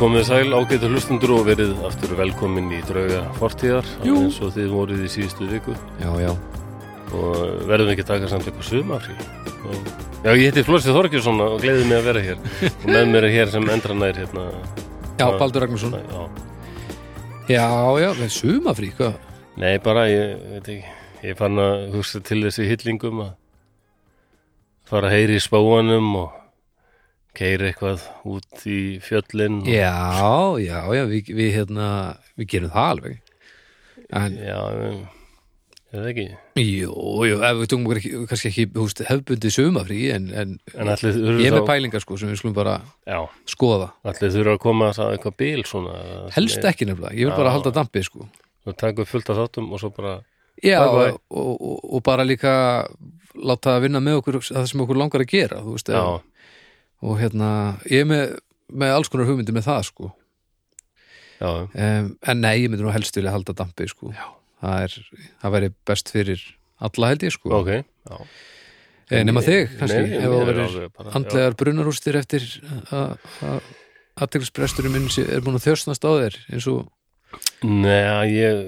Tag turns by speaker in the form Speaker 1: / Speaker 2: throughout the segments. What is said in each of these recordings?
Speaker 1: Komið sæl, ágætu hlustundur og verið aftur velkomin í drauga fortíðar
Speaker 2: Jú.
Speaker 1: eins og þið voruð í síðustu viku
Speaker 2: Já, já,
Speaker 1: og verðum ekki að taka samt eitthvað sumafrí og... Já, ég heiti Flósi Þorgjursson og gleðið mig að vera hér og með mér er hér sem endranær hérna
Speaker 2: já,
Speaker 1: Já.
Speaker 2: Baldur Ragnarsson
Speaker 1: Já.
Speaker 2: Já, já, það er sumafrí, hvað?
Speaker 1: Nei, bara, ég veit ekki ég fann að hugsa til þessi hillingum að fara að heyri í spóanum og keiri eitthvað út í fjöllin og...
Speaker 2: Já, já, já, við, við hérna við gerum það alveg en,
Speaker 1: Já, ég ég veit ekki
Speaker 2: Jú, jú, ef við tungum okkur ekki, kannski ekki húst, hefbundið sumafrí en, en
Speaker 1: En allir
Speaker 2: ég er
Speaker 1: þurfa
Speaker 2: með pælingar sko sem við skulum bara
Speaker 1: Já,
Speaker 2: skoða
Speaker 1: Allir þurfa að koma að eitthvað bíl svona
Speaker 2: Helst ekki nefnilega, ég vil bara
Speaker 1: Já.
Speaker 2: halda dampi sko
Speaker 1: Þú taka upp fullt af þáttum og svo bara
Speaker 2: Já,
Speaker 1: Bye, bye.
Speaker 2: og, og, og bara líka láta að vinna með okkur það sem okkur langar að gera, þú veist
Speaker 1: Já,
Speaker 2: ef- og hérna, ég er með, með alls konar hugmyndi með það sko
Speaker 1: já,
Speaker 2: um, en nei, ég myndi nú helst vilja halda dampi sko. það er, það væri best fyrir alla held ég sko
Speaker 1: ok já.
Speaker 2: eh, nema þig kannski,
Speaker 1: Nei,
Speaker 2: ef það
Speaker 1: mér er
Speaker 2: verið
Speaker 1: alveg bara-
Speaker 2: andlegar brunarústir eftir að aðteglispresturinn minn sé- er búin að þjóstnast á þér eins og,
Speaker 1: já. Nei, ég,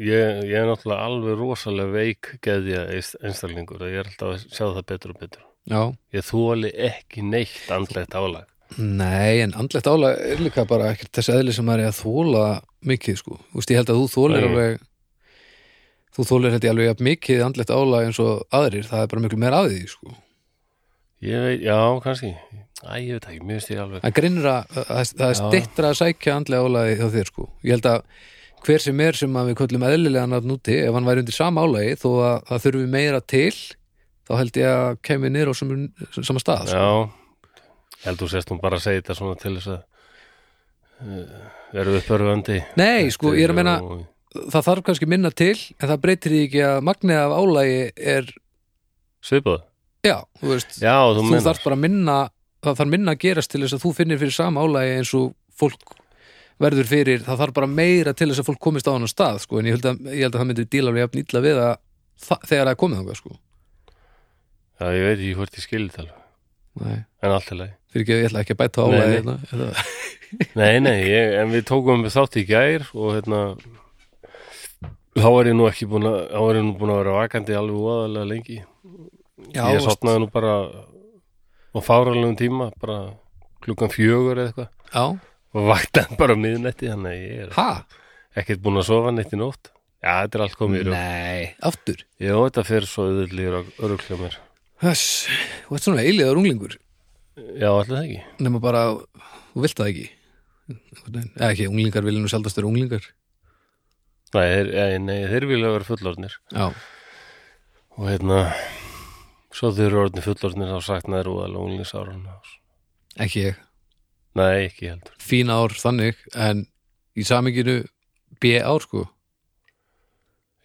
Speaker 1: ég, ég er náttúrulega alveg rosalega veik geðja einstaklingur og ég er alltaf að sjá það betur og betur
Speaker 2: já,
Speaker 1: Ég þóli ekki neitt andlegt álag
Speaker 2: nei en andlegt álag er líka bara ekkert þess eðli sem maður er að þóla mikið sko, þú veist, ég held að þú þólir
Speaker 1: Nei.
Speaker 2: alveg þú þólir þetta alveg jafn mikið andlegt álag eins og aðrir, það er bara miklu meira að því sko
Speaker 1: Ég veit, já, kannski Æ, ég veit ekki, mér finnst ég alveg
Speaker 2: Það grinnir að það það er
Speaker 1: Já.
Speaker 2: stittra að sækja andlega álagi hjá þér sko. Ég held að hver sem er sem að við köllum eðlilegan að núti, ef hann væri undir sama álagi þó að það þurfi meira til þá held ég að kemur niður á sama, sama stað sko.
Speaker 1: Já, heldur sérst hún bara að segja þetta svona til þess að uh, verðu uppörfandi
Speaker 2: Nei, sko, ég er að meina
Speaker 1: Og-
Speaker 2: það þarf kannski minna til en það breytir því ekki að magnið af álagi er,
Speaker 1: Svipað
Speaker 2: já, þú veist
Speaker 1: Já, þú,
Speaker 2: þú
Speaker 1: meinar.
Speaker 2: þarf bara að minna það þarf minna að gerast til þess að þú finnir fyrir sama álagi eins og fólk verður fyrir, það þarf bara meira til þess að fólk komist á hann á stað, sko, en ég held að, ég held að það myndi díla alveg jafn illa við að þa- þegar það er komið þangað, sko
Speaker 1: Já, ég veit ekki hvort ég skilði það alveg
Speaker 2: Nei,
Speaker 1: En allt er leið
Speaker 2: fyrir ekki, ég ætla ekki að bæta á
Speaker 1: Nei,
Speaker 2: álagi
Speaker 1: nei.
Speaker 2: hérna, hérna.
Speaker 1: Nei, nei, ég, en við tókum við þátt í gær og hérna þá er ég nú ekki búin að þá er ég nú búin að vera vakandi alveg óaðalega lengi
Speaker 2: Já,
Speaker 1: Ég
Speaker 2: veist,
Speaker 1: sopnaði nú bara á fáralegum tíma bara klukkan fjögur eða eitthvað
Speaker 2: já,
Speaker 1: og vaknaði bara á miðnætti þannig að ég
Speaker 2: ha?
Speaker 1: er ekkert búin að sofa neitt í nótt Já, þetta er allt komið í rúm
Speaker 2: Nei, aftur
Speaker 1: Já, þetta fer svo auðvitað öruglega mér
Speaker 2: Þess, þú ert svona eiligaður unglingur
Speaker 1: Já, allir það ekki
Speaker 2: nema bara, þú vilt það ekki eða ekki, unglingar vilja nú sjaldast vera unglingar
Speaker 1: Nei, þeir, eh, nei, þeir vilja vera fullorðnir
Speaker 2: Já,
Speaker 1: og hérna svo þau eru orðin fullorðnir þá saknaði rúðalega unglingsárun
Speaker 2: ekki ég
Speaker 1: nei, ekki heldur
Speaker 2: fín ár þannig en í saminginu B ár sko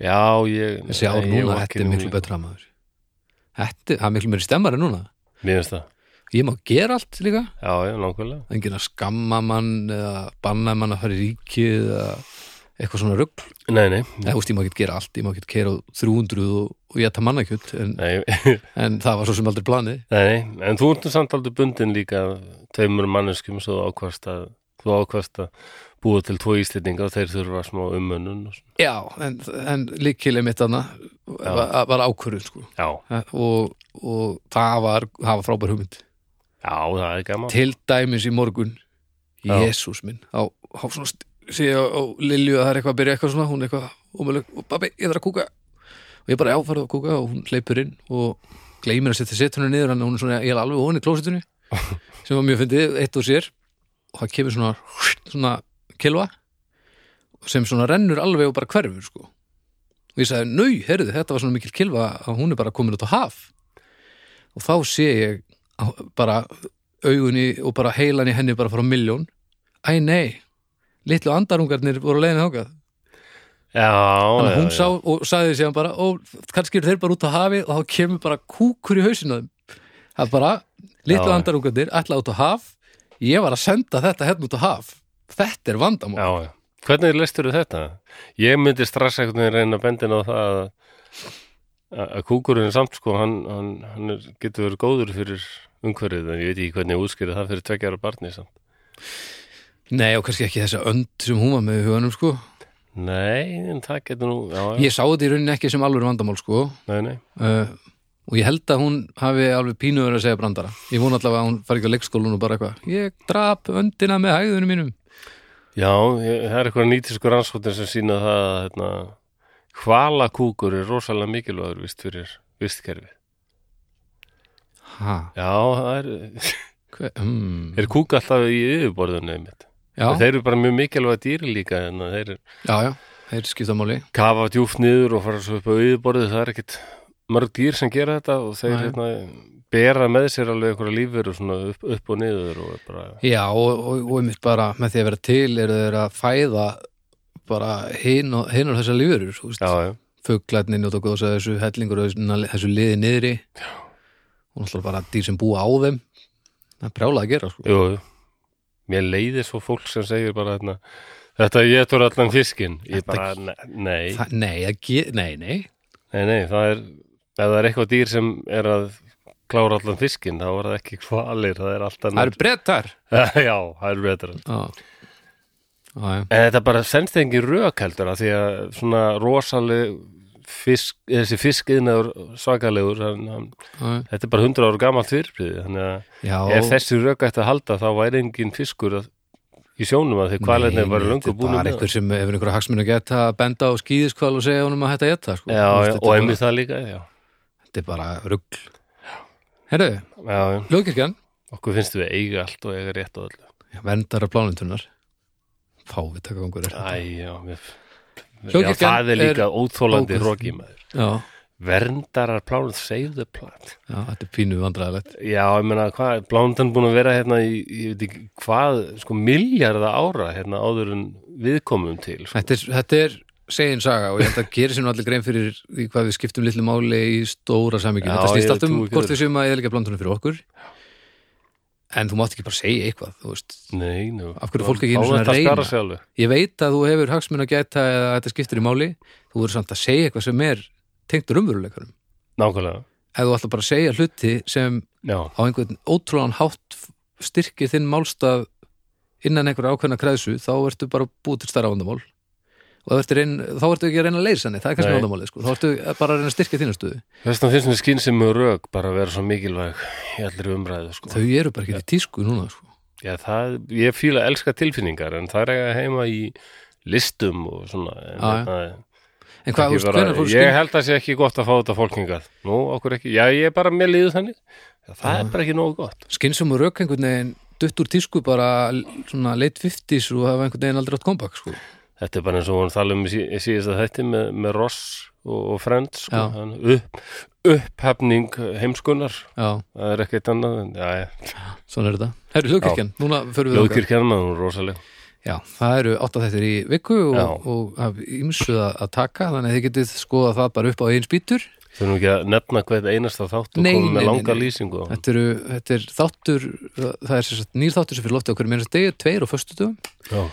Speaker 1: já, ég,
Speaker 2: þessi ár
Speaker 1: nei, ég
Speaker 2: núna,
Speaker 1: var ekki
Speaker 2: þetta er miklu
Speaker 1: unglingur.
Speaker 2: betra maður þetta, það er miklu meiri stemmari núna
Speaker 1: mér finnst það,
Speaker 2: ég má gera allt líka,
Speaker 1: já, já, nákvæmlega
Speaker 2: það er enginn að skamma mann eða banna mann að fara í ríkið eða eitthvað svona rugg
Speaker 1: nei, nei,
Speaker 2: eða úst, ég má ekki gera allt, ég má ekki kera á 300 og, og ég ætta mannakjöld en,
Speaker 1: nei,
Speaker 2: en það var svo sem aldrei planið
Speaker 1: nei en þú ertu samt aldrei bundin líka af tveimur manneskjum svo þú ákvast að þú ákvast að búa til tvo íslendinga og þeir þurfa smá umönnun og svona.
Speaker 2: já, en, en líkileg mitt hana var, var ákvörðun sko
Speaker 1: já,
Speaker 2: og, og það var, það var frábær hugmynd
Speaker 1: já, það er gaman
Speaker 2: til dæmis í morgun
Speaker 1: Já.
Speaker 2: Jésús minn á, á svona st- sé ég á, á Lilju að það er eitthvað að byrja eitthvað svona hún er eitthvað ómöðleg og babbi, ég þarf að kúka og ég bara áfarið að kúka og hún hleypur inn og gleymir að setja setunni niður en hún er svona, ég er alveg ofan í klósitunni sem var mjög fyndið, eitt og sér og það kemur svona, svona kilva sem svona rennur alveg og bara hverfur sko og ég sagði, nau, heyrðu, þetta var svona mikil kilva að hún er bara komin út á haf og þá sé ég á- bara augunni og bara heilan í henni bara fara á milljón Æ nei, litlu andarungarnir voru leiðin þákað
Speaker 1: já,
Speaker 2: Þannig
Speaker 1: já,
Speaker 2: að hún
Speaker 1: já.
Speaker 2: sá og sagði síðan bara ó, kannski eru þeir bara út á hafi og þá kemur bara kúkur í hausinu þeim Það er bara, litlu
Speaker 1: Já.
Speaker 2: andarungarnir ætla út á haf, ég var að senda þetta hérna út á haf, þetta er vandamál
Speaker 1: Já, já. Hvernig lestur þetta? Ég myndi strax einhvern veginn reyna bendin á það að, að kúkurinn samt sko, hann, hann, hann er, getur verið góður fyrir umhverfið, en ég veit ekki hvernig ég útskýri það fyrir tveggja ára barni samt.
Speaker 2: Nei, og kannski ekki þessa önd sem hún var með í huganum, sko.
Speaker 1: Nei, en það getur nú já, já.
Speaker 2: Ég sá þetta í rauninni ekki sem alveg vandamál, sko.
Speaker 1: Nei, nei,
Speaker 2: Uh, og ég held að hún hafi alveg pínuður að segja brandara. Ég vona allavega að hún fari ekki á leikskólan og bara eitthvað. Ég drap öndina með hæðunum mínum.
Speaker 1: já, ég, það er eitthvað nýtisku rannsóttin sem sína það að hérna, hvalakúkur er rosalega mikilvægur vist fyrir vistkerfi
Speaker 2: Ha,
Speaker 1: Já, það er,
Speaker 2: hver, hmm.
Speaker 1: er kúk alltaf í yfirborðunni einmitt.
Speaker 2: Já,
Speaker 1: Þeir eru bara mjög mikilvæg dýri líka en þeir eru
Speaker 2: já, já, þeir skipta máli.
Speaker 1: kafa djúft niður og fara svo upp á yfirborðið það er ekkit mörg dýr sem gera þetta og þeir
Speaker 2: Nei.
Speaker 1: hérna, bera með sér alveg einhverja lífveru svona upp, upp og niður og er bara,
Speaker 2: Já, og, og, og einmitt bara með því að vera til eru þeir að fæða bara hin og, hin og þessar lífurur, þú veist.
Speaker 1: já, já,
Speaker 2: Fuglarnir njóta góðs að þessu hellingur og þessu, þessu liði niðri. Já. Og náttúrulega bara dýr sem búa á þeim. Það er brjálað að gera, sko.
Speaker 1: jú jú. mér leiðir svo fólk sem segir bara hérna, þetta getur allan fiskin ég
Speaker 2: Þetta-
Speaker 1: bara, ne- nei,
Speaker 2: Það, nei, það ge- nei, nei.
Speaker 1: nei, nei það er, ef það er eitthvað dýr sem er að klára allan fiskin þá er það ekki hvalir, það er alltaf
Speaker 2: Það eru brettar.
Speaker 1: já, það er betra
Speaker 2: Já. Já, já.
Speaker 1: En Eh, þetta bara senst þið engin rök heldur að því að svona rosaleg fisk, eh, þessi fiskiðnaður svakalegur, hann, hann,
Speaker 2: já.
Speaker 1: þetta er bara 100 ára gamalt fyrirbrið, þannig að
Speaker 2: Já,
Speaker 1: ef þessi rök ætti að halda þá væri engin fiskur að, í sjónum að því
Speaker 2: Nei,
Speaker 1: hvalinni var
Speaker 2: nei,
Speaker 1: löngu búin
Speaker 2: Þetta er bara einhver sem hefur einhver hagsmun að geta að benda á skýðiskval og segja honum að hætta að geta sko.
Speaker 1: Já,
Speaker 2: Þú veist,
Speaker 1: já,
Speaker 2: þetta
Speaker 1: og
Speaker 2: er
Speaker 1: einmitt
Speaker 2: bara-
Speaker 1: það líka, já.
Speaker 2: Þetta er bara rugl Herru,
Speaker 1: já, já.
Speaker 2: lögkirkjan
Speaker 1: Okkur finnst við eiga allt og eiga rétt á öllu.
Speaker 2: Verndara plánintunar Fávitaka kongur
Speaker 1: Æ, já, mér... Já,
Speaker 2: Hljóðkirkjan
Speaker 1: það er líka óþólandi
Speaker 2: bókuð.
Speaker 1: roki maður.
Speaker 2: já,
Speaker 1: Verndarar plánum, save the plant.
Speaker 2: já, þetta er pínu vandræðilegt
Speaker 1: Já, ég meina, hvað, blándan búin að vera hérna í, ég veit ekki, hvað, sko, miljarda ára hérna áður en við komum til, sko.
Speaker 2: Þetta er, þetta er segin saga og ég held að gera sér nú allir grein fyrir því hvað við skiptum litlu máli í stóra samíkjum
Speaker 1: Já,
Speaker 2: Þetta
Speaker 1: ég
Speaker 2: snýst allt um
Speaker 1: trúi ekki
Speaker 2: hvort
Speaker 1: öðru.
Speaker 2: við séum að eðalega blántunum fyrir okkur En þú mátt ekki bara segja eitthvað, þú veist
Speaker 1: Nei, nú.
Speaker 2: Af hverju er fólk ekki einu svona að
Speaker 1: Þá er þetta
Speaker 2: reyna?
Speaker 1: skara sig alveg.
Speaker 2: ég veit að þú hefur hagsmun að gæta eða að þetta skiptir í máli, þú verður samt að segja eitthvað sem er tengt raunveruleikunum
Speaker 1: Nákvæmlega.
Speaker 2: ef þú ætlar bara að segja hluti sem
Speaker 1: Já,
Speaker 2: á einhvern ótrúlan hátt styrkir þinn málstaf innan einhverja ákveðna kreðsu, þá ertu bara búið til stærra vandamál og þá ertu, reyn, þá ertu ekki að reyna að leysa henni, það er kannski
Speaker 1: Nei.
Speaker 2: vandamáli sko. þá ertu bara að reyna að styrkja þínu stöðu
Speaker 1: þess vegna finnst mér skynsemi og rök bara að vera svo mikilvæg í allir umræðu, sko.
Speaker 2: þau eru bara ekki í tísku núna sko.
Speaker 1: Já, það, ég fíla að elska tilfinningar, en það er eiga heima í listum og svona. En,
Speaker 2: Ah, Já, já.
Speaker 1: hérna,
Speaker 2: en hvað, þú
Speaker 1: ekki
Speaker 2: veist,
Speaker 1: bara,
Speaker 2: hvernig fór
Speaker 1: ég held að sé ekki gott að fá þetta fólkingað. Nú, okkur ekki, já, ég er bara með liðu þannig. Já, það
Speaker 2: Ah.
Speaker 1: er bara ekki nógu gott.
Speaker 2: skynsum og rauk einhvern veginn dutt úr tísku bara svona late 50s og hafa einhvern veginn aldrei átt kompakt sko.
Speaker 1: Þetta er bara eins og hún tala um í sí- í síðasta þætti með, með Ross og, og Friends sko.
Speaker 2: Já.
Speaker 1: Hann, upp, upphefning heimskunar
Speaker 2: já
Speaker 1: það er ekkert annað en, já, já.
Speaker 2: Svona er þetta. Herru, hljóðkirkjan, núna förum við þangað.
Speaker 1: Ljóðkirkjan maður, hún er rosaleg
Speaker 2: Já, það eru átta þættir í viku
Speaker 1: Já.
Speaker 2: og, og af ýmsu að að taka, þannig að þið getið skoða það bara upp á einn spýtur.
Speaker 1: Þurfum ekki að nefna hvern einasta þátt og
Speaker 2: Nei,
Speaker 1: komum
Speaker 2: nei,
Speaker 1: með
Speaker 2: nei,
Speaker 1: langa
Speaker 2: nei.
Speaker 1: lýsingu á honum.
Speaker 2: Þetta, eru, þetta er þáttur, það er sem sagt nýr þáttur sem fyrir loftið okkur meira degi, tveir og föstudum
Speaker 1: Já,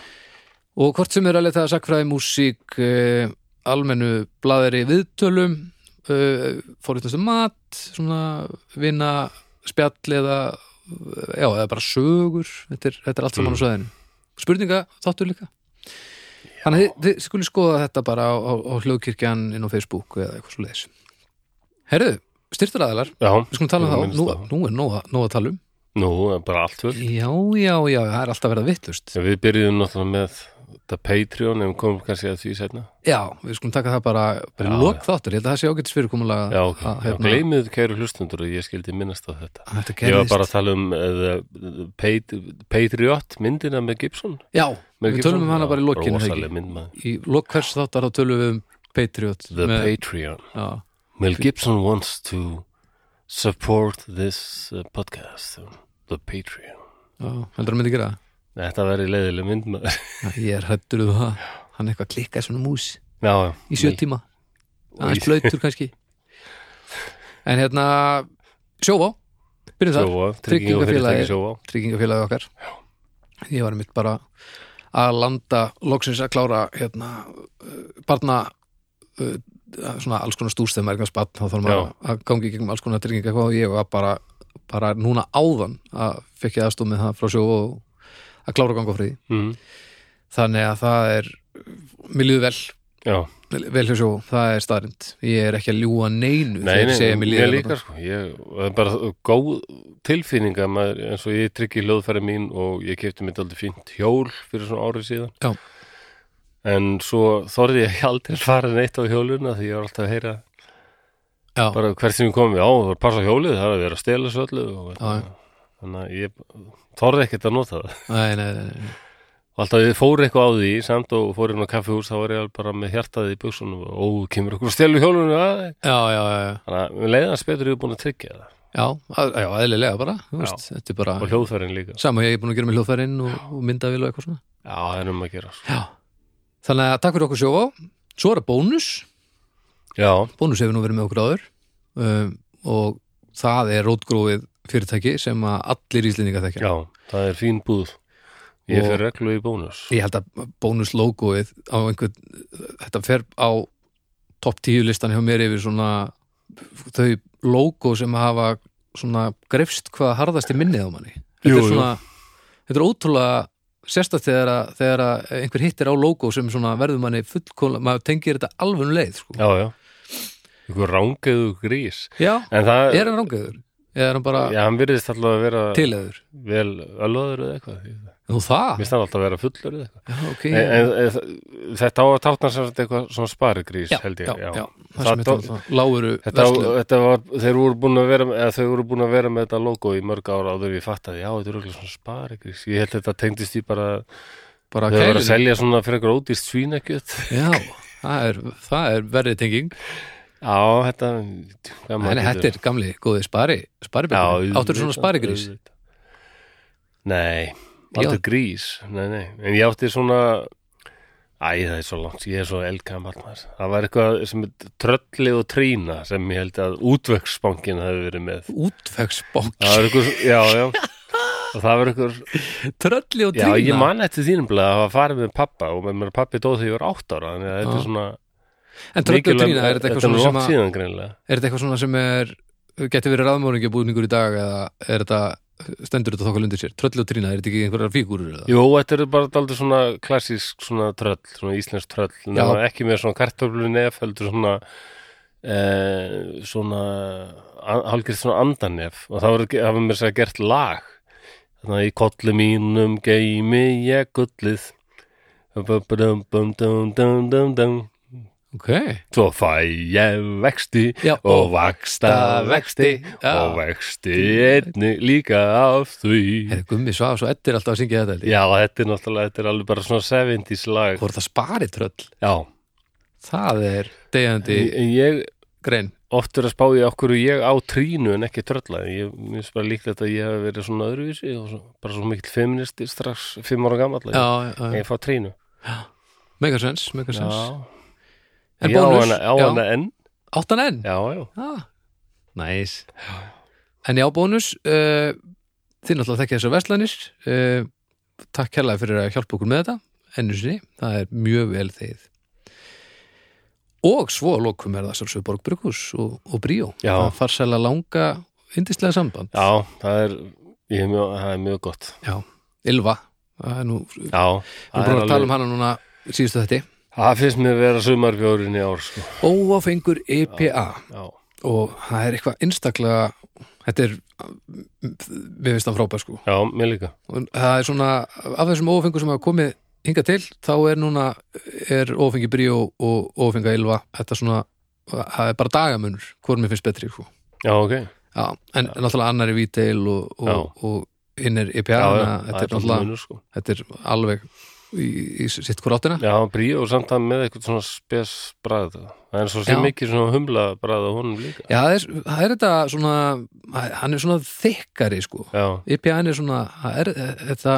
Speaker 2: og hvort sem er að leta sakfræði, músík, eh, almennu blaðari viðtölum, eh, fórhýttastu mat, svona vinna spjall eða, já, eða bara sögur, þetta er, þetta er allt saman á sveðinu. Spurninga þáttur líka. Þannig að þið- þið skulle skoða þetta bara á, á, á hljóðkirkjan inn á Facebook eða eitthvað svo leiðis. Herðu, styrtaraðalar,
Speaker 1: já
Speaker 2: við skulum tala um það,
Speaker 1: minnst
Speaker 2: nú,
Speaker 1: það.
Speaker 2: nú er nóg að- nóg að tala um.
Speaker 1: Nú, er bara allt fullt
Speaker 2: Já, já, já, það er alltaf verið að vittlust.
Speaker 1: Við byrjuðum náttúrulega með þetta Patreon en við komum kannski að því setna
Speaker 2: Já, við skulum taka það bara, bara
Speaker 1: Já,
Speaker 2: lók þáttur, ég held að það sé ágætis fyrirkomulega
Speaker 1: Já, ok,
Speaker 2: að,
Speaker 1: já,
Speaker 2: hérna,
Speaker 1: gleymið kæru hlustundur og ég skildi minnast á þetta
Speaker 2: að þetta
Speaker 1: Ég var
Speaker 2: gerðist
Speaker 1: bara að tala um uh, the Pat- Patriot myndina með Gibson
Speaker 2: Já,
Speaker 1: Mel
Speaker 2: við tölum
Speaker 1: Gibson?
Speaker 2: um hana bara í
Speaker 1: Já,
Speaker 2: lokinu það
Speaker 1: rosaleg
Speaker 2: ekki?
Speaker 1: mynd maður
Speaker 2: Í lók hvers þáttar þá tölum við um Patriot
Speaker 1: The
Speaker 2: með-
Speaker 1: Patreon
Speaker 2: já,
Speaker 1: Mel Gibson wants to support this uh, podcast The Patreon
Speaker 2: já, heldur að myndi gera það?
Speaker 1: Þetta verði leiðileg mynd maður
Speaker 2: Já, Ég er hættur um það Hann er eitthvað klikkað svona mús
Speaker 1: Já, já
Speaker 2: í sjö tíma aðeins blöytur kannski En hérna, sjóvá Byrjum það,
Speaker 1: Sjóa, tryggingafélagi
Speaker 2: Tryggingafélagið.
Speaker 1: Sjóa
Speaker 2: tryggingafélagi okkar Ég var mitt bara að landa loksins að klára hérna, uh, barna uh, svona alls konar stúst þegar maður eitthvað spatt þá þarf maður
Speaker 1: Já.
Speaker 2: að gangi í gegnum alls konar trygginga og ég var bara, bara núna áðan að fekk ég aðstoð með það frá sjó og að klára að ganga á friði
Speaker 1: mm.
Speaker 2: þannig að það er mér líður vel,
Speaker 1: Já,
Speaker 2: vel- vel hjá sjó það er staðrind, ég er ekki að ljúa neinu
Speaker 1: nei,
Speaker 2: þegar ég
Speaker 1: nei,
Speaker 2: segja mér
Speaker 1: mér
Speaker 2: líður
Speaker 1: líka sko ég, það er bara góð tilfinninga maður, eins og ég tryggi hljóðfæri mín og ég kefti mér aldrei fínt hjól fyrir svona árið síðan
Speaker 2: Já.
Speaker 1: En svo þorði ég aldrei að fara neitt á hjóluna því ég var alltaf að heyra
Speaker 2: Já.
Speaker 1: bara hvert sem ég komið á, það var að passa á hjólið það er að vera að stela svo öllu og,
Speaker 2: Já, já.
Speaker 1: þannig að ég þorði ekkert að nota það
Speaker 2: nei, nei, nei, nei.
Speaker 1: og alltaf ég fór eitthvað á því samt og fór inn á kaffihús þá var ég alveg bara með hjartaði í buksunum og ó, kemur okkur að stela hjólinu að
Speaker 2: Já, já, já, já,
Speaker 1: þannig að við leiðans betur ég búin að tryggja það
Speaker 2: já, að- já, eðlilega bara þú veist, þetta er
Speaker 1: og
Speaker 2: bara,
Speaker 1: hljóðfærin líka
Speaker 2: sama ég er búin að gera með hljóðfærin og, og myndavél og eitthvað svona
Speaker 1: Já, það er um að gera sko.
Speaker 2: Já, þannig að takk fyrir okkur sjófá Svo er það bónus,
Speaker 1: Já,
Speaker 2: bónus hefur nú verið með okkur áður um, og það er rótgrófið fyrirtæki sem að allir íslendinga þekkja.
Speaker 1: já, það er fín búð Ég
Speaker 2: Og-
Speaker 1: fer reglu í bónus
Speaker 2: Ég held að bónus logoið á einhvern, þetta fer á topp tíu listan hjá mér yfir svona þau logo sem hafa svona grefst hvað harðast í minnið á manni. Þetta
Speaker 1: Jú,
Speaker 2: er
Speaker 1: jú.
Speaker 2: svona, þetta er ótrúlega sérstætt þegar, að- þegar að einhver hittir á logo sem svona verður manni fullkóla, maður tengir þetta alveg um leið, sko.
Speaker 1: Já, já Ykkur rángeðu grís
Speaker 2: Já.
Speaker 1: En það,
Speaker 2: Er hann rángaður? Eða er hann bara
Speaker 1: já, hann virðist alltaf að vera
Speaker 2: tilæður?
Speaker 1: vel ölvaður eða eitthvað Mér
Speaker 2: Nú það?
Speaker 1: finnst hann alltaf að vera fullur eða eitthvað
Speaker 2: Já, ok.
Speaker 1: en, en, en, Þetta á að tákna sem sagt eitthvað svona sparigrís held ég,
Speaker 2: já, já.
Speaker 1: Það
Speaker 2: Það sem
Speaker 1: dó-
Speaker 2: heitir láguru
Speaker 1: Þetta,
Speaker 2: verslu.
Speaker 1: þetta var, þeir voru búin að vera eða þau voru búin að vera með þetta logo í mörg ára áður en ég fattaði, já, þetta er auðvitað svona sparigrís ég held þetta tengdist í bara
Speaker 2: Bara
Speaker 1: þau voru að
Speaker 2: kælinu.
Speaker 1: selja svona fyrir eitthvað ódýrst svínakjöt
Speaker 2: Já, það er, það er verðið tenging.
Speaker 1: Já, þetta hvað maður
Speaker 2: Þannig
Speaker 1: getur-
Speaker 2: þetta er gamli, góði spari, sparibröður.
Speaker 1: Já,
Speaker 2: Áttur svona
Speaker 1: auðvitað,
Speaker 2: sparigrís?
Speaker 1: auðvitað. Nei,
Speaker 2: Já.
Speaker 1: áttur grís Nei, nei, en ég átti svona Æ, það er svo langt, ég er svo elgamall maður. Það var eitthvað sem trölli og trína sem ég held að útvöksbankin hafi verið með
Speaker 2: Útvegsbók.
Speaker 1: Það var eitthvað, já, já og það var eitthvað,
Speaker 2: Trölli og
Speaker 1: já,
Speaker 2: trína.
Speaker 1: ég man eftir þínum bleið að hafa farið með pappa og með mér pappi dóð þegar ég var átt ára þannig að þetta
Speaker 2: Já.
Speaker 1: er svona
Speaker 2: En trölli og
Speaker 1: mikilvæg-
Speaker 2: trína, er þetta eitthvað svona
Speaker 1: nú
Speaker 2: sem
Speaker 1: langt
Speaker 2: að,
Speaker 1: síðan greinilega
Speaker 2: er þetta eitthvað svona sem er, geti verið raðmóringi búningur í dag eða er þetta, stendur þetta þokkar lundir sér? Trölli og trína, er þetta ekki einhverjar fígúrur eða?
Speaker 1: Jú, þetta eru bara daldið svona klassísk svona tröll, svona íslensk tröll nema ekki með svona kartöflu nef heldur svona eh, svona a- hálfgerð svona andanef og það voru- hafa mér sér gert lag þannig að í kollu mínum geimi ég gullið Bum, bum, bum, dum, dum, dum, dum.
Speaker 2: Ok.
Speaker 1: Svo fæ ég vexti
Speaker 2: Já,
Speaker 1: og vaksta vexti
Speaker 2: Já.
Speaker 1: og vexti einni líka af því
Speaker 2: Hefði Gummi Svafs og Eddi er alltaf að syngja þetta held ég.
Speaker 1: Já, þetta er náttúrulega, þetta er alveg bara svona 70s lag
Speaker 2: Hvor það spari tröll
Speaker 1: Já,
Speaker 2: Það er degjandi
Speaker 1: en ég
Speaker 2: grein
Speaker 1: oft er að spá í okkur og ég á trínu en ekki trölla ég minnst bara líklegt að ég hef verið svona öðruvísi og svo, bara svo mikill feministi strax fimm ára gamall
Speaker 2: Já,
Speaker 1: að
Speaker 2: já, já.
Speaker 1: ég fá trínu
Speaker 2: megasens, megasens En
Speaker 1: Ég á
Speaker 2: bónus,
Speaker 1: hana, á
Speaker 2: já.
Speaker 1: hana enn
Speaker 2: Áttan enn
Speaker 1: Já, já,
Speaker 2: ah, Næs En já, bónus uh, Þið náttúrulega þekkja þessar verslanir uh, Takk kærlega fyrir að hjálpa okkur með þetta Ennu sinni, það er mjög vel þegið Og svo að lokum er það sjálfsög Borg Brukus og, og Bríó
Speaker 1: Já.
Speaker 2: Það farsæla langa yndislega samband
Speaker 1: já, það er ég er mjög, það er mjög gott
Speaker 2: Já. Ylva, það er nú Við
Speaker 1: Já, það,
Speaker 2: erum
Speaker 1: er
Speaker 2: bara að tala um hana núna síðustu þetta
Speaker 1: það finnst mér að vera sumarfjórin í ár sko.
Speaker 2: óáfengur EPA
Speaker 1: Já,
Speaker 2: og það er eitthvað einstaklega þetta er við veist hann frábær sko
Speaker 1: já, mér líka
Speaker 2: Og það er svona, af þessum óáfengur sem hafa komið hingað til, þá er núna er óáfengi bríó og óáfenga ylva, þetta svona það er bara dagamunur, hvort mér finnst betri sko.
Speaker 1: Já, ok,
Speaker 2: já, en náttúrulega annar er víteil og, og, og hinn er EPA,
Speaker 1: já,
Speaker 2: þannig
Speaker 1: já,
Speaker 2: að
Speaker 1: það
Speaker 2: þetta er
Speaker 1: er
Speaker 2: náttúrulega
Speaker 1: munur, sko.
Speaker 2: þetta er alveg í, í sitt hvort áttina
Speaker 1: Já, bríó samt að með eitthvað svona spes bræð það er svo sem
Speaker 2: Já.
Speaker 1: mikið svona humla bræð á honum líka
Speaker 2: já, það er, það er þetta svona hann er svona þykkari sko
Speaker 1: Já,
Speaker 2: IPA er svona það er, þetta,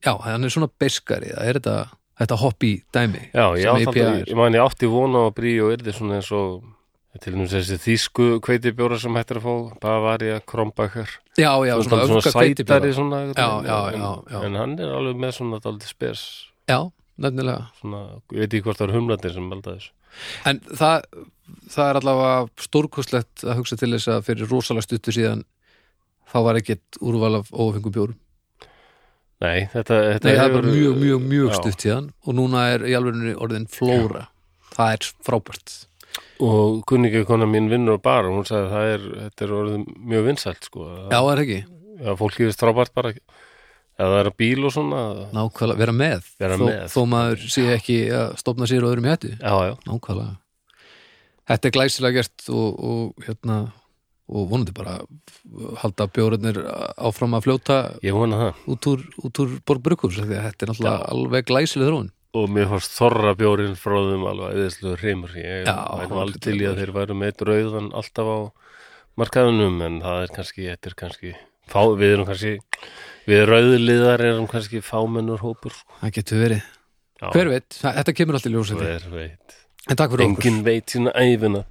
Speaker 2: já, hann er svona beskari það er þetta, þetta hoppi dæmi
Speaker 1: já ég,
Speaker 2: Sem E
Speaker 1: átti
Speaker 2: IPA
Speaker 1: aldrei-
Speaker 2: er.
Speaker 1: ég man ég átti vona á bríó yrði svona eins og til þess þessi þýsku hveitibjóra sem hættir að fá Bavaria, Krombacher
Speaker 2: já, já, svona öfga
Speaker 1: sætari
Speaker 2: kveitibjóra
Speaker 1: svona einhvern
Speaker 2: Já,
Speaker 1: veginn.
Speaker 2: já,
Speaker 1: En-
Speaker 2: já, já.
Speaker 1: En hann er alveg með svona daldið spes
Speaker 2: já, nefnilega
Speaker 1: svona, ég veit ekki hvort það er humlandir sem melda þessu
Speaker 2: en það, það er allavega stórkostlegt að hugsa til þess að fyrir rosalega stuttu síðan þá var ekkert úrval af ófengum bjórum
Speaker 1: Nei, þetta,
Speaker 2: Nei,
Speaker 1: þetta
Speaker 2: það er bara
Speaker 1: hefur-
Speaker 2: mjög, mjög, mjög
Speaker 1: Já.
Speaker 2: stutt síðan og núna er í alvegurinu orðin flóra það er frábært
Speaker 1: Og kunningakona mín vinnur á bar og hún sagði að það er, þetta er orðið mjög vinsælt sko.
Speaker 2: Já, það er ekki,
Speaker 1: Já, fólk yfir strábært bara eða það er á bíl og svona
Speaker 2: nákvæmlega, vera með
Speaker 1: Vera
Speaker 2: þó,
Speaker 1: með.
Speaker 2: þó maður sé ekki að stofna sér og öðrum í hættu
Speaker 1: Já, já,
Speaker 2: nákvæmlega Þetta er glæsilega gert og, og hérna og vonandi bara halda bjórarnir áfram að fljóta
Speaker 1: ég vona það
Speaker 2: út úr, út úr borgbrukus því að þetta er náttúrulega
Speaker 1: Já.
Speaker 2: alveg glæsileg þróun
Speaker 1: og mér fórst þorra bjórin fróðum alveg eðislu hreymur ég
Speaker 2: Já,
Speaker 1: væri nú
Speaker 2: hann
Speaker 1: alveg
Speaker 2: getur
Speaker 1: til í að
Speaker 2: verið.
Speaker 1: þeir væru með drauðan alltaf á markaðunum en það er kannski, þetta er kannski fá, við erum kannski við rauðliðar erum kannski fámennur hópur sko.
Speaker 2: Það getur verið,
Speaker 1: já,
Speaker 2: hver veit, þa- þetta kemur alltaf í ljós held ég.
Speaker 1: hver veit
Speaker 2: en takk fyrir okkur
Speaker 1: engin veit sína æfina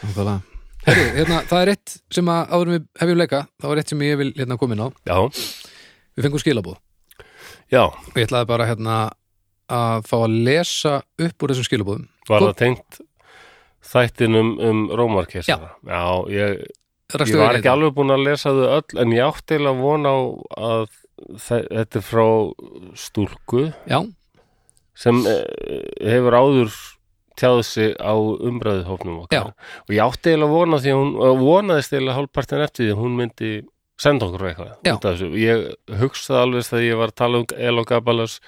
Speaker 2: Nákvæmlega. Herru, hérna, það er eitt sem að áður en við hefjum leika, það var eitt sem ég vil hérna komin á.
Speaker 1: já,
Speaker 2: Við fengum skilabóð
Speaker 1: já,
Speaker 2: og ég ætlaði bara hérna að fá að lesa upp úr þessum skilabóðum.
Speaker 1: var
Speaker 2: Sko-
Speaker 1: það tengt þættinum um Rómarkesara já, ég, Ég var
Speaker 2: hérna.
Speaker 1: ekki alveg búin að lesa þau öll en ég átti eiginlega von á að þe- þetta er frá stúlku
Speaker 2: Já,
Speaker 1: sem eh, hefur áður tjáðu sig á umræðuhófnum
Speaker 2: Já.
Speaker 1: okkar og ég átti eiginlega von á því að hún eh, vonaðist eiginlega hálfpartin eftir því að hún myndi senda okkur eitthvað
Speaker 2: Já.
Speaker 1: út af þessu. ég hugsaði alveg þegar ég var að tala um Elo Gabalas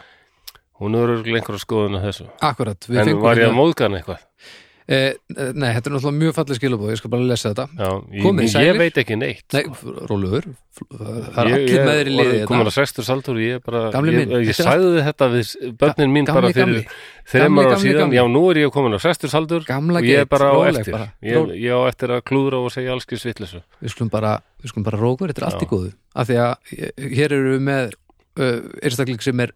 Speaker 1: hún er örugglega einhverja skoðun að þessu
Speaker 2: akkurat. Við
Speaker 1: en
Speaker 2: fengum
Speaker 1: var ég að
Speaker 2: hérna-
Speaker 1: móðga hann eitthvað
Speaker 2: Eh, eh, nei, þetta er náttúrulega mjög fallið skilabóð, ég skal bara lesa þetta.
Speaker 1: Já, ég,
Speaker 2: Komið
Speaker 1: ég,
Speaker 2: sælir.
Speaker 1: veit ekki neitt
Speaker 2: Nei, róluður, það er
Speaker 1: Ég-
Speaker 2: allir
Speaker 1: ég
Speaker 2: meðri
Speaker 1: orðinn
Speaker 2: liðið
Speaker 1: komin
Speaker 2: þetta.
Speaker 1: að sextur saldur ég, er bara,
Speaker 2: hérna. Gamli
Speaker 1: ég,
Speaker 2: minn,
Speaker 1: ég
Speaker 2: þetta er
Speaker 1: sagði þetta við börnin mín bara
Speaker 2: Gamli,
Speaker 1: fyrir
Speaker 2: gamli,
Speaker 1: þreymar
Speaker 2: Gamli,
Speaker 1: ára
Speaker 2: gamli,
Speaker 1: síðan
Speaker 2: gamli.
Speaker 1: já nú er ég komin á sextur saldur
Speaker 2: gamla
Speaker 1: og ég er
Speaker 2: geit,
Speaker 1: bara á
Speaker 2: róleg
Speaker 1: eftir
Speaker 2: bara,
Speaker 1: ég,
Speaker 2: róleg.
Speaker 1: ég á eftir að klúðra og segja allski svittlesu
Speaker 2: Við skulum bara, við skulum bara rókur, þetta er allt í
Speaker 1: Já.
Speaker 2: góðu. Af því að eh, hér eru við með uh, einstakling sem er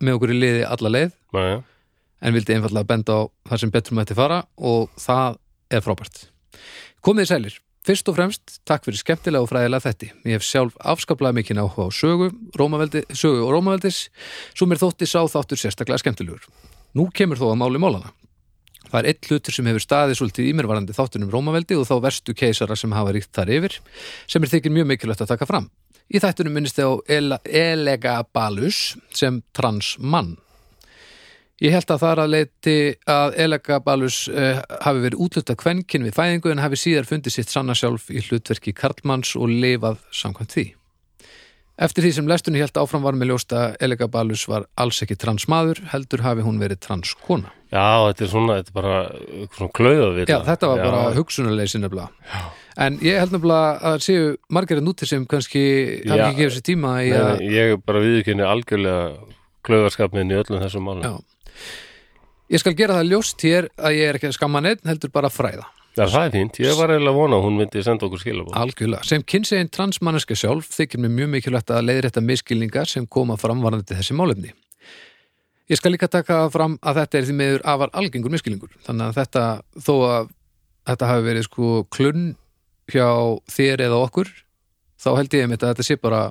Speaker 2: með okkur í liði alla leið
Speaker 1: Næja,
Speaker 2: en vildi einfallega benda á það sem betur mætti fara og það er frábært. Komið þið sælir. Fyrst og fremst, takk fyrir skemmtilega og fræðilega þetti. Ég hef sjálf afskaplega mikinn áhuga á sögu, rómaveldi, sögu og rómaveldis, svo mér þótti sá þáttur sérstaklega skemmtilegur. Nú kemur þó að máli mólana. Það er eitt hlutur sem hefur staðið svolítið í mér varandi þáttunum rómaveldi og þá verstu keisara sem hafa ríkt þar yfir, sem er þykir mjög mikilvægt að taka fram. Í þættunum minnist þið á Ele- Elegabalus sem transmann. Ég held að það er að leiti að Elagabalus uh, hafi verið útluta kvenkin við fæðingu en hafi síðar fundið sitt sanna sjálf í hlutverki Karlmanns og lifað samkvæmt því. Eftir því sem lestunni held áfram var með ljóst að Elagabalus var alls ekki transmaður, heldur hafi hún verið transkona.
Speaker 1: já þetta er svona þetta er bara uh, svona klauða
Speaker 2: Já, þetta var bara hugsunarleysi nefnilega. En ég held nefnilega að séu margir að núti sem kannski hafi
Speaker 1: Já.
Speaker 2: ekki gefið sér tíma í að
Speaker 1: Nei, ég bara viðurkynni algjörlega klauðarskapin í öllum þessum málum
Speaker 2: Já. Ég skal gera það ljóst hér að ég er ekki að skamma neitt, heldur bara að fræða.
Speaker 1: Já, það er fínt, ég var eiginlega að vona að hún myndi senda okkur skilabóð
Speaker 2: Algjörlega. Sem kynsegin transmanneska sjálf þykir mér mjög mikilvægt að leiðrétta miskilningar sem koma fram varandi þessi málefni. Ég skal líka taka það fram að þetta er því meður afar algengur miskilningur. Þannig að þetta, þó að þetta hafi verið sko klunn hjá þér eða okkur, þá held ég einmitt að þetta sé bara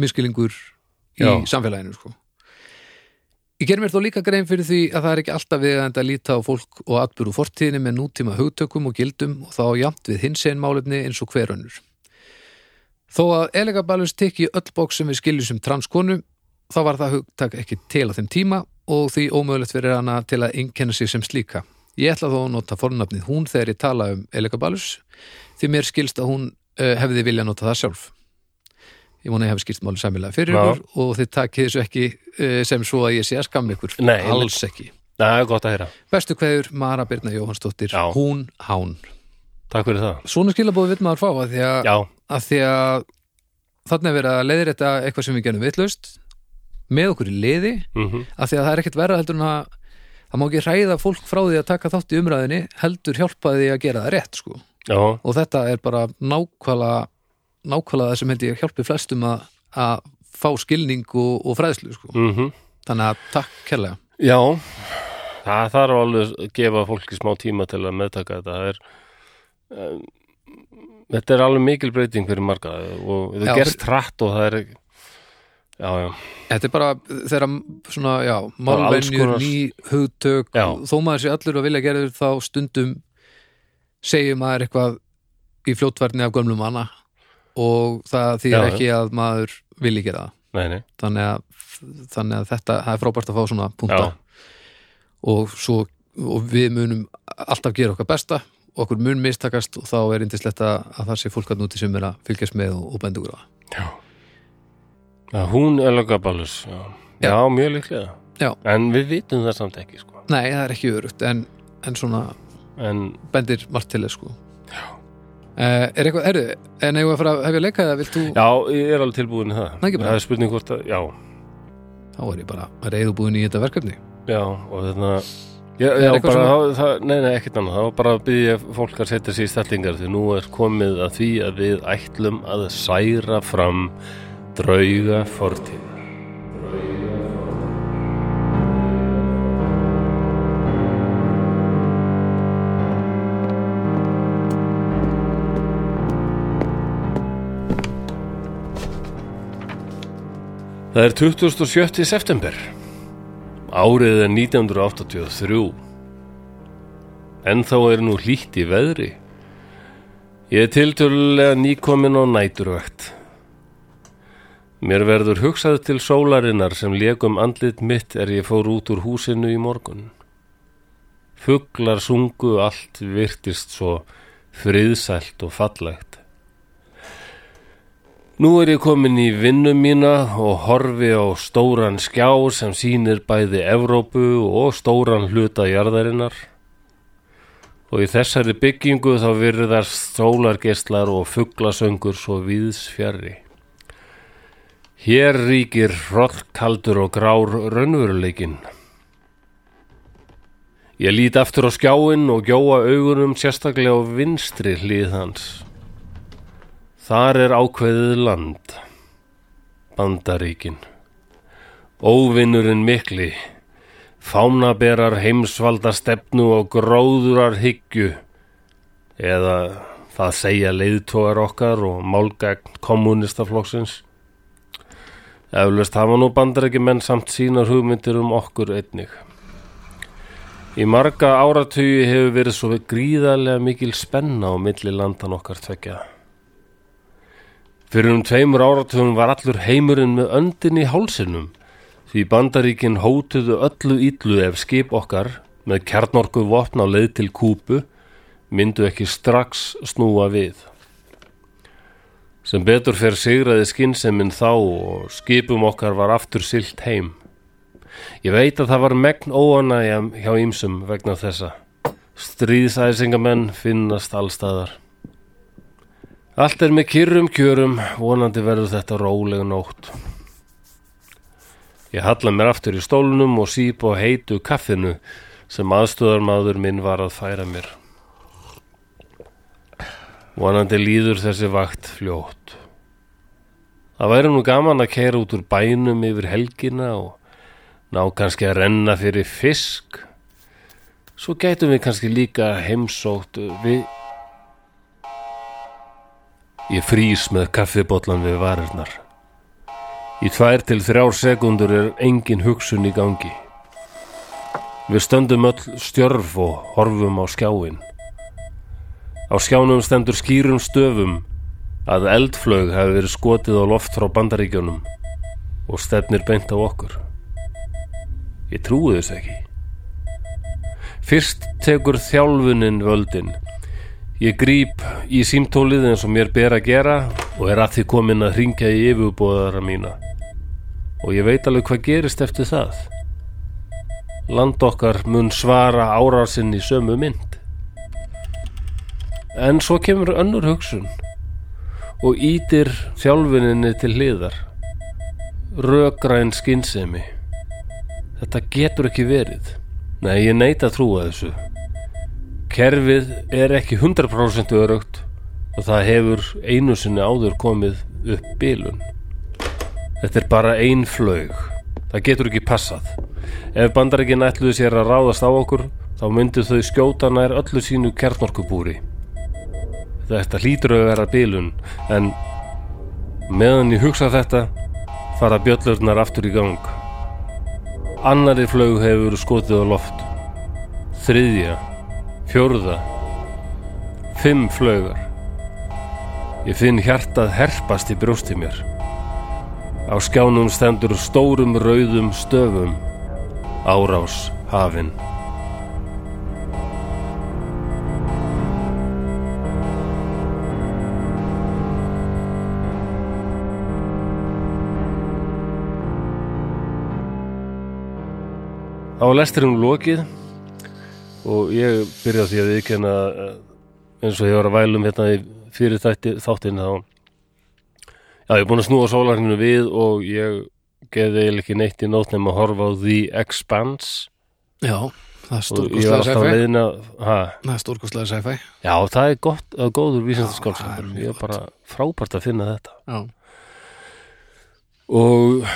Speaker 2: miskilningur í
Speaker 1: Já.
Speaker 2: samfélaginu sko. Ég ger mér þó líka grein fyrir því að það er ekki alltaf viðgæðandi að líta á fólk og atbyrðu fortíðinni með nútíma hugtökum og gildum og þá jafnt við hins einn málefni eins og hver önnur. Þó að Elegabalus tekki öll bók sem við skiljum sem transkonu, þá var það hugtak ekki til á þeim tíma og því ómögulegt fyrir hana til að einkenna sig sem slíka. Ég ætla þó að nota fornafnið hún þegar ég tala um Elegabalus, því mér skilst að hún uh, hefði vilja nota það sjálf. Ég vona að ég hef skilt máli sæmilega fyrir
Speaker 1: Já.
Speaker 2: ykkur og þið takkið þessu ekki uh, sem svo að ég sé að skamma ykkur.
Speaker 1: Nei,
Speaker 2: Alls ekki.
Speaker 1: Nei, gott að heyra,
Speaker 2: Bestu kveður, Mara Birna Jóhansdóttir,
Speaker 1: Já.
Speaker 2: hún, hán.
Speaker 1: takk fyrir það
Speaker 2: Svona skilabóð vill maður fá að því að
Speaker 1: Já,
Speaker 2: að því að þarna er verið að leiðir þetta eitthvað sem við gerum vitlaust með okkur í liði
Speaker 1: mhm
Speaker 2: að því að það er ekkert verra heldur en að það má ekki hræða fólk frá því að taka þátt í umræðinni heldur hjálpa því að gera það rétt sko.
Speaker 1: já,
Speaker 2: og þetta er bara nákvæmlega nákvæmlega það sem held ég hjálpi flestum að, að fá skilning og, og fræðslu sko.
Speaker 1: mhm
Speaker 2: þannig að takk kærlega
Speaker 1: Já, það þarf alveg að gefa fólki smá tíma til að meðtaka þetta. Það er, um, þetta er alveg mikil breyting fyrir marga og
Speaker 2: Já,
Speaker 1: það gerst hratt og það er, já, já,
Speaker 2: Þetta er bara þegar svona, já,
Speaker 1: Bara alls
Speaker 2: málvenjur,
Speaker 1: konar-
Speaker 2: ný hugtök
Speaker 1: Já.
Speaker 2: þó maður sé allur að vilja gera þér þá stundum segir maður eitthvað í fljótverðni af gömlum manna og það þýr
Speaker 1: Já, já.
Speaker 2: ekki að maður vilji gera það
Speaker 1: nei, nei,
Speaker 2: þannig að, þannig að þetta það er frábært að fá svona punta
Speaker 1: Já.
Speaker 2: og, svo, og við munum alltaf gera okkar besta okkur mun mistakast og þá er indislegt að að það sé fólk að núti sem er að fylgjast með og, og benda úr á það
Speaker 1: já Já, hún er lögaballus, já. já
Speaker 2: Já.
Speaker 1: mjög líklega
Speaker 2: Já.
Speaker 1: En við vitum það samt ekki, sko
Speaker 2: Nei, það er ekki örugt en, en svona
Speaker 1: En,
Speaker 2: bendir margt til þess sko uh, Er eitthvað, herru, en eigum við að fara að hefja leika eða vilt þú,
Speaker 1: já, ég er alveg tilbúin í það
Speaker 2: Nei, ekki bara.
Speaker 1: Það er spurning hvort að, já
Speaker 2: þá er ég bara reyðubúin í þetta verkefni
Speaker 1: Já, og þarna Já,
Speaker 2: Er
Speaker 1: já
Speaker 2: eitthvað
Speaker 1: bara,
Speaker 2: svona-
Speaker 1: það, það, nei, nei, ekkert annað, það var bara að byggja fólk að setja sér í stellingar því nú er komið að því að við ætlum að særa fram drauga fortíð. Það er 27. september. Árið er 1983. En þá er nú hlýtt í veðri. Ég er tiltölulega nýkomin á næturvægt. Mér verður hugsað til sólarinnar sem legum andlit mitt er ég fór út úr húsinu í morgun. Fuglar sungu allt virtist svo friðsælt og fallegt. Nú er ég komin í vinnu mína og horfi á stóran skjá sem sýnir bæði Evrópu og stóran hluta jarðarinnar. Og í þessari byggingu þá virðast sólargeislar og fuglasöngur svo víðs fjarri. Hér ríkir hrollkaldur og grár raunveruleikinn. Ég lít aftur á skjáinn og gjóa augunum sérstaklega á vinstri hlið hans. Þar er ákveðið land, bandaríkin. Óvinnurinn mikli, fánaberar heimsvalda stefnu og gróðurar hyggju, eða það segja leiðtógar okkar og málgagn kommunistaflokksins. Eflaust hafa nú bandaríkimenn samt sínar hugmyndir um okkur einnig. Í marga áratugi hefur verið svo gríðarlega mikil spenna á milli landan okkar tvekja. Fyrir um tveimur áratugum var allur heimurinn með öndin í hálsinum því bandaríkin hótuðu öllu íllu ef skip okkar með kjarnorku vopn á leið til kúpu myndu ekki strax snúa við. Sem betur fer sigraði skinseminn þá og skipum okkar var aftur silt heim. Ég veit að það var megn óanægja hjá ýmsum vegna þessa. Stríðsæsingamenn finnast allstaðar. Allt er með kyrrum kjörum, vonandi verður þetta róleg nótt. Ég halla mér aftur í stólnum og síp og heitu kaffinu sem aðstöðarmaður minn var að færa mér. Vonandi líður þessi vakt fljótt. Það væri nú gaman að keira út úr bænum yfir helgina og ná kannski að renna fyrir fisk. Svo gætum við kannski líka heimsótt við... Ég frýs með kaffibotlan við varirnar. Í tvær til þrjár sekundur er engin hugsun í gangi. Við stöndum öll stjörf og horfum á skjáin. Á skjánum stendur skýrum stöfum að eldflög hafi verið skotið á loft frá bandaríkjónum og stefnir beint á okkur. Ég trúi þess ekki. Fyrst tekur þjálfunin völdin Ég gríp í símtólið eins og mér ber að gera og er að því komin að hringja í yfirbúðara mína. Og ég veit alveg hvað gerist eftir það. Land okkar mun svara árásinn í sömu mynd. En svo kemur önnur hugsun og ítir þjálfuninni til hliðar. Rökgræn skynsemi. Þetta getur ekki verið. Nei, ég neita að trúa þessu. Kerfið er ekki 100% örugt og það hefur einu sinni áður komið upp bílun. Þetta er bara ein flög. Það getur ekki passað. Ef bandarækin ætluðu sér að ráðast á okkur, þá myndu þau skjóta nær öllu sínu kjarnorkubúri. Þetta hlýtur að vera bílun, en meðan ég hugsa þetta, fara bjöllurnar aftur í gang. Annari flög hefur verið skotið á loft. Þriðja Fjórða Fimm flögar Ég finn hjartað herpast í brjósti mér Á skjánum stendur stórum rauðum stöfum Árás hafin Þá var lesturum lokið og ég byrja á því að viðkenna eh, eins og ég var að vælum hérna í fyrir þætti, þáttin þá Já, ég er búin að snúa sólarhinu við og ég geði eiginlega ekki neitt í nótt nefn að horfa á The Expanse
Speaker 2: Já, það er
Speaker 1: og ég
Speaker 2: stórkostlega
Speaker 1: var alltaf
Speaker 2: sci-fi
Speaker 1: leiðin að ha,
Speaker 2: Það er stórkostlega sci-fi
Speaker 1: Já, það er gott, það er góður
Speaker 2: Já, það er
Speaker 1: vísindaskálsum
Speaker 2: Ah, mjög
Speaker 1: Ég er bara frábært að finna þetta
Speaker 2: Já,
Speaker 1: og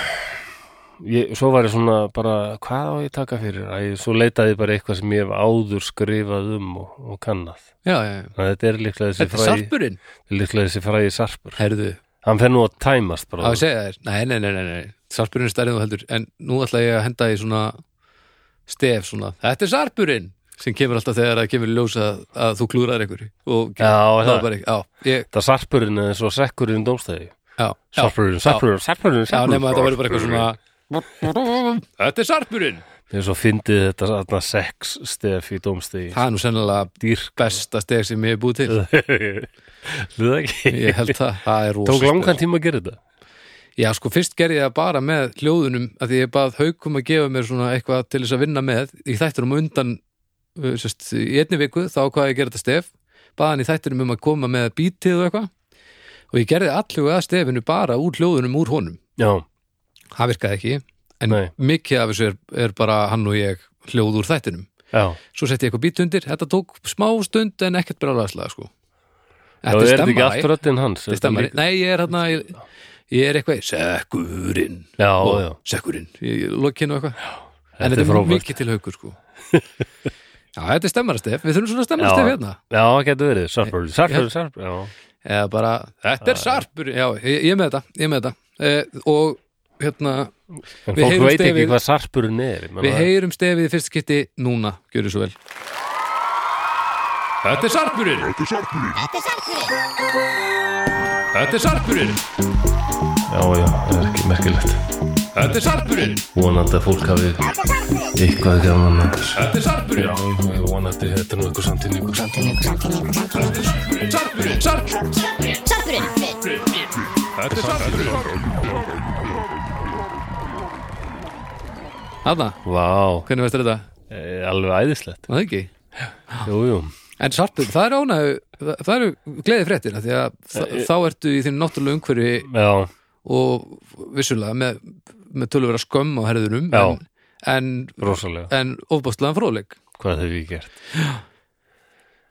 Speaker 1: ég, svo var ég svona bara hvað á ég að taka fyrir? Æ, svo leitaði ég bara eitthvað sem ég hef áður skrifað um og, og kannað
Speaker 2: já, já, já.
Speaker 1: Þannig að Þetta er líklega þessi
Speaker 2: Þetta er
Speaker 1: fræði
Speaker 2: sarpurinn
Speaker 1: líklega þessi fræði sarpur
Speaker 2: Herðu,
Speaker 1: Hann fer nú að tæmast
Speaker 2: á
Speaker 1: bara
Speaker 2: að segja þér Nei, nei, nei, nei, nei. sarpurinn er stærðið þú heldur En nú ætla ég að henda í svona stef svona Þetta er sarpurinn sem kemur alltaf þegar það kemur í ljós að, að þú klúðrar einhverju og
Speaker 1: Já,
Speaker 2: það
Speaker 1: það,
Speaker 2: var bara ekki, já, ég,
Speaker 1: það sarpurinn er svo sekkurinn dómstæði
Speaker 2: já, já,
Speaker 1: Sarpurinn, sarpurinn, sarpurinn
Speaker 2: já, nema þetta verður bara eitthvað svona Þetta er sarpurinn
Speaker 1: Þegar svo fyndið þetta þarna sex stef í dómstegi
Speaker 2: Það er nú sennilega
Speaker 1: Dýr
Speaker 2: besta stef sem ég hef búið til
Speaker 1: Hluða ekki
Speaker 2: Ég held það, það er rosa
Speaker 1: Tók
Speaker 2: stef.
Speaker 1: langan tíma að gera þetta
Speaker 2: Já, sko, fyrst gerði ég það bara með hljóðunum að því ég bað haukum að gefa mér svona eitthvað til þess að vinna með í þættunum á undan uh, sest, í einni viku, þá hvað ég að gera þetta stef bað hann í þættunum um að koma með bítið og eitthvað og ég gerði allu að stefinu bara úr hljóðunum úr honum
Speaker 1: Já,
Speaker 2: það virkaði ekki, en
Speaker 1: Nei.
Speaker 2: mikið af þessu er, er bara hann og ég hljóð úr þættunum
Speaker 1: já
Speaker 2: svo setti ég eitthvað bít undir, þetta tók smá stund en ekkert brálaðslega, sko
Speaker 1: Já, er þetta ekki
Speaker 2: stemma,
Speaker 1: allt röddinn hans?
Speaker 2: þetta
Speaker 1: Er þetta
Speaker 2: stemmari.
Speaker 1: líka-
Speaker 2: Nei, ég er hérna ég, ég er eitthvað, í sekkurinn
Speaker 1: Já,
Speaker 2: og
Speaker 1: já,
Speaker 2: sekkurinn, ég lokinu eitthvað en
Speaker 1: þetta
Speaker 2: þetta
Speaker 1: er
Speaker 2: er
Speaker 1: frábært
Speaker 2: mikið til haukur sko Já, þetta er stemmarastef, við þurfum svona stemmarastef
Speaker 1: Já.
Speaker 2: hérna
Speaker 1: Já, það getur verið, sarpurinn, sarpurinn, sarpurinn Já,
Speaker 2: eða bara, þetta er sarpur Já, ég, ég er með þetta, ég er með þetta eh, og hérna,
Speaker 1: en
Speaker 2: Við
Speaker 1: fólk
Speaker 2: heyrum
Speaker 1: veit ekki
Speaker 2: stefið.
Speaker 1: hvað sarpurinn er ég meina,
Speaker 2: við heyrum stefið í fyrst skipti núna, gjöru svo vel Þetta er sarpurinn Þetta er sarpurinn
Speaker 1: Já, já, það er ekki merkilegt
Speaker 2: Þetta er sarpurinn
Speaker 1: Vonandi að fólk hafi eitthvað gaman að þessu.
Speaker 2: Þetta er sarpurinn
Speaker 1: Já, ég vonandi þetta er nú eitthvað samtíningu
Speaker 2: Sarpurinn Sarpurinn Þetta er sarpurinn Þarna,
Speaker 1: Vá,
Speaker 2: hvernig veist þetta?
Speaker 1: eh, alveg æðislegt
Speaker 2: Var Það ekki
Speaker 1: Jú, jú
Speaker 2: En sarpur, það er ánægðu, það það eru gleði fréttina því að þa-
Speaker 1: Eh,
Speaker 2: þá ertu í þínu náttúrulega umhverfi
Speaker 1: Já,
Speaker 2: og vissulega með, með töluvera skömm á herðunum
Speaker 1: Já.
Speaker 2: en, en,
Speaker 1: rosalega
Speaker 2: en ofbástlaðan fróðleik
Speaker 1: Hvað hef ég gert?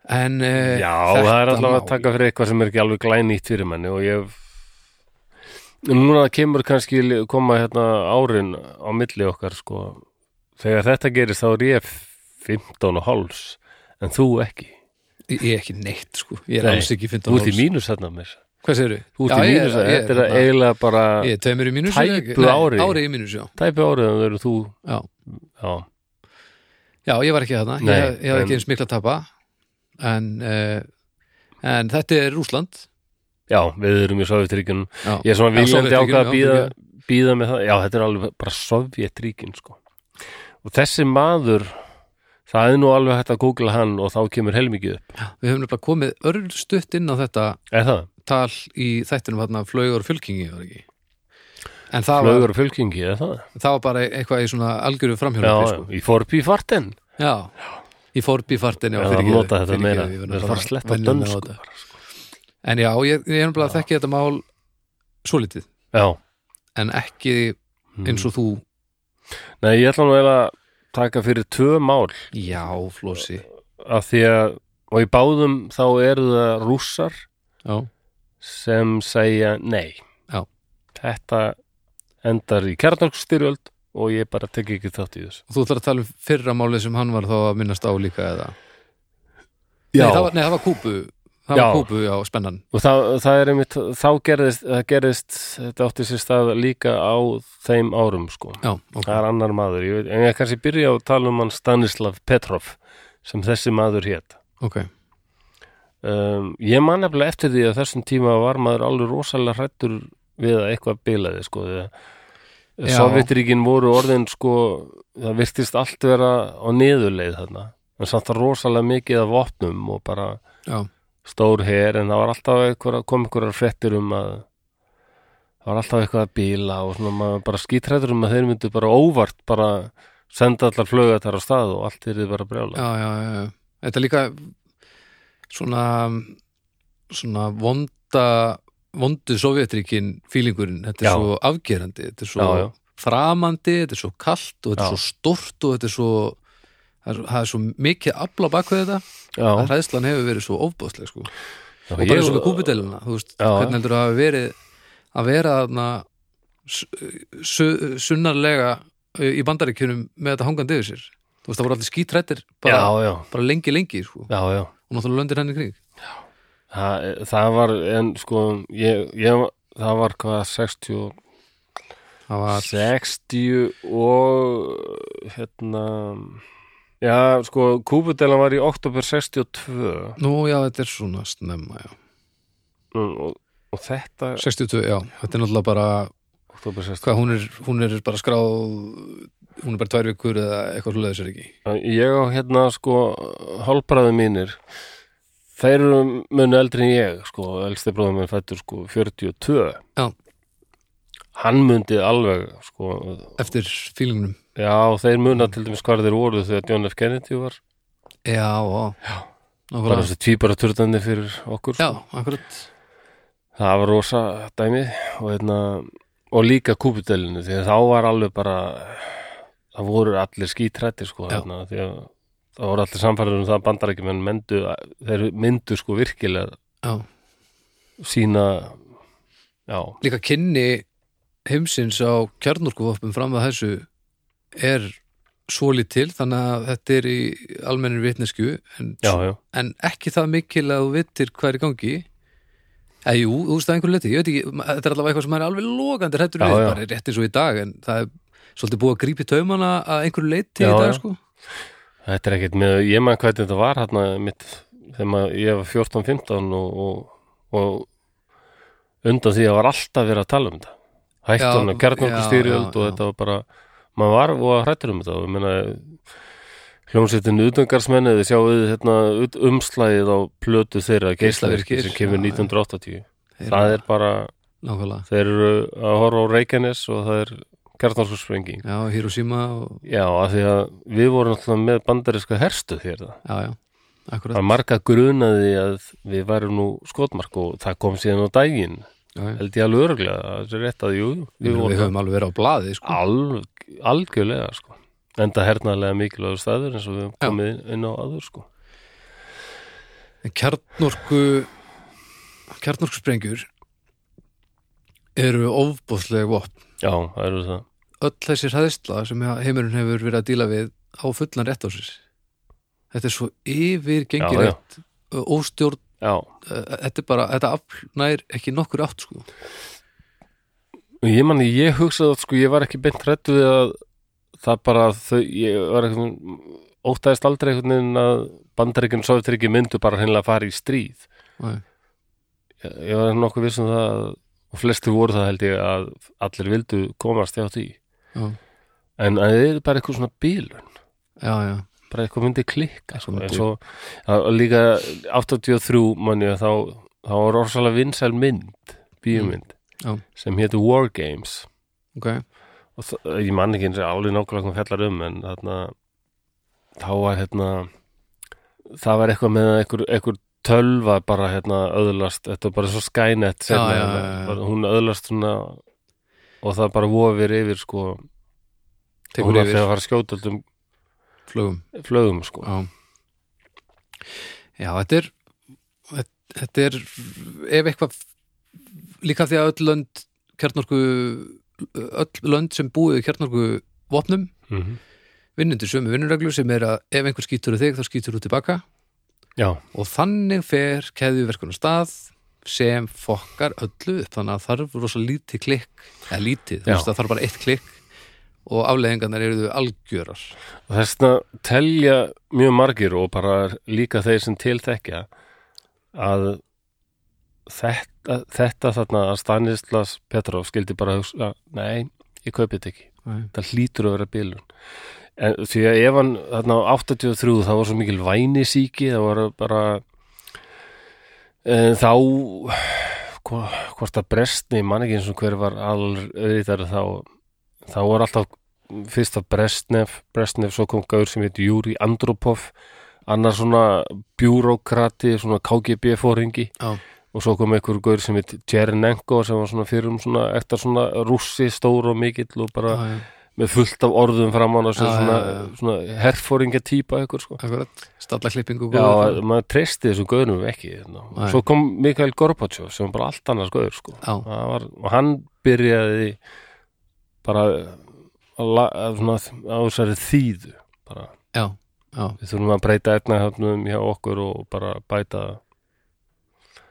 Speaker 2: En eh,
Speaker 1: Já,
Speaker 2: þetta
Speaker 1: það er allavega að
Speaker 2: mál-
Speaker 1: taka fyrir eitthvað sem er ekki alveg glænýtt fyrir manni og ég hef núna kemur kannski li- koma hérna árin á milli okkar sko þegar þetta gerist þá er ég 15 og háls en þú ekki
Speaker 2: Ég er ekki neitt sko, ég er
Speaker 1: Nei,
Speaker 2: alls ekki
Speaker 1: þú
Speaker 2: 15
Speaker 1: ert í
Speaker 2: háls.
Speaker 1: mínus hérna með þess
Speaker 2: Hvað segirðu?
Speaker 1: þú ert
Speaker 2: Já,
Speaker 1: í
Speaker 2: ég
Speaker 1: mínus,
Speaker 2: ég hérna-
Speaker 1: þetta er
Speaker 2: þarna-
Speaker 1: eiginlega bara
Speaker 2: Ég er tveimur í mínus er það ekki?
Speaker 1: Tæpu
Speaker 2: Nei,
Speaker 1: ári.
Speaker 2: Ári í mínus, já
Speaker 1: tæpi árið en það eru þú
Speaker 2: Já,
Speaker 1: já,
Speaker 2: já ég var ekki þarna
Speaker 1: Nei,
Speaker 2: Ég, ég hafði
Speaker 1: en-
Speaker 2: ekki eins mikla tapa en, eh, en þetta er Rúsland
Speaker 1: já við erum í Sovjetríkjunum
Speaker 2: Já,
Speaker 1: ég er svona
Speaker 2: Já,
Speaker 1: viljandi
Speaker 2: Sovétríkjunum,
Speaker 1: ákvað að
Speaker 2: já,
Speaker 1: býða
Speaker 2: fyrirgefðu.
Speaker 1: býða með það, já þetta er alveg bara Sovjetríkin sko og þessi maður það er nú alveg hægt að googla hann og þá kemur helmikið upp,
Speaker 2: Við höfum nefnilega komið örstutt inn á þetta
Speaker 1: er það?
Speaker 2: tal í þættinum hérna flögur og fylkingi var ekki En það var,
Speaker 1: Flögur og fylkingi, er það?
Speaker 2: það var bara eitthvað í svona algjöru
Speaker 1: Já,
Speaker 2: framhjörnum
Speaker 1: já, í forbi fartin
Speaker 2: já. já, í forbifartin
Speaker 1: Já, það nota þetta meira Það er fara að sletta dönsku bara, sko.
Speaker 2: En já, ég, ég er nefnilega að þekki þetta mál svolítið,
Speaker 1: Já
Speaker 2: en ekki eins og þú
Speaker 1: Nei, ég ætla nú eiginlega að taka fyrir tvö mál
Speaker 2: Já, Flósi
Speaker 1: af því að, og í báðum þá eru það rússar
Speaker 2: Já,
Speaker 1: sem segja nei
Speaker 2: Já.
Speaker 1: Þetta endar í kjarnarkustyrjöld og ég bara tek ekki þátt í þessu
Speaker 2: og þú ætlar að tala um fyrra málið sem hann var þá að minnast á líka eða Nei, það var, nei, það var kúpu Það
Speaker 1: Já.
Speaker 2: var kúpu, já, spennan
Speaker 1: Og það, það er einmitt, þá gerðist, það gerðist þetta átti sér stað líka á þeim árum, sko
Speaker 2: Já, ok,
Speaker 1: það er annar maður ég veit, en ég kannski byrja á að tala um hann Stanislav Petrov sem þessi maður hét
Speaker 2: ok
Speaker 1: Ehm, um, ég man nefnilega eftir því að þessum tíma var maður alveg rosalega hrættur við að eitthvað bilaði sko þegar
Speaker 2: Já.
Speaker 1: Sovjetríkin voru orðin sko það virtist allt vera á niðurleið þarna en samt það rosalega mikið af vopnum og bara
Speaker 2: já,
Speaker 1: stór her en það var alltaf einhver, kom einhverjar fréttir um að það var alltaf eitthvað að bíla og svona maður bara skítrættur um að þeir myndu bara óvart bara senda allar flögatar á stað og allt er þið bara brjála
Speaker 2: já, já, já, já. Þetta er líka svona svona vonda vondu sovjetríkin fílingurinn, þetta er
Speaker 1: Já.
Speaker 2: svo afgerandi þetta er svo
Speaker 1: Já, já.
Speaker 2: framandi þetta er svo kalt og þetta
Speaker 1: Já.
Speaker 2: er svo stort og þetta er svo það er, það er svo mikið afla bakveð þetta að
Speaker 1: já,
Speaker 2: hræðslan hefur verið svo ofbóðsleg sko. og
Speaker 1: já
Speaker 2: bara eins og með kúpudeluna þú veist,
Speaker 1: Já, já.
Speaker 2: hvernig heldur það hafi verið að vera þarna su- su- sunnarlega eh, í bandaríkjunum með þetta hangandi yfir sér þú veist, það voru allir skítrættir
Speaker 1: já,
Speaker 2: bara,
Speaker 1: já,
Speaker 2: bara lengi, lengi sko.
Speaker 1: já, já
Speaker 2: og náttúrulega löndir henni kring
Speaker 1: það, það var, en sko ég, ég, það var hvað 60 og
Speaker 2: það var,
Speaker 1: 60 og hérna já, sko, kúpudelan var í oktober 62
Speaker 2: nú já, þetta er svona snemma já.
Speaker 1: Mm, og, og þetta
Speaker 2: 62, já, þetta er náttúrulega bara
Speaker 1: oktober 16
Speaker 2: hvað, hún er, hún er bara skráð hún er bara tvær vikur eða eitthvað hlulega þessar ekki
Speaker 1: ég á hérna sko hálfbræðu mínir þeir eru mun eldri en ég sko, elsti bróðum minn fættur sko 42
Speaker 2: Já.
Speaker 1: hann mundi alveg sko,
Speaker 2: eftir fílingnum
Speaker 1: já þeir muna til dæmis hvar þeir voru þegar John F. Kennedy var
Speaker 2: já, já, já.
Speaker 1: bara
Speaker 2: Nákvæmlega.
Speaker 1: þessi tvíbara turtandi fyrir okkur
Speaker 2: já
Speaker 1: sko.
Speaker 2: akkurat
Speaker 1: það var rosa dæmi og, hérna, og líka kúpudelinu því að þá var alveg bara það voru allir skítrættir sko
Speaker 2: Já.
Speaker 1: hérna, því að það voru allir samfæður um það að bandarækjumenn myndu, þeir myndu sko virkilega
Speaker 2: já.
Speaker 1: sína já,
Speaker 2: líka kynni heimsins á kjarnorkuvopnum fram að þessu er svolítil þannig að þetta er í almennir vitnesku en,
Speaker 1: já, já,
Speaker 2: en ekki það mikil að þú vittir hvað er í gangi eða jú, þú veist það einhver leti, ég veit ekki ma- þetta er allavega eitthvað sem maður er alveg logandi hrættur
Speaker 1: Já,
Speaker 2: við,
Speaker 1: já.
Speaker 2: bara rétt eins og í dag en það er svolítið búið að grípi taumana að einhverju leiti
Speaker 1: Já,
Speaker 2: í dag
Speaker 1: já.
Speaker 2: sko
Speaker 1: þetta er ekkert með ég mann hvernig þetta var hérna mitt þegar maður, ég var 14-15 og, og, og undan því að var alltaf verið að tala um þetta
Speaker 2: Já,
Speaker 1: hættan að kjarnorku
Speaker 2: já,
Speaker 1: styrjöld og
Speaker 2: já.
Speaker 1: þetta var bara maður var og hrættur um þetta og ég meina hljómsveitin utangarsmenn eða sjáu þið hérna ut- umslagið á plötu þeirra
Speaker 2: Geislavirkir,
Speaker 1: geislavirkir sem kemur
Speaker 2: já, já.
Speaker 1: 1980
Speaker 2: Þeir-
Speaker 1: það er bara,
Speaker 2: nákvæmlega,
Speaker 1: þeir eru að horfa á Reykjanes og það er kjarnorku sprenging
Speaker 2: já, Hiroshima og,
Speaker 1: já, af því að við vorum alltaf með bandaríska herstu þér það
Speaker 2: já, já, akkurat
Speaker 1: að marga grunaði að við varum nú skotmark og það kom síðan á daginn
Speaker 2: já, já.
Speaker 1: held ég alveg öruglega, það er rétt að jú
Speaker 2: Ég
Speaker 1: við
Speaker 2: meina, við
Speaker 1: vorum
Speaker 2: höfum alveg verið á blaði sko.
Speaker 1: alg, algjörlega sko enda hernaðlega mikilvægur staður eins og við höfum
Speaker 2: Já.
Speaker 1: komið inn- inn á aður sko
Speaker 2: En kjarnorku kjarnorku sprengjur eru ofbóðslega vopn.
Speaker 1: já, það eru það
Speaker 2: Öll þessi hræðsla sem heimurinn hefur verið að díla við á fullan rétt á sér. Þetta er svo yfirgengilegt óstjórn,
Speaker 1: já,
Speaker 2: eh, þetta er bara þetta afl nær ekki nokkur átt sko.
Speaker 1: og ég manni, ég hugsaði að sko ég var ekki beint hrættu við að það bara þau, ég var eitthvað óttæðist aldrei einhvern veginn að bandaríkinn sovjetryggi myndu bara hreinlega fara í stríð
Speaker 2: Nei.
Speaker 1: ég ég var nokkuð viss um það að- og flestir voru það held ég að allir vildu komast hjá því
Speaker 2: Já,
Speaker 1: en að það er bara eitthvað svona bílun
Speaker 2: já, já.
Speaker 1: bara eitthvað myndi klikka sko.
Speaker 2: myndi-
Speaker 1: en svo að- að líka 83 manni þá, þá var orsalega vinsæl mynd bíumynd
Speaker 2: Mm. Já.
Speaker 1: sem hétu War Games
Speaker 2: ok.
Speaker 1: og það, ég man ekki eins og álið nákvæmlega hvað fjallar um en þarna þá var hérna það var eitthvað með að einhver, einhver tölva bara hérna öðlast þetta var bara svo Skynet
Speaker 2: já,
Speaker 1: seinna, hérna,
Speaker 2: já, já.
Speaker 1: bara hún öðlast svona og það bara vofir yfir sko og
Speaker 2: Tekur
Speaker 1: hún að
Speaker 2: yfir
Speaker 1: þegar var skjótöldum
Speaker 2: flugum.
Speaker 1: flögum sko
Speaker 2: Já. Já, þetta er þetta- þetta er ef eitthvað líka því að öll lönd kjarnorku öll lönd sem búið í kjarnorku vopnum
Speaker 1: mm
Speaker 2: vinnundur sömu vinnurreglu sem er að ef einhver skýtur á þig þá skýtur þú tilbaka
Speaker 1: já,
Speaker 2: og þannig fer keðjuverkunar stað sem fokkar öllu upp þannig að þarf rosa lítið klikk eða lítið, þú
Speaker 1: Já.
Speaker 2: veist það þarf bara eitt klikk og afleðingarnar eru þau algjörar
Speaker 1: og þessna telja mjög margir og bara líka þeir sem tilþekja að þetta, þetta þarna að Stanislas Petrov skildi bara hugsa, nei, ég kaupi þetta ekki
Speaker 2: Nei.
Speaker 1: það hlýtur að vera bilun en því að ef hann þarna á 83 þá var svo mikil vænisíki það var bara e, þá hva- hvort að brestni ég man ekki eins og hver var alveitar þá, þá var alltaf fyrst að Brestnef Brestnef svo kom gaur sem heit Júri Andropov annar svona bjúrókrati svona KGB-fóringi
Speaker 2: Já.
Speaker 1: og svo kom einhver gaur sem heit Tjernenko sem var svona fyrir um svona eftir svona rússi stór og mikill og bara
Speaker 2: Já, já,
Speaker 1: með fullt af orðum framan og sem
Speaker 2: Já,
Speaker 1: svona,
Speaker 2: já, já.
Speaker 1: svona herfóringja típa ykkur sko
Speaker 2: akkurat, stallaklippingu og
Speaker 1: Já,
Speaker 2: góða það.
Speaker 1: maður treysti þessum gauðnum ekki no.
Speaker 2: Nei.
Speaker 1: Svo kom Mikael Gorbachev sem var bara allt annars gauður sko
Speaker 2: Já.
Speaker 1: Það var, og hann byrjaði bara að la- að svona, á þessari þýðu bara,
Speaker 2: já, já,
Speaker 1: við þurfum að breyta etnahöfnum hjá okkur og bara bæta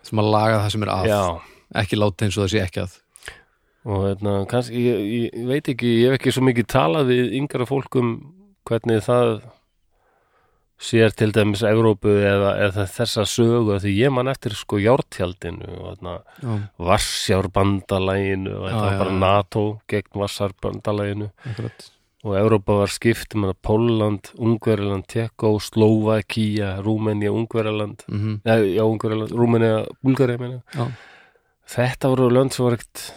Speaker 2: sem að laga það sem er að
Speaker 1: Já,
Speaker 2: ekki láta eins og það sé ekki að
Speaker 1: og hérna, kannski, ég, ég, ég veit ekki ég hef ekki svo mikið talað við yngra fólk um hvernig það sér til dæmis Evrópu eða, eða þessa sögu af því ég man eftir sko jártjaldinu og þarna
Speaker 2: já,
Speaker 1: Varsjárbandalaginu og
Speaker 2: Já,
Speaker 1: þetta var
Speaker 2: já,
Speaker 1: bara
Speaker 2: já.
Speaker 1: NATO gegn Varsjárbandalaginu
Speaker 2: akkurat
Speaker 1: og Evrópa var skipt með Póland, Ungverjaland, Tekó, Slóvakía, Rúmenía, Ungverjaland
Speaker 2: mm
Speaker 1: Nei, já, Ungverjaland, Rúmenía, Búlgarja meina
Speaker 2: já.
Speaker 1: þetta voru lönd sem var ekkert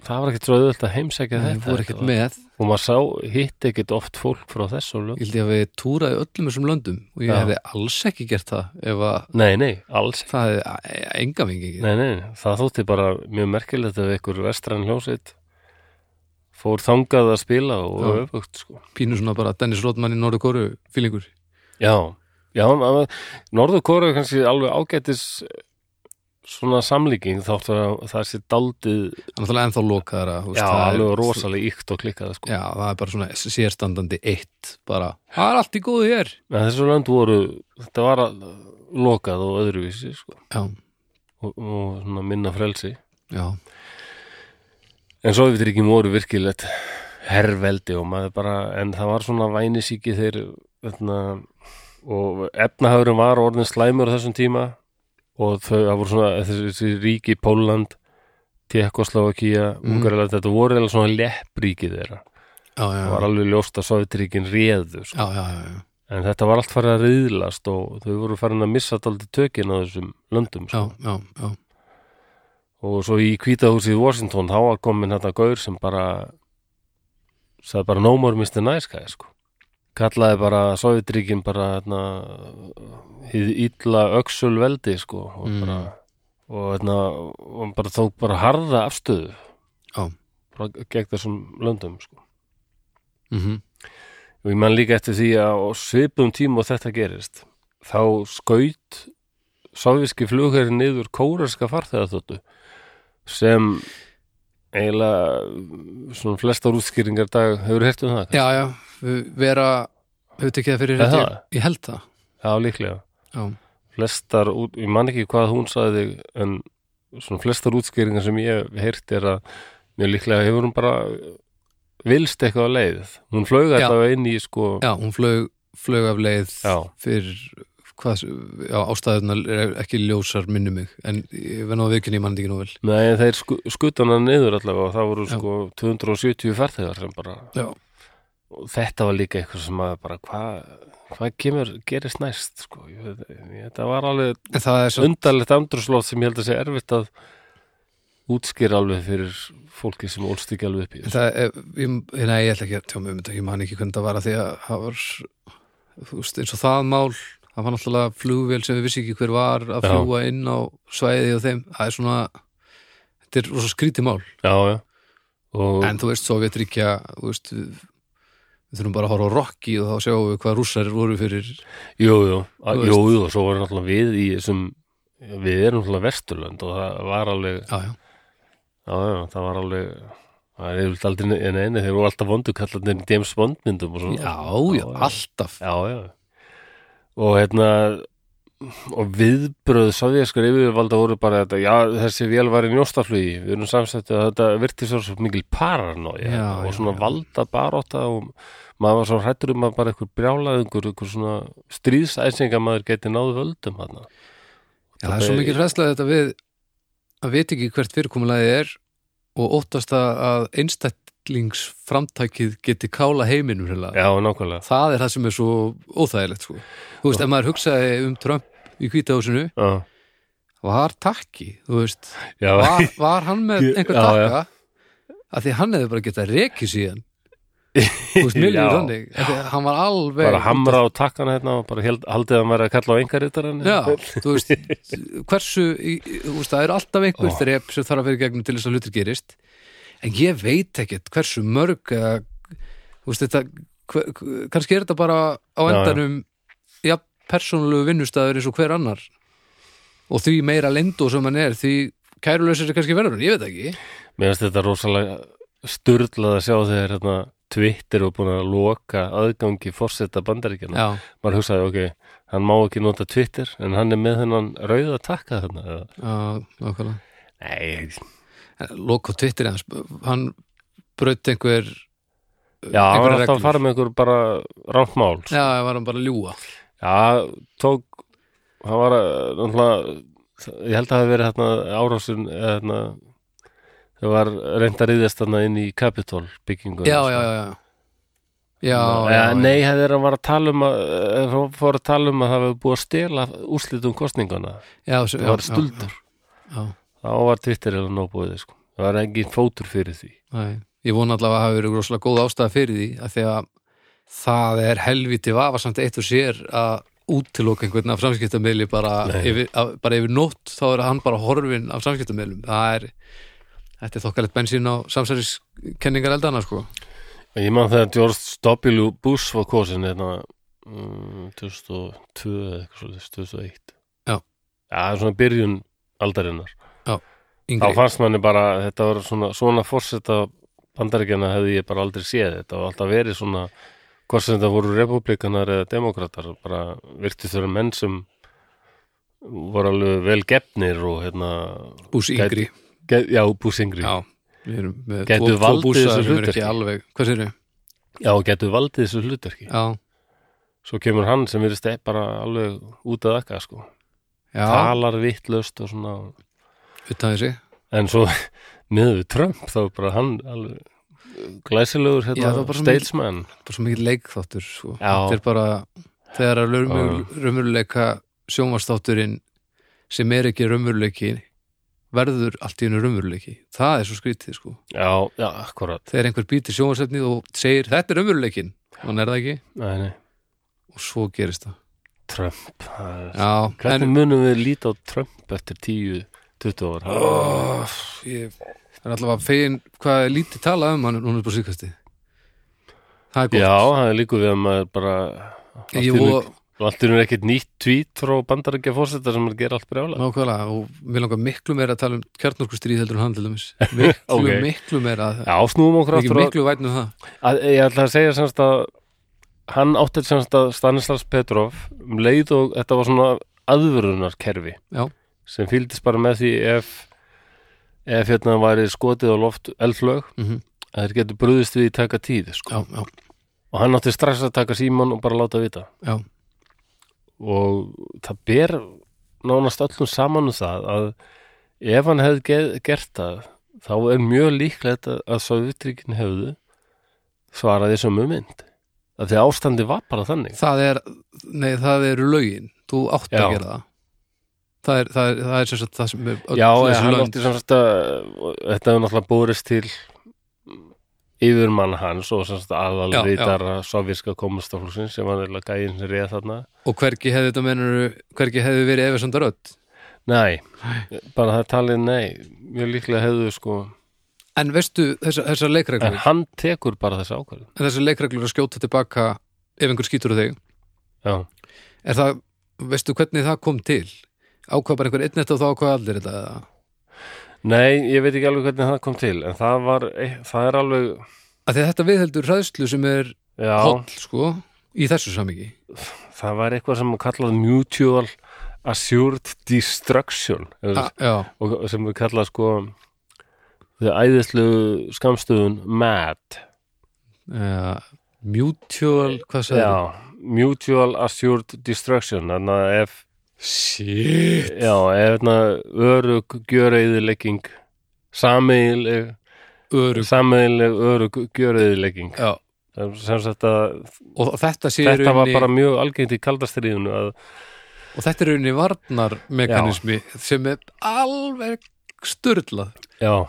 Speaker 1: það var ekkert svo auðvöld að heimsækja
Speaker 2: Nei,
Speaker 1: þetta
Speaker 2: voru ekkert
Speaker 1: Þetta var-
Speaker 2: með
Speaker 1: og maður sá hitt ekkert oft fólk frá þessu
Speaker 2: ég
Speaker 1: lönd
Speaker 2: held ég að við túraði öllum þessum löndum og ég
Speaker 1: Já.
Speaker 2: hefði alls ekki gert það ef að
Speaker 1: nei, nei, alls ekki
Speaker 2: það hefði a- a- enga vingi ekki
Speaker 1: nei, nei, nei. það þótti bara mjög merkilegt ef ykkur vestræn hljósið fór þangað að spila
Speaker 2: Já.
Speaker 1: og öfugt sko.
Speaker 2: pínu svona bara Dennis Rodman í Norður Kóru fílingur
Speaker 1: já, já maður- Norður Kóra er kannski alveg ágætis svona samlíking þátt að það sé daldið
Speaker 2: hann er náttúrulega ennþá lokaðara þú veist,
Speaker 1: já,
Speaker 2: það er-
Speaker 1: alveg rosalega íkt og klikkað sko.
Speaker 2: já, það er bara svona sérstandandi eitt bara, það er allt í góðu hér
Speaker 1: en þessu lönd voru þetta var að, lokað og öðruvísi sko.
Speaker 2: já,
Speaker 1: og, og svona minna frelsi
Speaker 2: já,
Speaker 1: en Sovjetríkin voru virkilegt herrveldi og maður bara en það var svona vænisíki þeir veitna, og efnahagurum var orðin slæmur á þessum tíma og þau, það voru svona þessi, þessi ríki Póland, Tékoslavakía
Speaker 2: Mm.
Speaker 1: mm. Ungarland, þetta voru eða svona leppríki þeirra,
Speaker 2: já, já,
Speaker 1: það var alveg ljóst að Sovjetríkin réðu, sko.
Speaker 2: já, já, já, já.
Speaker 1: en þetta var allt farið að riðlast og þau voru farin að missa daldið tökin á þessum löndum, sko
Speaker 2: já, já, já.
Speaker 1: og svo í kvítahúsi í Washington þá var komin þetta gaur sem bara sagði bara no more Mr. Nice Guy sko. kallaði bara Sovjetríkin bara hérna hið illa öxul veldi sko, og
Speaker 2: Mm.
Speaker 1: bara og hérna, og hann bara tók bara harða afstöðu
Speaker 2: Já.
Speaker 1: bara gegn þessum löndum sko.
Speaker 2: Mm
Speaker 1: og ég man líka eftir því að á svipum tíma og þetta gerist þá skaut sovjíski flugherri niður kórarska farþegaþóttu sem eiginlega svona flestar útskýringar í dag hefur hert um það
Speaker 2: já, já, við vera hefur tekið það fyrir
Speaker 1: Er
Speaker 2: held ég,
Speaker 1: það?
Speaker 2: ég held það
Speaker 1: já líklega
Speaker 2: já,
Speaker 1: flestar, út, ég man ekki hvað hún sagði en svona flestar útskýringar sem ég hef heyrt er að mjög líklega hefur hún bara vilst eitthvað á leið hún flög
Speaker 2: Já.
Speaker 1: alltaf inn í sko
Speaker 2: já hún flög, flög af leið
Speaker 1: Já.
Speaker 2: fyrir hvað, já, ástæðunar er ekki ljósar minni mig, en ég verð nú að viðkynna ég mann ekki nú vel
Speaker 1: Nei, þeir sku, skutana niður allavega og það voru
Speaker 2: Já.
Speaker 1: sko 270 farþegar sem bara
Speaker 2: já,
Speaker 1: og þetta var líka eitthvað sem að bara hvað hvað kemur, gerist næst sko. ég, veit- ég- þetta var alveg
Speaker 2: en það er svo
Speaker 1: undarlegt andrúslótt sem ég held að sé erfitt að útskýra alveg fyrir fólki sem ólst ekki alveg upp í
Speaker 2: En
Speaker 1: þessu.
Speaker 2: Það, er- ég, ég- nei, ég ætla ekki að tjá mig um þetta, ég man ekki hvernig það var að því að það var, þú veist, eins og það mál, það var náttúrulega flugvél sem við vissi ekki hver var að
Speaker 1: Já.
Speaker 2: fljúa inn á svæði og þeim, það er svona, þetta er rosa skrítið mál,
Speaker 1: Já, já og
Speaker 2: en þú veist, Sovjetríkja, þú veist, við, við þurfum bara að horfa á Rocky og þá sjáum við hvað rússar voru fyrir,
Speaker 1: Jú, jú, að,
Speaker 2: Þú
Speaker 1: jú, jú, og svo var náttúrulega við í þessum við erum náttúrulega vesturlönd og það var alveg
Speaker 2: já, já,
Speaker 1: Já, já, það var alveg það er yfirleitt aldrei en einu, þeir voru alltaf vondu kallarnir í James Bond myndum og svona.
Speaker 2: já, já, alltaf,
Speaker 1: Mm. Já, já. Og hérna og viðbröð sovjaskur yfirvalda voru bara þetta, já, þessi vél var í njóstaflugi, við erum samsættu að þetta virti svo svo mikil paranói
Speaker 2: Já, já,
Speaker 1: og svona
Speaker 2: já.
Speaker 1: valda baróta og maður var svo hrættur um að bara einhver brjálaðingur, einhver svona stríðsæsinga maður geti náðu völdum hann
Speaker 2: já, það er svo mikil ræðslega þetta við að veit ekki hvert fyrirkomulagið er og óttast að- að einstætlingsframtækið geti kála heiminum hreinlega.
Speaker 1: já, nákvæmlega
Speaker 2: það er það sem er svo óþægilegt sko. þú veist, ef maður hugsaði um Trump í kvítahúsinu,
Speaker 1: já,
Speaker 2: var takki þú veist,
Speaker 1: já,
Speaker 2: var, var hann með
Speaker 1: Ég-
Speaker 2: einhver
Speaker 1: já,
Speaker 2: takka að því hann hefði bara getað rekið síðan þú veist, mér líður
Speaker 1: Já.
Speaker 2: þannig Af því að hann var alveg
Speaker 1: bara hamra á takkana hérna og bara held, haldið að maður að kalla á einkarítaran
Speaker 2: Já, þú veist, hversu í- í- þú veist, það er alltaf einhver
Speaker 1: Ó.
Speaker 2: þrepp sem þarf að vera í gegnum til þess að hlutir gerist en ég veit ekkert hversu mörg eða, þú veist, þetta hver, kannski er þetta bara á
Speaker 1: Já, já.
Speaker 2: endanum já, persónulegu vinnustæður eins og hver annar og því meira lendó sem hann er því kærulösir er kannski verður hann, ég veit það ekki
Speaker 1: Mér finnst þetta rosalega sturlað að sjá þegar hérna Twitter og búin að loka aðgangi fórseta bandaríkjana.
Speaker 2: Já,
Speaker 1: Maður hugsaði, ok, hann má ekki nota Twitter en hann er með þennan rauða takka þarna. eða-
Speaker 2: já, nákvæmlega
Speaker 1: Nei,
Speaker 2: Lók á Twitter, hans, hann braut einhver
Speaker 1: já, hann var
Speaker 2: einhverjar
Speaker 1: alltaf að
Speaker 2: reglur.
Speaker 1: fara með einhver bara rámt mál.
Speaker 2: Já, var hann bara að ljúga
Speaker 1: Já, tók, hann var að, náttúrulega, ég held að það hafi verið hérna árásun, eða hérna, það var reynd að reyðast þarna inn í Capitol byggingu.
Speaker 2: já, já, já, já. Já, já,
Speaker 1: Eða, Eh, nei, það er að var að tala um að eh, hann fór að tala um að það hefur búið að stela úrslitum kostningana
Speaker 2: já, já,
Speaker 1: það var stuldur,
Speaker 2: Já, já,
Speaker 1: þá var Twitter eða nóbúið sko. það var engin fótur fyrir því
Speaker 2: nei. Ég vona allavega að hafa verið rosalega góð ástæða fyrir því að því að það er helviti vafasamt eitt og sér að útiloka einhvern af samskiptameðli bara,
Speaker 1: Nei.
Speaker 2: yfir, að, bara yfir nótt þá er hann bara horfinn af samskiptameðlum það er, þetta er þokkalegt bensín á samsæriskenningar eldana sko
Speaker 1: En ég man þegar George W. Bush var kosin hérna mm, 2002 eða eitthvað svolítið 2001
Speaker 2: Já.
Speaker 1: Já, svona byrjun aldarinnar þá
Speaker 2: yngri,
Speaker 1: fannst manni bara, þetta var svona svona fórseta bandaríkjana hefði ég bara aldrei séð þetta var alltaf verið svona hvort sem þetta voru republikanar eða demokratar bara virtist vera menn sem voru alveg vel gefnir og hérna
Speaker 2: bús yngri
Speaker 1: get, já, búsingri,
Speaker 2: já, við erum með tvo-
Speaker 1: Gætu
Speaker 2: tvo
Speaker 1: valdið
Speaker 2: bússa
Speaker 1: þessu
Speaker 2: sem eru
Speaker 1: hlutverki.
Speaker 2: ekki alveg, hvað sér
Speaker 1: já, getur valdið þessu hlutverki
Speaker 2: já,
Speaker 1: svo kemur hann sem virðist e- bara alveg út að akka sko,
Speaker 2: já,
Speaker 1: talar vittlust og svona,
Speaker 2: utan þessi
Speaker 1: en svo niður við Trump þá er bara hann alveg glæsilegur
Speaker 2: Já, það var bara
Speaker 1: hérna,
Speaker 2: svo mikið-
Speaker 1: statesman
Speaker 2: bara svo mikið leikþáttur sko.
Speaker 1: Já.
Speaker 2: þetta er bara þegar að raumur- raumurleika sjónvastátturinn sem er ekki raumurleiki verður allt í hennu raumurleiki það er svo skrítið sko
Speaker 1: já, já, akkurat
Speaker 2: þegar einhver býtir sjónvastefnið og segir þetta er raumurleikin og hann er það ekki
Speaker 1: nei, nei,
Speaker 2: og svo gerist það
Speaker 1: Trump það er
Speaker 2: Já,
Speaker 1: Hvernig
Speaker 2: en,
Speaker 1: munum við líta á Trump eftir 10-20 ár?
Speaker 2: oh, ég er allavega fegin hvað er lítið talað um hann núna upp á síkasti það er gott
Speaker 1: Já, það er líku við að maður bara allt í
Speaker 2: ég,
Speaker 1: einu-
Speaker 2: og,
Speaker 1: og allt er ekkert nýtt tweet frá bandarækja fórseta sem er að gera allt brjála
Speaker 2: Nákvæmlega, og við langar miklu meira að tala um kjarnorku stríð heldur en hann til dæmis miklu,
Speaker 1: Ok.
Speaker 2: miklu meira að
Speaker 1: Já, snúum okkur
Speaker 2: miklu,
Speaker 1: aftur miklu...
Speaker 2: miklu vætnum það
Speaker 1: að, Ég ætla að segja semst að hann átti semst að Stanislas Petrov um leið og þetta var svona aðvörunarkerfi
Speaker 2: Já.
Speaker 1: sem fylgdist bara með því ef ef hérna væri skotið á loft eldflög
Speaker 2: mm -hmm.
Speaker 1: að þeir getur brúðist við í taka tíð sko.
Speaker 2: Já, já,
Speaker 1: og hann átti strax að taka síman og bara láta vita
Speaker 2: já,
Speaker 1: og það ber nánast öllum saman um það að ef hann hefði ge- gert það þá er mjög líklegt að- að Sovjetríkin hefðu svaraði sömu mynd af því að ástandi var bara þannig
Speaker 2: það er nei, það eru lögin, þú átt
Speaker 1: Já.
Speaker 2: að gera það það er, það er, það er sem sagt það sem er öll
Speaker 1: Já, en
Speaker 2: þessi
Speaker 1: hann
Speaker 2: lönd.
Speaker 1: átti sem sagt að þetta hefur náttúrulega búrist til yfirmann hans og sem sagt aðalrítara sovjerska komastaflúsin sem var eiginlega gæðin sem réð þarna
Speaker 2: og hvergi hefði þetta menur hvergi hefði verið efasandar öll
Speaker 1: Nei, bara það er talið nei mjög líklega hefðu sko
Speaker 2: en veistu þessar þessa
Speaker 1: en
Speaker 2: leikreglur
Speaker 1: hann tekur bara þessi ákvörðin
Speaker 2: þessar leikreglur að skjóta tilbaka ef einhver skýtur á þig
Speaker 1: Já
Speaker 2: er það, veistu hvernig það kom til ákvað bara einhver einn þetta og þá ákvað allir þetta eða?
Speaker 1: Nei, ég veit ekki alveg hvernig það kom til en það var, e, það er alveg
Speaker 2: að því að þetta viðheldur hræðslu sem er
Speaker 1: já,
Speaker 2: hóll sko í þessu samingi
Speaker 1: það var eitthvað sem kallað mutual assured destruction eða-
Speaker 2: já,
Speaker 1: og sem við kallað sko þau æðislu skamstöðun MAD
Speaker 2: já, Eh, mutual hvað sagði
Speaker 1: já, mutual assured destruction þannig að ef
Speaker 2: Shit
Speaker 1: Já, eða hérna örug gjöreiðilegging sameigileg
Speaker 2: Örug
Speaker 1: sameigileg örug gjöreiðilegging
Speaker 2: Já
Speaker 1: sem sagt að
Speaker 2: Og þetta sé í
Speaker 1: þetta var
Speaker 2: rauninni-
Speaker 1: bara mjög algengt í kaldastriðinu að
Speaker 2: Og þetta er rauninni varnarmekanismi sem er alveg styrlað
Speaker 1: Já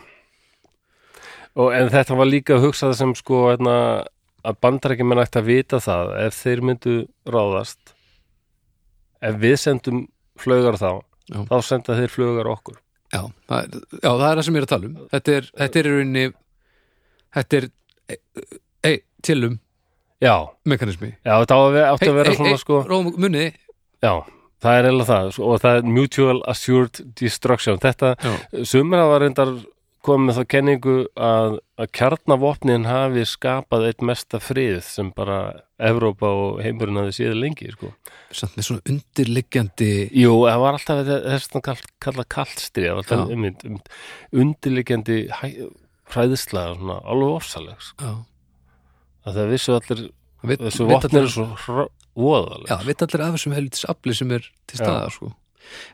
Speaker 1: og en þetta var líka hugsað sem sko hérna, að bandarækjumenn ætti að vita það ef þeir myndu ráðast ef við sendum flögar þá
Speaker 2: Já.
Speaker 1: þá senda þeir flögar okkur
Speaker 2: já, það er- já, það er það sem ég er að tala um Þetta er, þetta er í rauninni Þetta er e, e, tilum
Speaker 1: Já,
Speaker 2: mekanismi
Speaker 1: já þetta á að vera, átti að vera svona sko
Speaker 2: Róm, munni
Speaker 1: Já, það er eiginlega það sko, og það er mutual assured destruction þetta,
Speaker 2: Já,
Speaker 1: sumra var reyndar komið með þá kenningu að, að kjarnavopnin hafi skapað eitt mesta frið sem bara Evrópa og heimurinn hafi séð lengi sko
Speaker 2: samt með svona undirliggjandi
Speaker 1: Jú, það var alltaf þetta- þess að kall, kalla kallstri alltaf,
Speaker 2: Já.
Speaker 1: um, um, undirliggjandi hæ- hræðsla svona, alveg ofsalegs
Speaker 2: Já,
Speaker 1: að það vissu allir
Speaker 2: það veit,
Speaker 1: þessu
Speaker 2: veit
Speaker 1: vopnir
Speaker 2: allir-
Speaker 1: er svo voðaleg
Speaker 2: Já, veit allir af þessum helvitis afli sem er til
Speaker 1: Já.
Speaker 2: staða, sko.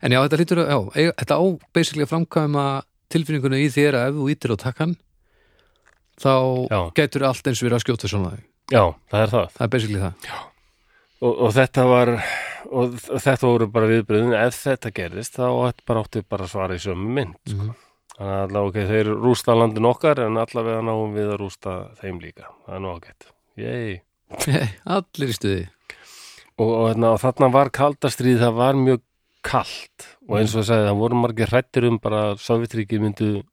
Speaker 2: En já, þetta lítur að, já, eiga, þetta á basically að framkvæma tilfinninguna í þér að ef þú ítir á takkan, þá
Speaker 1: Já.
Speaker 2: gætur allt eins verið að skjóta svona. þig.
Speaker 1: Já, það er það
Speaker 2: Það er basically það.
Speaker 1: og, og þetta var og þ- þetta voru bara viðbröðin ef þetta gerðist þá átti- bara átti bara að svara í sömu mynd sko.
Speaker 2: Mhm.
Speaker 1: þannig að allavega ok, þeir rústa landin okkar en allavega náum við að rústa þeim líka það er nú ágætt Yay.
Speaker 2: allir í stuði.
Speaker 1: og, og, þarna, og þarna var kaldastrýð það var mjög kalt og eins og ég sagði það voru margir hrættir um bara að Sovjetríki myndu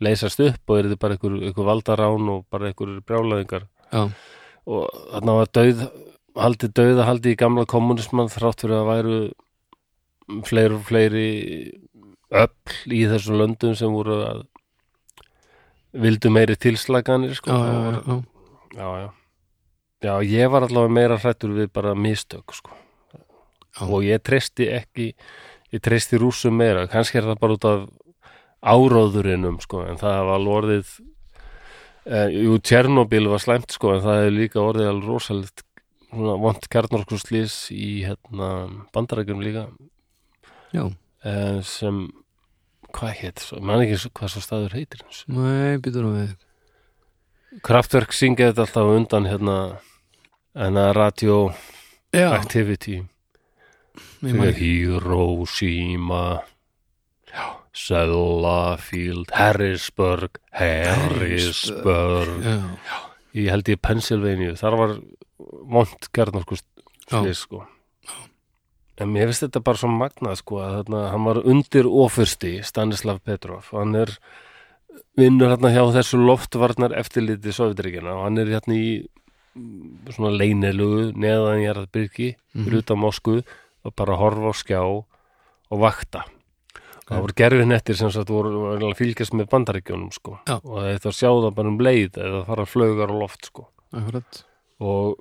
Speaker 1: leysast upp og er þetta bara einhver, einhver valdarán og bara einhver brjálaðingar
Speaker 2: Já.
Speaker 1: og þarna var döð haldið döða haldið í gamla kommunisman þrátt fyrir að væru fleiri og fleiri öll í þessum löndum sem voru að vildu meiri tilslaganir sko,
Speaker 2: Já, já,
Speaker 1: Það
Speaker 2: já,
Speaker 1: var-
Speaker 2: já.
Speaker 1: já, já. Já, ég var allavega meira hrættur við bara mistök, sko.
Speaker 2: Já.
Speaker 1: Og ég treysti ekki, ég treysti rússum meira. Kannski er það bara út af áróðurinum, sko, en það var alveg orðið, eh, jú, Tjernobyl var slæmt, sko, en það hefur líka orðið alveg rosalegt svona vont kjarnorkurslýs í hérna bandarækjum líka
Speaker 2: Já.
Speaker 1: eh, sem hvað hétt, svo- ég man ekki svo- hvað svo staður heitir eins.
Speaker 2: Nei, býtur nú við.
Speaker 1: Kraftverk syngið þetta alltaf á undan hérna en að radio
Speaker 2: Já,
Speaker 1: activity
Speaker 2: ég maður ekki.
Speaker 1: Hiroshima Sellafield Harrisburg Harrisburg
Speaker 2: Já,
Speaker 1: ég held ég Pennsylvania þar var vond kjarnorku
Speaker 2: já,
Speaker 1: slið sko en mér finnst þetta bara svo magnað sko að þarna, hann var undir ofursti Stanislav Petrov og hann er vinnur hérna hjá þessu loftvarnar eftirliti Sovjetríkjana og hann er hérna í mm, svona leynilugu neðan ég er að byrki
Speaker 2: Mhm.
Speaker 1: fyrir utan Moskvu og bara horfa á skjá og vakta og það voru gerfinettir sem sagt voru voru eiginlega að fylgjast með bandaríkjónum sko
Speaker 2: Já.
Speaker 1: og þetta var sjáða bara um leið eða fara flögar á loft sko
Speaker 2: akkurat.
Speaker 1: og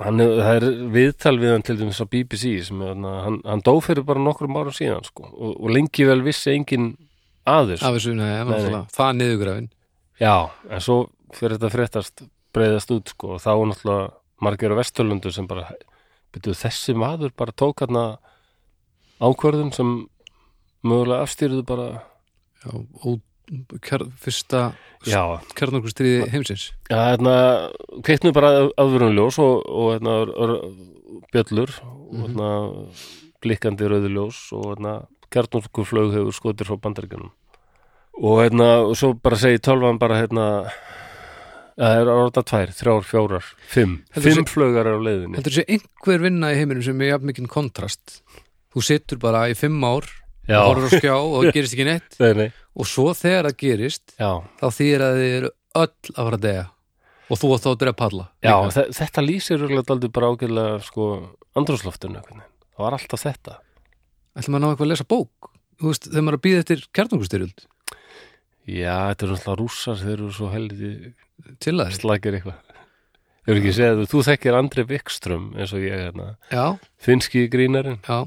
Speaker 1: hann, hef- það er viðtal við hann til dæmis á BBC sem er, þarna- hann, hann dó fyrir bara nokkrum árum síðan sko, og, og lengi vel vissi engin aðeins
Speaker 2: Af þessu, nei,
Speaker 1: nei.
Speaker 2: náttúrulega. Það er niðurgrafin.
Speaker 1: já, en svo fyrir þetta fréttast breyðast út sko, og þá er náttúrulega margir á Vesturlundu sem bara byrju, þessi maður bara tók hann ákvörðun sem mögulega afstýrðu bara
Speaker 2: Já, og kjar, fyrsta
Speaker 1: já,
Speaker 2: kjarnorkustriði heimsins.
Speaker 1: Já, hérna, kveiknum bara aðvörunljós og, og hérna, r- r- bjöllur og hérna, blikkandi rauðuljós og hérna, kjarnorkuflög hefur skotir frá bandaríkjunum. Og hérna, og svo bara segi tölvan bara, hérna, það er orða tvær, þrjár, fjórar, fimm.
Speaker 2: Heldur
Speaker 1: fimm flögar er á leiðinni.
Speaker 2: Heldur þessi einhver vinna í heiminum sem er jafn mikinn kontrast þú situr bara í fimm ár
Speaker 1: Já,
Speaker 2: og horfur á skjá og það gerist ekki neitt
Speaker 1: nei, nei.
Speaker 2: og svo þegar það gerist
Speaker 1: Já,
Speaker 2: þá þýr að þið eru öll að fara að dega og þú átt þá að drepa alla
Speaker 1: já
Speaker 2: líka.
Speaker 1: þe- þetta lýsir röglega aldrei bara ágæðlega, sko, andrúsloftinu. einhvern veginn. Það var alltaf þetta.
Speaker 2: ætlum maður að ná eitthvað að lesa bók Þú veist, þegar maður er að býða eftir kjarnungustyrjöld
Speaker 1: Já, þetta eru alltaf rússar, þeir eru svo heldi
Speaker 2: til það
Speaker 1: slækir eitthvað Ég vil ekki segja þú, þú þekkir Andri Vikström eins og ég hérna,
Speaker 2: já,
Speaker 1: finski grínarinn
Speaker 2: já,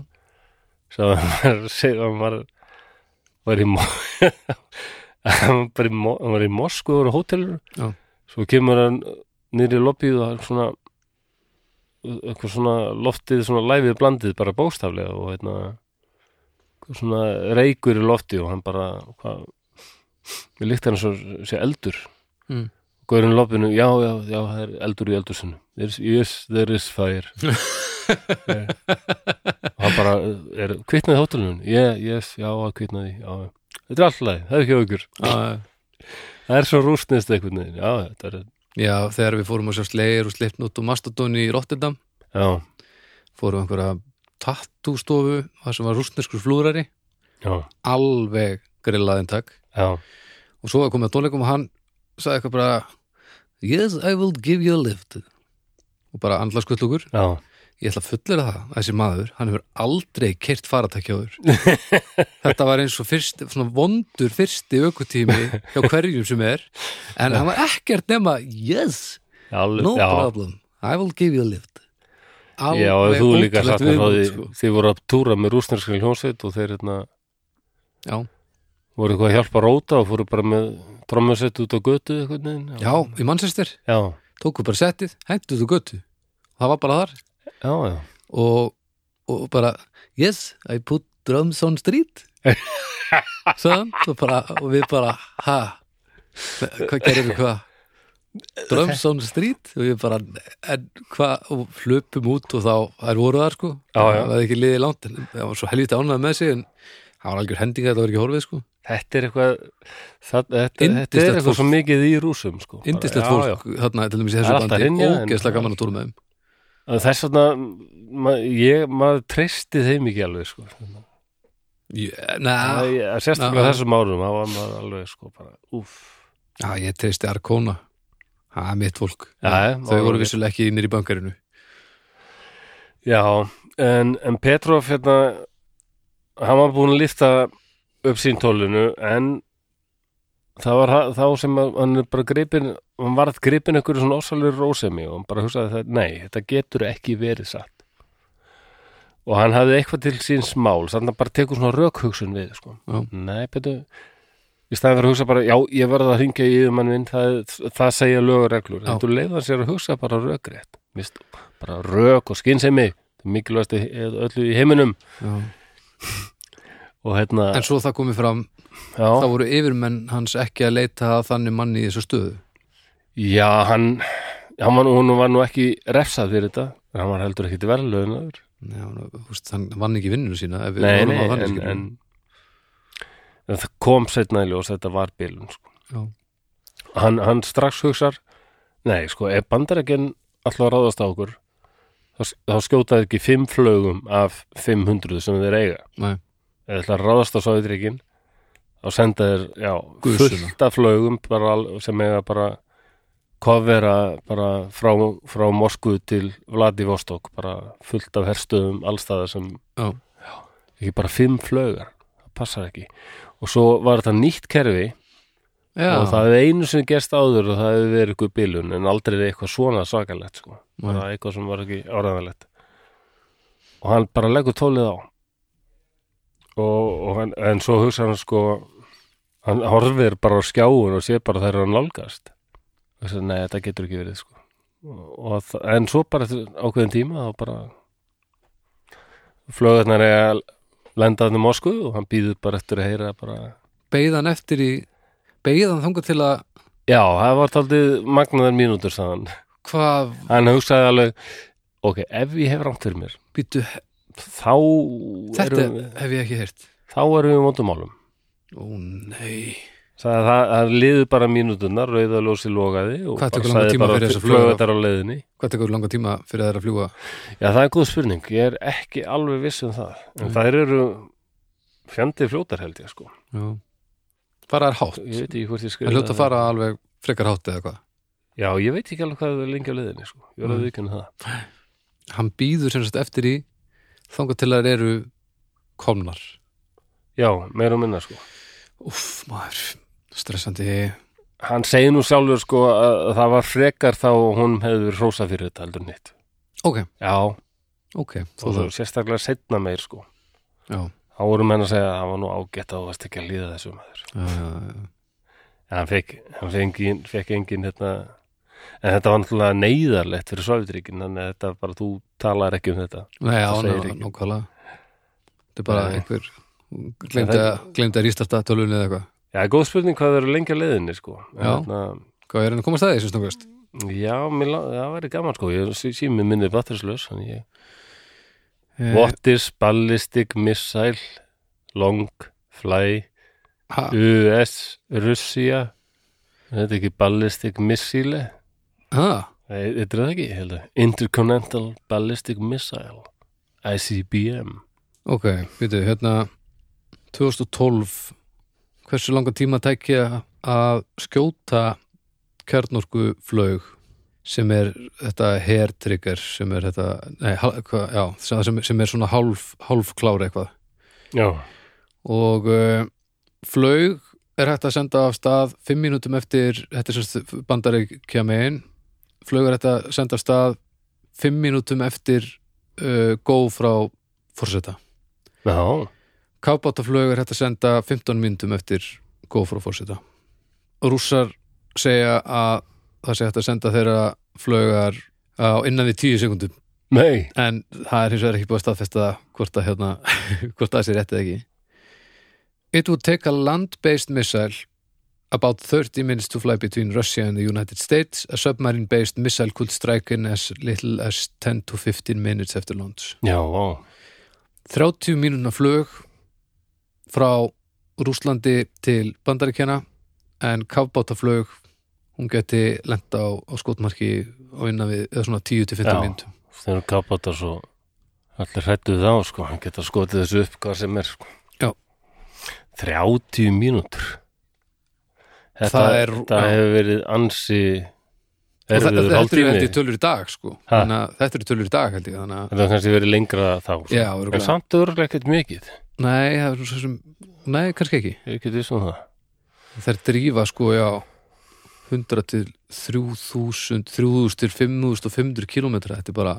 Speaker 1: sem hann var, sem hann var, var í Mo- hann var bara í Mo- hann var í Moskvu og hótelur
Speaker 2: Já.
Speaker 1: svo kemur hann niður í lobbyið og það er svona eitthvað svona loftið svona læfið blandið bara bóstaflega og hérna svona reykur í lofti og hann bara hvað, við líkt hann svo sé eldur
Speaker 2: Mm.
Speaker 1: Gaurinn í loftinu, já, já, já, það er eldur í eldursunum There's, yes, there is fire Eh, og hann bara er, kvitnaði hótelunum, yeah, yes, já, það kvitnaði já, já. þetta er alltaf leið, það er ekki aukur
Speaker 2: já,
Speaker 1: það er svo rústnist einhvern veginn, já, þetta er
Speaker 2: já, þegar við fórum að sjá Slayer og Slipknot og Mastodon í Rotterdam
Speaker 1: já,
Speaker 2: fórum á einhverja tattústofu það sem var rústneskur flúrari
Speaker 1: já,
Speaker 2: alveg grillaðin takk
Speaker 1: já,
Speaker 2: og svo komið að tónleikum og hann sagði eitthvað bara yes, I will give you a lift og bara andlaskvöldlugur
Speaker 1: já
Speaker 2: ég ætla að fullera það, að þessi maður hann hefur aldrei kert faratækjáður þetta var eins og fyrst svona vondur fyrsti ökutími hjá hverjum sem er en hann var ekkert nema yes,
Speaker 1: alveg,
Speaker 2: no
Speaker 1: já,
Speaker 2: problem I will give you a lift
Speaker 1: já, og
Speaker 2: Alveg
Speaker 1: þú líka
Speaker 2: ótrúlegt
Speaker 1: sagt
Speaker 2: viðmót,
Speaker 1: að því,
Speaker 2: sko.
Speaker 1: þið voru að túra með rústnarskri hljónsveit og þeir hérna
Speaker 2: já,
Speaker 1: voru eitthvað að hjálpa að róta og fóru bara með trommusett út á götu einhvern veginn
Speaker 2: já, í Manchester
Speaker 1: já,
Speaker 2: tóku bara settið, hendur þú götu það var bara þar
Speaker 1: já, já.
Speaker 2: og, og bara yes, I put drums on street Svo, og, bara, og við bara ha, hvað gerir við hvað drums on street og við bara, en hvað og hlöpum út og þá er voru þar sko
Speaker 1: Já, já.
Speaker 2: það er ekki liðið langt en það var svo helvita ánægð með sig en það var algjör hendinga þetta var ekki horfið sko
Speaker 1: þetta er eitthvað það, þetta, þetta er
Speaker 2: Yndislegt
Speaker 1: eitthvað
Speaker 2: fólk.
Speaker 1: svo mikið í rúsum sko. Bara,
Speaker 2: indislegt
Speaker 1: já,
Speaker 2: fólk þarna til dæmis í
Speaker 1: Það er
Speaker 2: þessu
Speaker 1: alltaf
Speaker 2: bandi
Speaker 1: hrynja, en-
Speaker 2: ógeðslega gaman að túra með þeim
Speaker 1: já. þess vegna ma, ég, maður treysti þeim ekki alveg sko.
Speaker 2: yeah, neða,
Speaker 1: Æ, sérstaklega
Speaker 2: já.
Speaker 1: þessum árum það var maður alveg sko, bara, úf
Speaker 2: Já, ég treysti Arkona Það er mitt fólk
Speaker 1: Já,
Speaker 2: Þau
Speaker 1: já,
Speaker 2: voru
Speaker 1: ok.
Speaker 2: vissulega ekki innir í bankarinu
Speaker 1: já, en, en Petrov hérna, hann var búin að lifta upp sín tólinu en það var ha- þá sem að- hann er bara gripin hann varð gripin einhverju svona ósalur rósemi og hann bara hugsaði það, nei, þetta getur ekki verið satt og hann hafði eitthvað til síns mál þannig að hann bara tekur svona rökhugsun við sko.
Speaker 2: Já.
Speaker 1: nei, betur í staðan fyrir að hugsa bara, já, ég verða að hringja í yfirmann minn, það, það segja lög og reglur
Speaker 2: Já.
Speaker 1: þetta leiða sér að hugsa bara rökrétt Vist, bara rök og skynsemi mikilvægast öllu í heiminum
Speaker 2: Já.
Speaker 1: og hérna,
Speaker 2: En svo það komið fram
Speaker 1: já
Speaker 2: þá voru yfirmenn hans ekki að leita að þannig manni í þessu stöðu
Speaker 1: Já, hann, hann var, nú- hún var nú ekki refsað fyrir þetta, en hann var heldur ekki til verðlöðunar.
Speaker 2: Já, nú, húst, hann vann ekki vinnunum sína ef við
Speaker 1: Nei,
Speaker 2: horfum
Speaker 1: nei,
Speaker 2: á þannig,
Speaker 1: en,
Speaker 2: skilur.
Speaker 1: en, en það kom setna í ljós, þetta var bílun, sko.
Speaker 2: Já.
Speaker 1: Hann, hann strax hugsar, nei, sko, ef bandarækinn alltaf ráðast á okkur, þá, þá skjótaði ekki fimm flögum af 500 sem þeir eiga.
Speaker 2: Nei.
Speaker 1: Ef þeir ætla að ráðast á sáðutrykkin, þá senda þeir, já,
Speaker 2: Gusuna.
Speaker 1: fullt af flögum bara, al- sem eiga bara kofvera bara frá, frá Moskvu til Vladivostok, bara fullt af herstöðum allstæða sem
Speaker 2: Já.
Speaker 1: ekki bara fimm flögar það passar ekki og svo var þetta nýtt kerfi
Speaker 2: Já,
Speaker 1: og það hefði einu sem gerst áður og það hefði verið eitthvað bilun en aldrei eitthvað svona svakalegt sko.
Speaker 2: Nei.
Speaker 1: það er eitthvað sem var ekki áraðanlegt og hann bara leggur tólið á og, og hann, en svo hugsa hann sko hann horfir bara á skjáun og sé bara þegar hann nálgast og þess að nei, þetta getur ekki verið sko. og, og, það- en svo bara eftir ákveðin tíma þá bara flögarnar er að lenda hann í Moskvu um og hann býður bara eftir að heyra bara
Speaker 2: beið hann eftir í beið hann þangað til að
Speaker 1: Já, það var taldið magnaðar mínútur sagðan.
Speaker 2: hvað
Speaker 1: Hann hugsaði alveg ok, ef ég hef rámt fyrir mér
Speaker 2: býtu,
Speaker 1: þá
Speaker 2: þetta
Speaker 1: erum við,
Speaker 2: hef ég ekki heyrt
Speaker 1: þá erum við mótumálum
Speaker 2: Ó nei,
Speaker 1: sagði það, það liðu bara mínúturnar rauða ljósi logaði og
Speaker 2: Hvað
Speaker 1: bara
Speaker 2: tekur langan
Speaker 1: sagði
Speaker 2: tíma
Speaker 1: bara
Speaker 2: fyrir þessa flugu?
Speaker 1: flögðar á leiðinni
Speaker 2: hvað tekur langa tíma fyrir þær að fljúga
Speaker 1: Já, það er góð spurning, ég er ekki alveg viss um það, en
Speaker 2: Nei.
Speaker 1: þær eru fjandi fljótar held ég sko
Speaker 2: Já. fara þær hátt
Speaker 1: ég veit ekki hvort ég
Speaker 2: Það
Speaker 1: skrifa
Speaker 2: hljóta að fara alveg frekar hátt eða hvað
Speaker 1: Já, ég veit ekki alveg hvað það er lengi á leiðinni sko ég var að
Speaker 2: Nei.
Speaker 1: viðkynna það
Speaker 2: hann býður sem sagt eftir í þangað til að þeir eru komnar
Speaker 1: Já, meira og minna sko
Speaker 2: Úff, maður, stressandi
Speaker 1: Hann segir nú sjálfur sko að að það var frekar þá og hún hefði verið hrósa fyrir þetta heldur nýtt
Speaker 2: Ok,
Speaker 1: Já,
Speaker 2: ok,
Speaker 1: og
Speaker 2: þú
Speaker 1: þú
Speaker 2: það
Speaker 1: sérstaklega setna meir sko
Speaker 2: Já,
Speaker 1: þá voru menn að segja að það var nú ágætt að þú varst ekki að líða þessu maður
Speaker 2: já, já, já.
Speaker 1: en hann fekk, hann fekk engin, fekk engin hérna, en þetta var náttúrulega neyðarlegt fyrir Sovjetríkin þannig að þetta bara, þú talar ekki um þetta
Speaker 2: Nei, já,
Speaker 1: Það
Speaker 2: ná,
Speaker 1: segir ekki.
Speaker 2: nákvæmlega Þetta er bara
Speaker 1: Nei.
Speaker 2: einhver glemdi að, glemdi að rístarta tölvunni eða eitthvað
Speaker 1: Já, góð spurning hvað það eru lengi að leiðinni sko. En
Speaker 2: Já.
Speaker 1: þarna-
Speaker 2: hvað er hann að komast að því sem snöggast
Speaker 1: Já, mér, lá- það væri gaman sko ég sími minni batterislaus þannig ég-
Speaker 2: Eh,
Speaker 1: What is ballistic missile long fly
Speaker 2: ha,
Speaker 1: US Russia Er þetta ekki ballistic missile
Speaker 2: ha,
Speaker 1: Nei, Þetta er það ekki, ég held að Intercontinental Ballistic Missile ICBM
Speaker 2: ok, býtu, hérna 2012 hversu langa tíma tækja að skjóta kjarnorku flög sem er þetta hair trigger sem er þetta, nei, hal- hvað, já sem- sem, sem er svona hálf, hálf klára eitthvað
Speaker 1: Já,
Speaker 2: og uh, flög er hægt að senda af stað 5 mínútum eftir þetta er semst bandarík kemur inn flög er hægt að senda af stað 5 mínútum eftir uh, góð frá fórseta
Speaker 1: já,
Speaker 2: kábátaflög er hægt að senda 15 mínútum eftir góð frá fórseta rússar segja að það sé hægt að senda þeirra flögar á innan við 10 sekundum
Speaker 1: nei
Speaker 2: en það er hins vegar ekki búið að staðfesta hvort að hérna, hvort það sé rétt eða ekki It would take a land-based missile about 30 minutes to fly between Russia and the United States a submarine-based missile could strike in as little as 10 to 15 minutes after launch
Speaker 1: Já, vá,
Speaker 2: 30 mínuna flug frá Rúslandi til Bandaríkjana en kafbátaflug hún geti lent á, á skotmarki á innan við, eða svona 10 til 15
Speaker 1: Já.
Speaker 2: mínútum
Speaker 1: þeir eru kappatar svo allir hrættu þá sko, hann geta skotið þessu upp hvað sem er sko
Speaker 2: Já.
Speaker 1: 30 mínútur Þetta,
Speaker 2: Það er-
Speaker 1: þetta
Speaker 2: já.
Speaker 1: hefur verið ansi
Speaker 2: Og þe-
Speaker 1: erfiður
Speaker 2: þetta eru held
Speaker 1: hálftími
Speaker 2: ég tölur í dag sko
Speaker 1: Ha?
Speaker 2: þannig að þetta eru tölur í dag held ég þannig að
Speaker 1: Þetta hefur kannski verið lengra þá sko.
Speaker 2: já,
Speaker 1: En
Speaker 2: örugglega.
Speaker 1: samt örgulega ekkert mikið
Speaker 2: nei, það er svo sem nei, kannski ekki,
Speaker 1: Ég get viss um það
Speaker 2: þær drífa sko já 100 til 3000 3000 til 5500 kilometra þetta er bara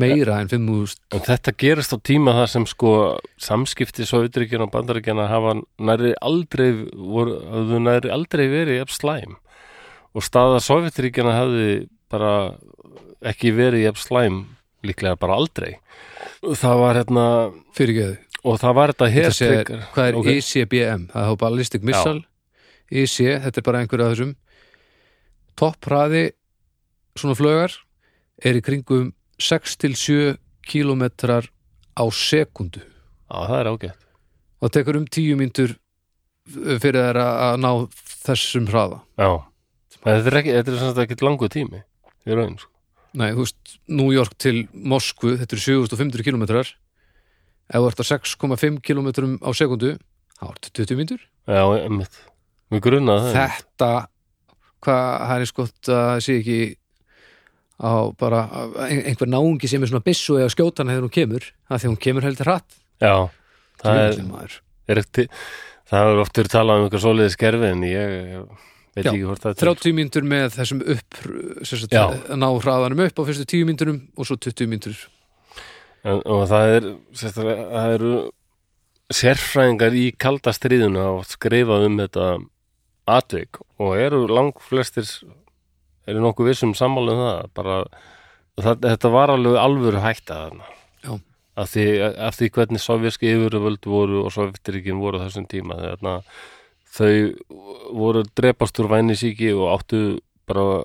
Speaker 2: meira en 5000
Speaker 1: En þetta gerist á tíma þar sem sko samskipti svo utryggjana og bandaríkjana hafa næri aldrei voru, hafðu næri aldrei verið jafn slæm og staða Sovjetríkjana hafði bara ekki verið jafn slæm líklega bara aldrei það var hérna
Speaker 2: fyrirgeðu,
Speaker 1: og það var þetta
Speaker 2: þetta sé
Speaker 1: hertryggar
Speaker 2: hvað er E
Speaker 1: ok.
Speaker 2: ICBM, það er ballistic missile IC, þetta er bara einhverja af þessum toppræði svona flögar er í kringum 6 til 7 kilometrar á sekundu
Speaker 1: Já, það er ágætt
Speaker 2: og það tekur um 10 mínútur eh, fyrir þær að að ná þessum hraða
Speaker 1: Já, En þetta er ekki, þetta er sem sagt ekki langu tími í raun sko.
Speaker 2: Nei, þú veist, New York til Moskvu þetta eru 7500 kilometrar ef þú ert að 6,5 kilometrum á sekundu, þá ertu 20 mínútur
Speaker 1: Já, emmitt Mér grunnaði það
Speaker 2: þetta hvað það er skott að það sé ekki á bara ein- einhver náungi sem er svona byssu eða skjótan þegar hún kemur, það því hún kemur heldur hratt
Speaker 1: Já, það er,
Speaker 2: Djöfullinn, maður.
Speaker 1: er ekki, það hefur oft verið talað um eitthvað svoleiðis gerfi en ég ég veit
Speaker 2: Já,
Speaker 1: ekki hvort það
Speaker 2: 30 mínútur með þessum upp sem sagt,
Speaker 1: Já.
Speaker 2: að ná hraðanum upp á fyrstu 10 mínúturum og svo 20 mínútur
Speaker 1: en, og það er sérstaklega- það eru sérfræðingar í kalda stríðuna og skrifað um þetta atvik og eru lang flestir eru nokkuð vissum sammála um það bara það, þetta var alveg alvöru hætta þarna
Speaker 2: Já.
Speaker 1: af því, af því hvernig sovjerski yfirvöld voru og sovjetiríkin voru á þessum tíma þarna þau voru drepast úr vænisíki og áttu bara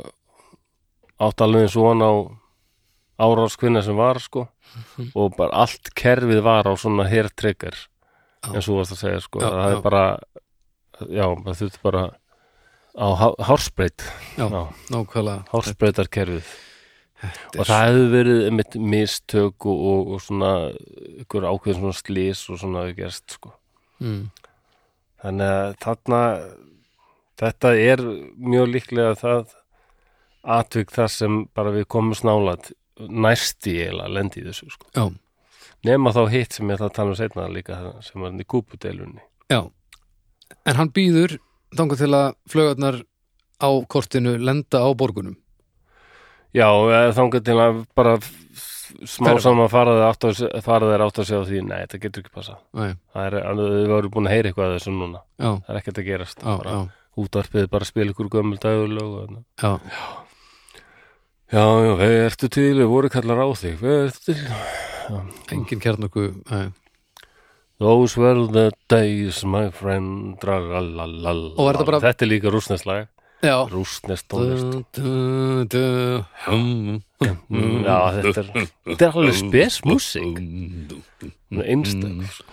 Speaker 1: áttu alveg eins og hann á áráskvinna sem var sko
Speaker 2: Mhm.
Speaker 1: og bara allt kerfið var á svona hertryggar
Speaker 2: Já.
Speaker 1: eins og þú varst að segja sko
Speaker 2: Já,
Speaker 1: það
Speaker 2: já.
Speaker 1: er bara já, það þurfti bara á há- hárspreitt
Speaker 2: Já.
Speaker 1: Já,
Speaker 2: nákvæmlega
Speaker 1: hárspreittarkerfið
Speaker 2: Þetta er-
Speaker 1: og það hefði verið mitt mistök og, og, og svona ykkur ákveðin svona slís og svona hefði gerst sko.
Speaker 2: mm.
Speaker 1: þannig að þarna þetta er mjög líklega það atvik þar sem bara við komum snálat næsti eiginlega lendi í þessu sko.
Speaker 2: Já,
Speaker 1: nema þá hitt sem ég ætla að tala um seinna líka sem var hann í kúpudelunni
Speaker 2: já En hann býður þangar til að flögarnar á kortinu lenda á borgunum
Speaker 1: Já, eða þangað til að bara f- smá
Speaker 2: Hverfa.
Speaker 1: saman fara þeir átt að, fara þeir átt að segja á því, nei, þetta getur ekki passað.
Speaker 2: Nei,
Speaker 1: Það er, alveg- þau voru búin að heyra eitthvað af þessu núna.
Speaker 2: já,
Speaker 1: Það er ekkert að gerast.
Speaker 2: já,
Speaker 1: bara,
Speaker 2: já,
Speaker 1: Útvarpið bara spila ykkur gömul dagurlög. og þarna.
Speaker 2: já.
Speaker 1: Já, já, við ertu til, við voru kallar á þig, við ertu til.
Speaker 2: engin kjarnorku nei.
Speaker 1: Those were the days my friend Dragalalal
Speaker 2: Og var þetta bara-
Speaker 1: Þetta er líka rúsnest lag
Speaker 2: já
Speaker 1: Rúsnest tónlist
Speaker 2: Du, du, du, hum,
Speaker 1: Mm, Já, þetta er, þetta er alveg spesmúsík
Speaker 2: hum, du.
Speaker 1: Einstæk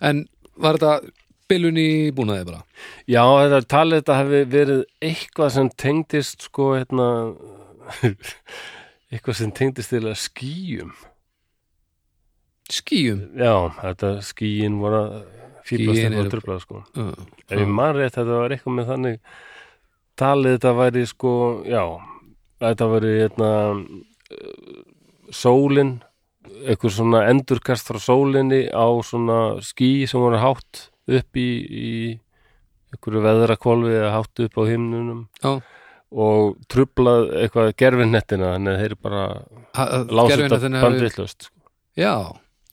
Speaker 2: En var þetta bilun í búnaði bara?
Speaker 1: Já, þetta er talið þetta hefði verið eitthvað sem tengdist sko hérna eitthvað sem tengdist til að skýjum
Speaker 2: Skýjum
Speaker 1: Já, þetta skýin voru að fýblast
Speaker 2: Skýin
Speaker 1: eitthvað
Speaker 2: eru-
Speaker 1: að tröfla sko
Speaker 2: uh,
Speaker 1: Ef ég man rétt þetta var eitthvað með þannig talið þetta væri sko já, þetta væri hérna eh, sólin eitthvað svona endurkast frá sólinni á svona ský sem voru hátt upp í, í einhverju veðrakvolfi eða hátt upp á himnunum
Speaker 2: Já,
Speaker 1: og trublað eitthvað gerfinnettina þannig að þeir bara lásu þetta sko.
Speaker 2: gerfinna
Speaker 1: bandvillust
Speaker 2: hérna Já,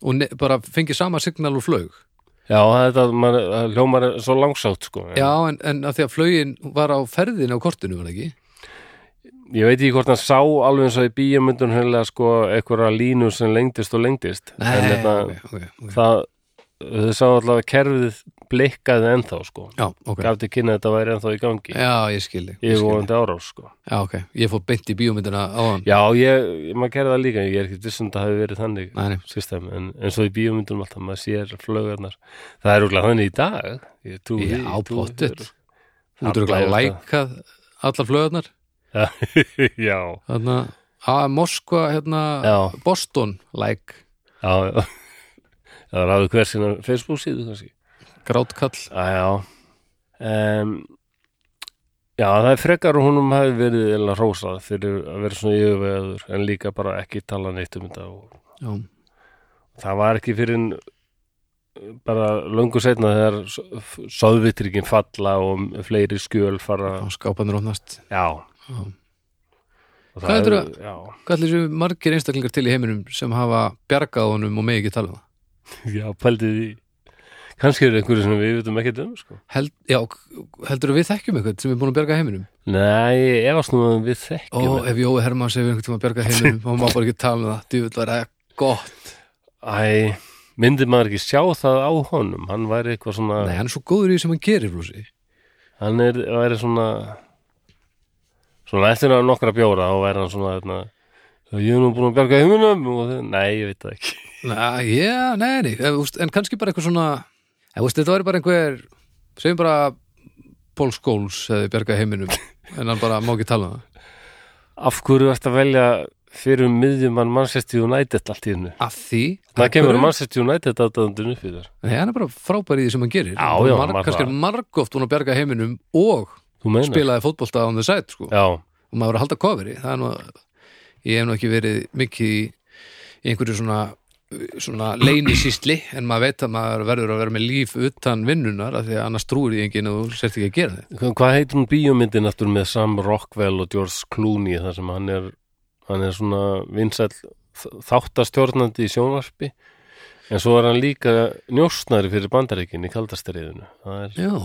Speaker 2: og ne, bara fengið sama signal og flög
Speaker 1: Já, þetta maður, það hljómar svo langsátt sko
Speaker 2: Já, en, en að því að flögin var á ferðin á kortinu, var það ekki?
Speaker 1: Ég veit ekki hvort hann sá alveg eins og í bíjamundun hennilega sko einhverja línu sem lengdist og lengdist en þetta,
Speaker 2: hérna- ok, ok, ok.
Speaker 1: það þau sá allavega að kerfið blikkaði ennþá sko
Speaker 2: Já, ok
Speaker 1: gaf til kynna að þetta væri ennþá í gangi
Speaker 2: Já, ég skildi, ég
Speaker 1: ég
Speaker 2: skildi.
Speaker 1: vonandi árás sko
Speaker 2: Já, ok, ég fór beint í bíómyndina á hann
Speaker 1: Já, ég, ég- maður kerði það líka ég er ekki vissum að það hefur verið þannig
Speaker 2: Nei, nei.
Speaker 1: system, en eins og í bíómyndunum alltaf maður sér flögarnar það er úrlega þannig í dag ég trú
Speaker 2: Já, pottet Þú ert
Speaker 1: Alla
Speaker 2: að
Speaker 1: er
Speaker 2: læka allar flögarnar
Speaker 1: þetta- já,
Speaker 2: Þarna, að Moskva, hérna
Speaker 1: já,
Speaker 2: Boston, like
Speaker 1: já, já það er aðeins versina Facebook síðu kannski
Speaker 2: Grátkall
Speaker 1: Á, já um, já, það er frekar og húnum hafi verið eða rósað fyrir að vera svona yfirvegaður en líka bara ekki tala neitt um þetta og
Speaker 2: Já,
Speaker 1: það var ekki fyrir bara löngu setna þegar soðvitringin falla og fleiri skjöl fara
Speaker 2: á skápanir ofnast
Speaker 1: já
Speaker 2: Já. Hvað
Speaker 1: Og það er-
Speaker 2: heldurðu
Speaker 1: já,
Speaker 2: Hvað allir séu margir einstaklingar til í heiminum sem hafa bjargað honum og megi ekki tala um það?
Speaker 1: já, pældið í kannski eru einhverju sem við vitum ekkert um sko.
Speaker 2: Held, já, heldur við þekkjum eitthvað sem er búin að bjarga heiminum?
Speaker 1: nei, ég efast nú um að við
Speaker 2: Ó,
Speaker 1: þekkjum þetta.
Speaker 2: ef Jói Hermann segir einhvern tíma að bjarga heiminum og maður bara ekki tala um það, djúvill var það gott
Speaker 1: æ, myndi maður ekki sjá það á honum hann væri eitthvað svona
Speaker 2: Nei, hann er svo góður í því sem hann gerir, Blúsi
Speaker 1: hann er, væri svona svona eftir að nokkra bjóra þá væri hann svona þarna, ég er nú búin að bjarga heiminum og þau, nei, ég veit það ekki
Speaker 2: Næ, já, nei, nei, ef, úst, en kannski bara eitthvað svona ef, úst, Þetta var bara einhver, segjum bara Paul Scholes hefði bjargað heiminum en hann bara má ekki tala um það
Speaker 1: af hverju ert að velja fyrir um miðjumann Manchester United allt í hennu
Speaker 2: Af því
Speaker 1: það kemur Manchester United aðdæðandun upp í þér
Speaker 2: Nei, hann er bara frábær í því sem hann gerir
Speaker 1: Já,
Speaker 2: Hann er
Speaker 1: já,
Speaker 2: marg,
Speaker 1: maður
Speaker 2: Kannski er
Speaker 1: það.
Speaker 2: margóft hún að bjarga heiminum og
Speaker 1: þú meinar
Speaker 2: spilaði fótbolta on the side sko.
Speaker 1: já,
Speaker 2: og maður er að halda kofri það er nú ég hef nú ekki verið mikið í í einhverju svona svona leynisýsli en maður veit að maður verður að vera með líf utan vinnunar af því að annars trúir því enginn og þú sért ekki að gera þetta
Speaker 1: Hva- hvað heitir hún bíómyndin aftur með Sam Rockwell og George Clooney þar sem hann er, hann er svona vinsæll þ- þáttastjórnandi í sjónvarpi en svo er hann líka njósnari fyrir bandaríkin í kaldastriðinu það er
Speaker 2: Já,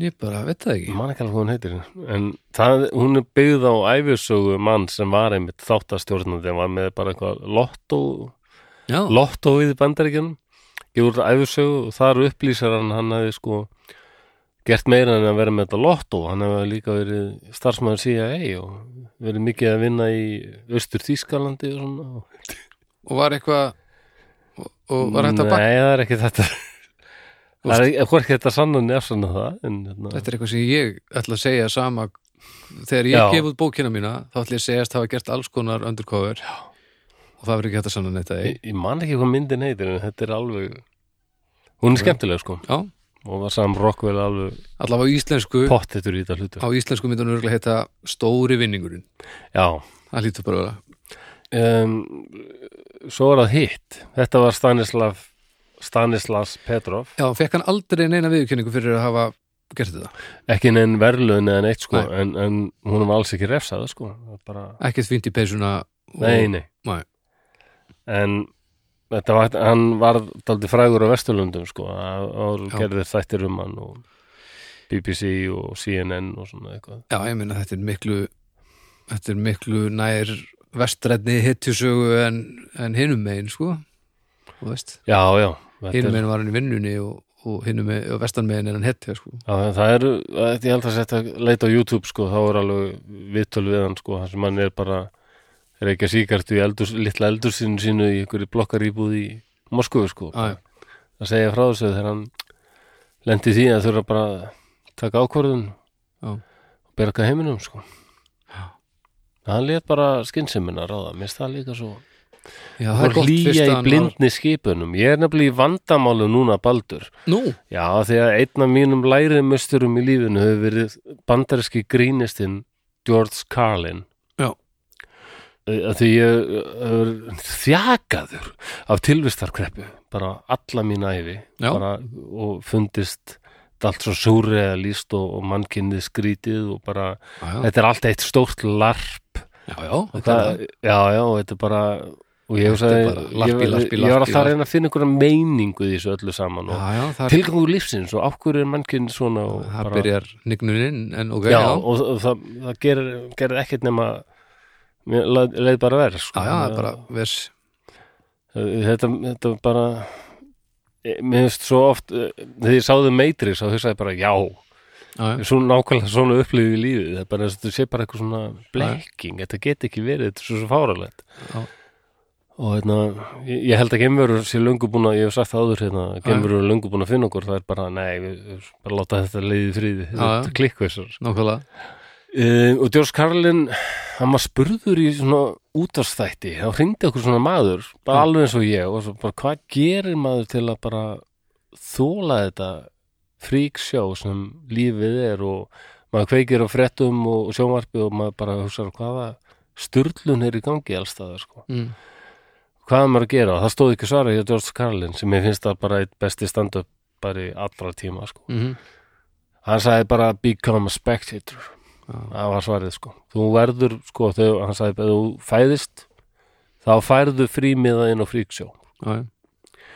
Speaker 2: ég bara veit það ekki
Speaker 1: man ekki alveg hvað hún heitir en það, hún er byggð á æfisögu mann sem var einmitt þáttastjórnandi hann var með bara eitthvað lottó
Speaker 2: Já,
Speaker 1: lottóið í bandaríkjanum gefur þetta æfisögu og þar upplýsar hann hann hefði sko gert meira en að vera með þetta lottó hann hefði líka verið starfsmæður CIA og verið mikið að vinna í austur Þýskalandi og svona
Speaker 2: og var eitthvað og, og var hægt að bakka
Speaker 1: Nei, það er ekki þetta Það er hvorki þetta sannan er sannan það en, hérna,
Speaker 2: Þetta er eitthvað sem ég ætla að segja sama þegar ég
Speaker 1: Já.
Speaker 2: gef út bókina mína þá ætla ég að segjast hafa gert alls konar undercover Já. og það verður ekki hægt að sanna neitt að
Speaker 1: ég, ég man ekki hvað myndin heitir en þetta er alveg hún er skemmtileg sko
Speaker 2: Já,
Speaker 1: og var Sam Rockwell alveg
Speaker 2: allavega á íslensku
Speaker 1: pottetur í þetta hlutu
Speaker 2: á íslensku myndi hann örgulega heita Stóri vinningurinn
Speaker 1: Já,
Speaker 2: Það lítur bara að vera
Speaker 1: um, svo er það hitt þetta var Stanislav Stanislas Petrov
Speaker 2: Já, fekk hann aldrei neina viðurkenningu fyrir að hafa gert þetta,
Speaker 1: ekki neinn verðlaun eða neitt sko
Speaker 2: Nei.
Speaker 1: en, en hún var alls ekki refsað sko Það er bara,
Speaker 2: ekkert fínt í peysuna og...
Speaker 1: nei, nei.
Speaker 2: Nei.
Speaker 1: en þetta var, hann var daldi frægur á Vesturlundum sko og
Speaker 2: Já.
Speaker 1: gerði þættir um hann og BBC og CNN og svona eitthvað
Speaker 2: Já, ég meina þetta er miklu þetta er miklu nær vestrætni hittjusögu en, en hinum megin, sko Þú veist,
Speaker 1: já, já, Þetta
Speaker 2: hinum
Speaker 1: er-
Speaker 2: meginn var hann í vinnunni og, og hinum meginn, og vestan meginn er hann hetti sko.
Speaker 1: Já, það eru, þetta ég held að setja leita á YouTube sko, þá er alveg viðtöl við hann sko, þar sem hann er bara er ekki að síkartu í eldurs, litla eldursinu sínu í einhverju blokkarýbúð í Moskvu sko,
Speaker 2: ah,
Speaker 1: að segja frá þessu þegar hann lendi því að þurfa bara að taka ákvörðun
Speaker 2: Já.
Speaker 1: og berga heiminum sko
Speaker 2: Já.
Speaker 1: hann let bara skynsemmina ráða, mér finnst það líka svo
Speaker 2: já, það
Speaker 1: það
Speaker 2: er gott fyrst
Speaker 1: hlýja
Speaker 2: að
Speaker 1: í
Speaker 2: hann var-
Speaker 1: blindni skipunum ég er nefnilega í vandamálum núna baldur
Speaker 2: nú,
Speaker 1: Já, því að einn af mínum lærimusturum í lífinu hefur verið bandaríski grínistinn George Carlin.
Speaker 2: Já.
Speaker 1: Eh, af Því ég hefur þjakaður af tilvistarkreppu, bara alla mín æfi.
Speaker 2: Já.
Speaker 1: Bara, og fundist allt svo súri eða líst og, og mannkynnið skrítið og bara,
Speaker 2: já, já,
Speaker 1: þetta er allt eitt stórt larp.
Speaker 2: já, já þetta er
Speaker 1: Það, já, já, og þetta er bara... Og ég,
Speaker 2: Þetta er
Speaker 1: hugsaði-
Speaker 2: bara larpi,
Speaker 1: ég,
Speaker 2: larpi,
Speaker 1: ég var
Speaker 2: larpi,
Speaker 1: alltaf að reyna að finna einhverja meiningu í þessu öllu saman
Speaker 2: það.
Speaker 1: og
Speaker 2: já, já, það, er,
Speaker 1: tilgangur lífsins og ákvörður er mannkinn svona og
Speaker 2: það byrjar nignunin en ok,
Speaker 1: já,
Speaker 2: já, já,
Speaker 1: og, og það, það gerir, gerir ekkert nema mér leið leið bara verð sko.
Speaker 2: já, það er bara vers,
Speaker 1: þetta, þetta bara eh, mér hefst svo oft eh, þegar ég sáðu Matrix þá hugsaði ég bara já,
Speaker 2: já, já,
Speaker 1: svona nákvæmlega svona upplifið í lífið, það er bara þetta sé bara eitthvað svona blekking, þetta get ekki verið þetta er svo svo fáralegt
Speaker 2: Já.
Speaker 1: og hérna, ég, ég held að gemurur sé löngu búin að, ég hef sagt það áður hérna gemurur er löngu búin að finna okkur, það er bara nei, við, við bara láta þetta leiði fríði
Speaker 2: Já, já.
Speaker 1: þetta klikkveisar
Speaker 2: nákvæmlega
Speaker 1: Uh, og George Carlin, hann var spurður í svona útvarstætti, þá hringdi okkur svona maður, bara
Speaker 2: Mm.
Speaker 1: alveg eins og ég og svo bara hvað gerir maður til að bara þóla þetta fríksjá sem lífið er og maður kveikir á fréttum og sjónvarpi og maður bara hugsar hvaða sturlun er í gangi alls staðar sko.
Speaker 2: mm.
Speaker 1: Hvað er maður að gera? Það stóð ekki svara hjá George Carlin sem ég finnst það bara eitt besti stand-up bara í allra tíma sko.
Speaker 2: Mm
Speaker 1: Hann sagði bara become a spectator
Speaker 2: já,
Speaker 1: það var svarið sko þú verður sko þegar hann sagði ef þú fæðist þá færðu frímiða inn á fríksjó
Speaker 2: já, já,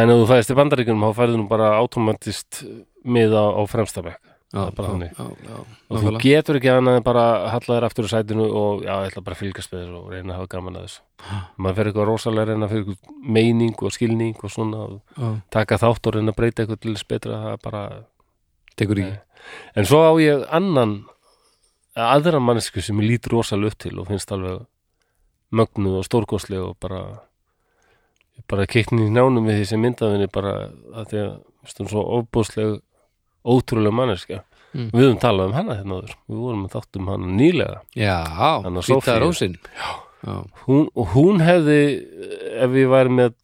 Speaker 1: en ef þú fæðist í bandaríkunum þá færðu nú bara automatist miða á fremstabæk
Speaker 2: já,
Speaker 1: er bara
Speaker 2: já,
Speaker 1: þannig.
Speaker 2: já, já,
Speaker 1: og þú
Speaker 2: nákvæmlega
Speaker 1: getur ekki annað en bara halla þér aftur úr sætinu og já, ég ætla bara að fylgast með þessu og reyna að hafa gaman að þessu maður fer eitthvað rosalega að reyna fyrir eitthvað meining og skilning og svona og
Speaker 2: Já,
Speaker 1: taka þátt og reyna að breyta eitthvað til þess betra það er bara
Speaker 2: tekur ekki,
Speaker 1: En svo á ég annan eh, aðra mannesku sem ég lít rosalega upp til og finnst alveg mögnuð og stórkostleg og bara bara keittin í nánum við því sem myndafinni bara að því að stum, svo ofbúsleg ótrúlega manneska
Speaker 2: Mm.
Speaker 1: við höfum talað um hana hérna áður við vorum að þátt um hana nýlega
Speaker 2: já,
Speaker 1: Anna
Speaker 2: hvita
Speaker 1: Soffía.
Speaker 2: rósin já,
Speaker 1: hún, og hún hefði eh, ef ég væri með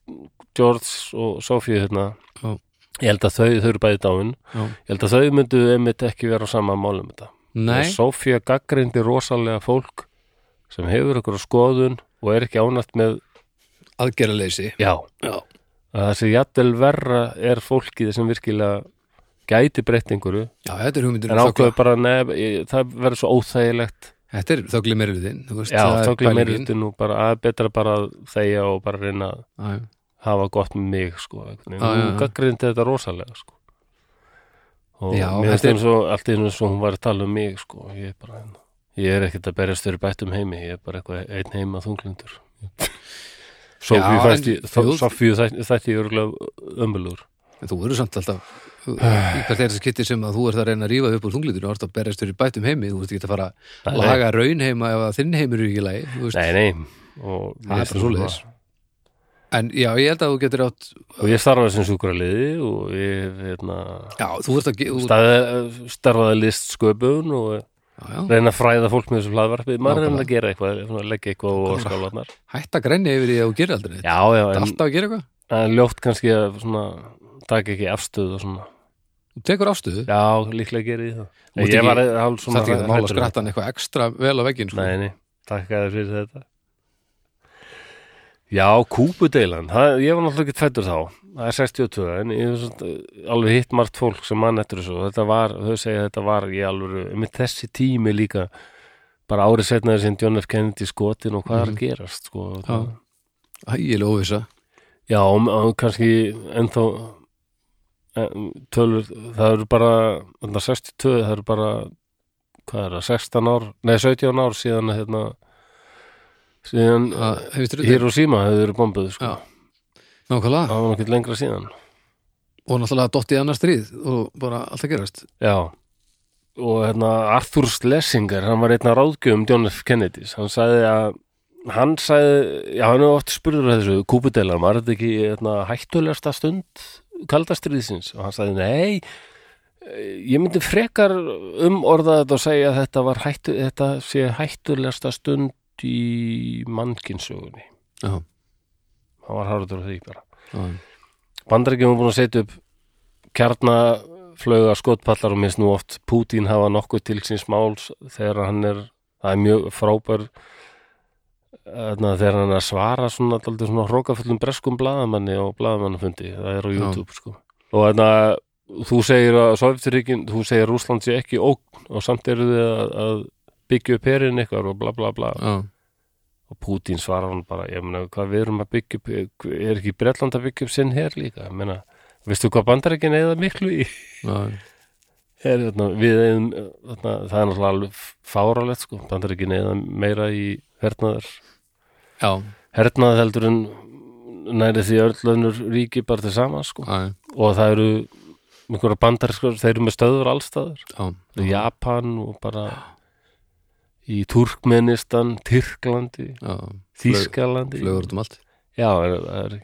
Speaker 1: George og Sophie hérna
Speaker 2: Já.
Speaker 1: ég held að þau, þau eru bæði dáin
Speaker 2: já,
Speaker 1: ég held að þau myndu einmitt ekki vera á sama málum þetta
Speaker 2: nei,
Speaker 1: Sofía gaggrindi rosalega fólk sem hefur ykkur skoðun og er ekki ánætt með
Speaker 2: aðgerðaleysi
Speaker 1: já,
Speaker 2: já,
Speaker 1: að það sé jafnvel verra er fólkið sem virkilega gæti breytt einhverju
Speaker 2: já, þetta er um hugmyndur
Speaker 1: en ákveður bara nef, það verður svo óþægilegt
Speaker 2: Þetta er þögli meirilutin
Speaker 1: já, tóklega meirhundi nú bara að er betra bara að þegja og bara reyna að
Speaker 2: Já,
Speaker 1: hafa gott með mig sko, einhvern veginn.
Speaker 2: Já, já,
Speaker 1: hún
Speaker 2: já.
Speaker 1: gaggrindi þetta rosalega sko og
Speaker 2: Já,
Speaker 1: mér finnst
Speaker 2: þetta er-
Speaker 1: eins og allt einu svo hún var að tala um mig sko, ég er bara ég er ekkert að berjast fyrir bættum heimi ég er bara eitthvað einn heima þunglindur
Speaker 2: Já, en þú-
Speaker 1: Sofíu þætti ég örgulega ömulur
Speaker 2: en þú eru samt alltaf þú- í hvert er það skipti sem að þú ert að reyna að rífa upp úr þunglitur og ert að berjast fyrir bættum heimi þú ert ekki að fara
Speaker 1: Nei,
Speaker 2: að
Speaker 1: nei.
Speaker 2: laga raunheima ef að þinn heimur er ekki í lagi þú veist.
Speaker 1: nei, nei og
Speaker 2: Það
Speaker 1: mér
Speaker 2: er
Speaker 1: finnst
Speaker 2: bara svoleiðis. en já, ég held að þú getur átt
Speaker 1: og ég starfaði sem sjúkraliði og ég hérna,
Speaker 2: já, þú ert að ge- þú-
Speaker 1: staði, starfaði list sköpun og
Speaker 2: já, já,
Speaker 1: reyna að fræða fólk með þessu hlaðvarpi maður er
Speaker 2: Nákvæmlega.
Speaker 1: reyna að gera eitthvað, svona leggja eitthvað og skálanar
Speaker 2: hætt að grænja yfir því að þú gerir aldrei neitt.
Speaker 1: já, já,
Speaker 2: Þetta er
Speaker 1: en
Speaker 2: alltaf að gera eitthvað,
Speaker 1: það er ljótt kannski að svona, taka ekki afstöð og svona
Speaker 2: þú tekur afstöðu
Speaker 1: já, líklega geri ég
Speaker 2: Þú
Speaker 1: það
Speaker 2: mátt
Speaker 1: ég
Speaker 2: ekki-
Speaker 1: var hálf
Speaker 2: það
Speaker 1: svona
Speaker 2: er ekki að mála sko.
Speaker 1: hræddur.
Speaker 2: skrattan eitthvað ekstra vel á veggin sko.
Speaker 1: nei, nei, takk að þér fyrir þetta já, kúpudeilan það, ég var náttúrulega ekki fættur þá það er 62, en ég hef svona alveg hitt margt fólk sem mann eftir þessu og þetta var, þau segja að þetta var ég alveg með þessi tími líka bara árið setnaði sem John F. Kennedy skotin og hvað er að gerast sko,
Speaker 2: Já. ægilega óvisa
Speaker 1: Já, og- og kannski ennþá em, tölur, það eru bara þarna 62, það eru bara hvað er það, 16 ár, nei 17 ár síðan hérna síðan
Speaker 2: Að- hefur þetta-
Speaker 1: Hiroshima hefur verið bombuð sko.
Speaker 2: Já. nákvæmlega
Speaker 1: það var nokkið lengra síðan
Speaker 2: og náttúrulega dottið annar stríð og bara allt að gerast
Speaker 1: Já og hérna Arthur Schlesinger hann var einn af ráðgjöfum John F. Kennedys hann sagði að hann sagði, já hann er oft spurður að þessu kúpudelar, var þetta ekki hérna, hættulegasta stund kaldastriðsins og hann sagði nei eh, ég myndi frekar umorða þetta og segja að þetta var hættu þetta sé hættulegasta stund í mannkinsögunni
Speaker 2: Já.
Speaker 1: hann var harður á því bara
Speaker 2: Já.
Speaker 1: Bandaríkjum er búin að setja upp kjarnaflauga skotpallar og minnst nú oft Pútín hafa nokkuð til síns máls þegar hann er, það er mjög frábær Þarna, þegar hann er að svara svona, daldið svona hrókafullum breskum blaðamanni og blaðamannafundi, það er á
Speaker 2: Já.
Speaker 1: YouTube sko. og þarna, þú segir að Sovjetiríkin, þú segir að Rússland sé ekki ógn og samt eru þið að, að byggja upp herin ykkar og bla bla bla
Speaker 2: Já.
Speaker 1: og Pútín svarar hann bara ég meina, hvað við erum að byggja upp eh, er ekki Bretland að byggja upp sinn hér líka ég meina, veistu hvað bandarækin eða miklu í
Speaker 2: Já.
Speaker 1: er, þarna, við eðum þarna, það er náttúrulega alveg fáralegt sko, bandarækin eða meira í hernaðar
Speaker 2: Já.
Speaker 1: hernað heldur en næri því öll önnur ríki bara til sama sko.
Speaker 2: Já.
Speaker 1: og það eru einhverja bandaræskar, þeir eru með stöður allstaðar
Speaker 2: Já.
Speaker 1: í Japan og bara í Turkmenistan, Tyrklandi
Speaker 2: Já.
Speaker 1: Þýskalandi
Speaker 2: Flögur út um allt
Speaker 1: Já, er, er,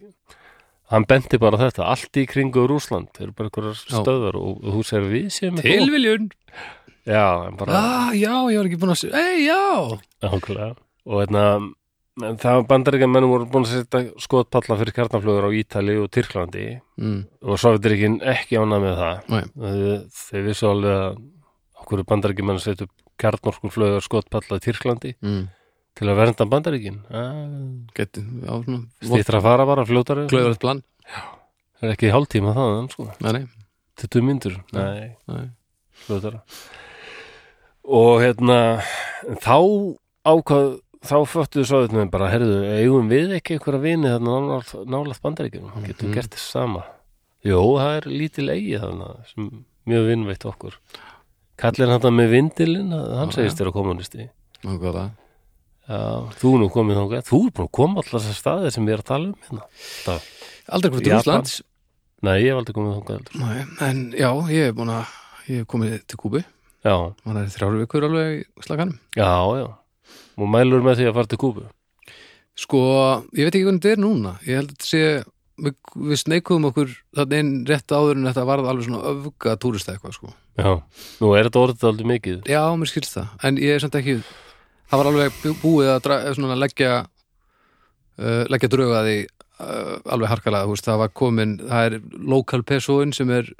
Speaker 1: hann benti bara á þetta allt í kringu Rússland þeir eru bara einhverjar
Speaker 2: Já.
Speaker 1: stöðar og, og þú segir við séum ekki góð.
Speaker 2: Tilviljun
Speaker 1: Já, en bara
Speaker 2: ah, Já, ég var ekki búin að segja Ei, já
Speaker 1: nákvæmlega og hérna en það var bandaríkja mennum voru búin að setja skotpalla fyrir kjarnaflögur á Ítali og Tyrklandi
Speaker 2: mm.
Speaker 1: og Sovjetiríkin ekki ánað með það
Speaker 2: Nei.
Speaker 1: Þeir- þeir vissu alveg að okkur bandaríkja menn að setja upp kjarnorkuflögur skotpalla í Tyrklandi
Speaker 2: Mm.
Speaker 1: til að vernda bandaríkin ah,
Speaker 2: Geti, já, svona
Speaker 1: stýttra að fara bara fljótari það
Speaker 2: Klögur eitt plan
Speaker 1: er ekki hálftíma það sko.
Speaker 2: Nei, nei,
Speaker 1: 20 myndur, nei
Speaker 2: nei
Speaker 1: hlutara og hérna en þá ákvað þá föttuðu sáðutnum bara, herðu, eigum við ekki einhverja vini þarna nálaft, nálaft bandaríkjum mm getum
Speaker 2: Mhm.
Speaker 1: gert þess sama Jó, það er lítil eigi þarna sem mjög vinveitt okkur kallir hann það með vindilinn hann
Speaker 2: Já,
Speaker 1: segist þér að komunisti
Speaker 2: Nákvæmlega
Speaker 1: Já, þú er nú komið þá þú er búin að koma allar þessar staðið sem við erum að tala um hérna.
Speaker 2: Aldrei komið til
Speaker 1: Japan.
Speaker 2: Úslands
Speaker 1: Nei, ég hef aldrei komið þá heldur.
Speaker 2: Nei, en já, ég er búin að Ég hef komið til Kúbu
Speaker 1: Já,
Speaker 2: Man er þrjár vikur alveg í slaganum
Speaker 1: já, já og mælur með því að fara til Kúbu
Speaker 2: Sko, ég veit ekki hvernig þetta er núna Ég held að þetta sé Við, við sneikuðum okkur þarna inn rétt áður en þetta varð alveg svona öfga túrista eitthvað sko
Speaker 1: Já, nú er þetta orðið aldrei mikið
Speaker 2: Já, mér skilst það, en ég er samt ekki það var alveg bú- búið að dra, svona, leggja uh, leggja drauga því uh, alveg harkalega, þú veist, það var komin það er local pesoin sem er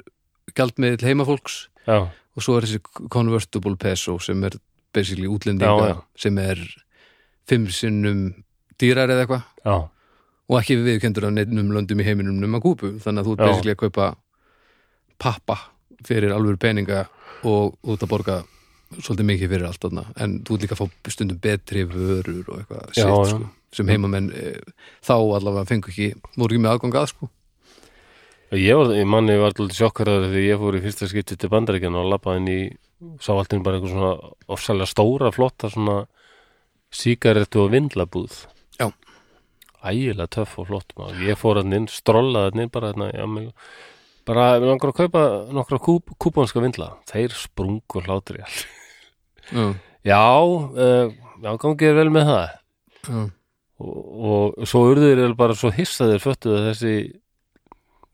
Speaker 2: gjaldmiðl heimafólks
Speaker 1: Já,
Speaker 2: og svo er þessi convertible peso sem er basically
Speaker 1: Já,
Speaker 2: útlendinga
Speaker 1: já.
Speaker 2: sem er fimm sinnum dýrar eða eitthvað
Speaker 1: já,
Speaker 2: og ekki viðkendur af neittnum löndum í heiminum nema kúpu, þannig að þú ert
Speaker 1: Já.
Speaker 2: basically að kaupa pappa fyrir alveg peninga og þú ert að borga svolítið mikið fyrir allt þarna en þú ert líka að fá stundum betri vörur og eitthvað
Speaker 1: Já,
Speaker 2: sitt,
Speaker 1: já.
Speaker 2: sko, sem heimamenn e, þá allavega fengu ekki, voru ekki með aðgang að sko.
Speaker 1: ég var, ég manni, ég var alltaf sjokkaraður þegar ég fór í fyrsta skipti til bandaríkjan og labbaði inn í, sá alltaf bara einhver svona ofsalega stóra, flotta svona sígarettu og vindlabúð
Speaker 2: Já.
Speaker 1: Ægilega töff og flott maður, ég fór hann inn, strollaði hann inn bara hérna, já, mig bara, mig langar að kaupa nokkra kúp, kúpanska vindla þeir sprungu úr hlátri all
Speaker 2: já,
Speaker 1: Já, uh, já, gangi er vel með það
Speaker 2: já,
Speaker 1: og, og svo urðu þeir eiginlega bara svo hissaðir föttuð að þessi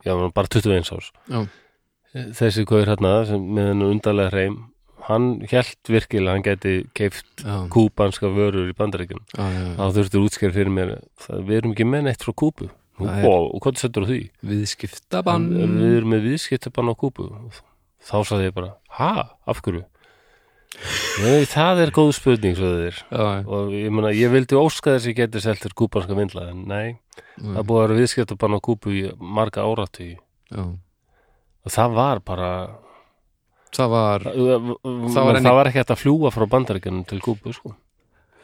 Speaker 1: já, hann var bara 21 árs
Speaker 2: Já.
Speaker 1: þessi kvöður hérna sem með hennu undarlega hreim hann hélt virkilega að hann gæti keift
Speaker 2: já,
Speaker 1: kúbanska vörur í bandaríkjum
Speaker 2: já, já.
Speaker 1: þá þurftur útskjær fyrir mér það, við erum ekki með neitt frá kúbu Nú,
Speaker 2: Nei.
Speaker 1: og, og hvað settur á því?
Speaker 2: viðskiptabann
Speaker 1: við erum með viðskiptabann á kúbu Og þá sagði ég bara, ha, af hverju? Nei, það er góð spurning svo þeir
Speaker 2: já, já,
Speaker 1: og ég, mena, ég vildi óska þess að ég geti selt þér kúbanska vindla en nei, það er búið að vera viðskiptabann á kúbu í marga áratugi
Speaker 2: já.
Speaker 1: og það var bara
Speaker 2: það var
Speaker 1: það var,
Speaker 2: enn-
Speaker 1: það var ekki hægt að fljúga frá bandaríkjanum til kúbu sko.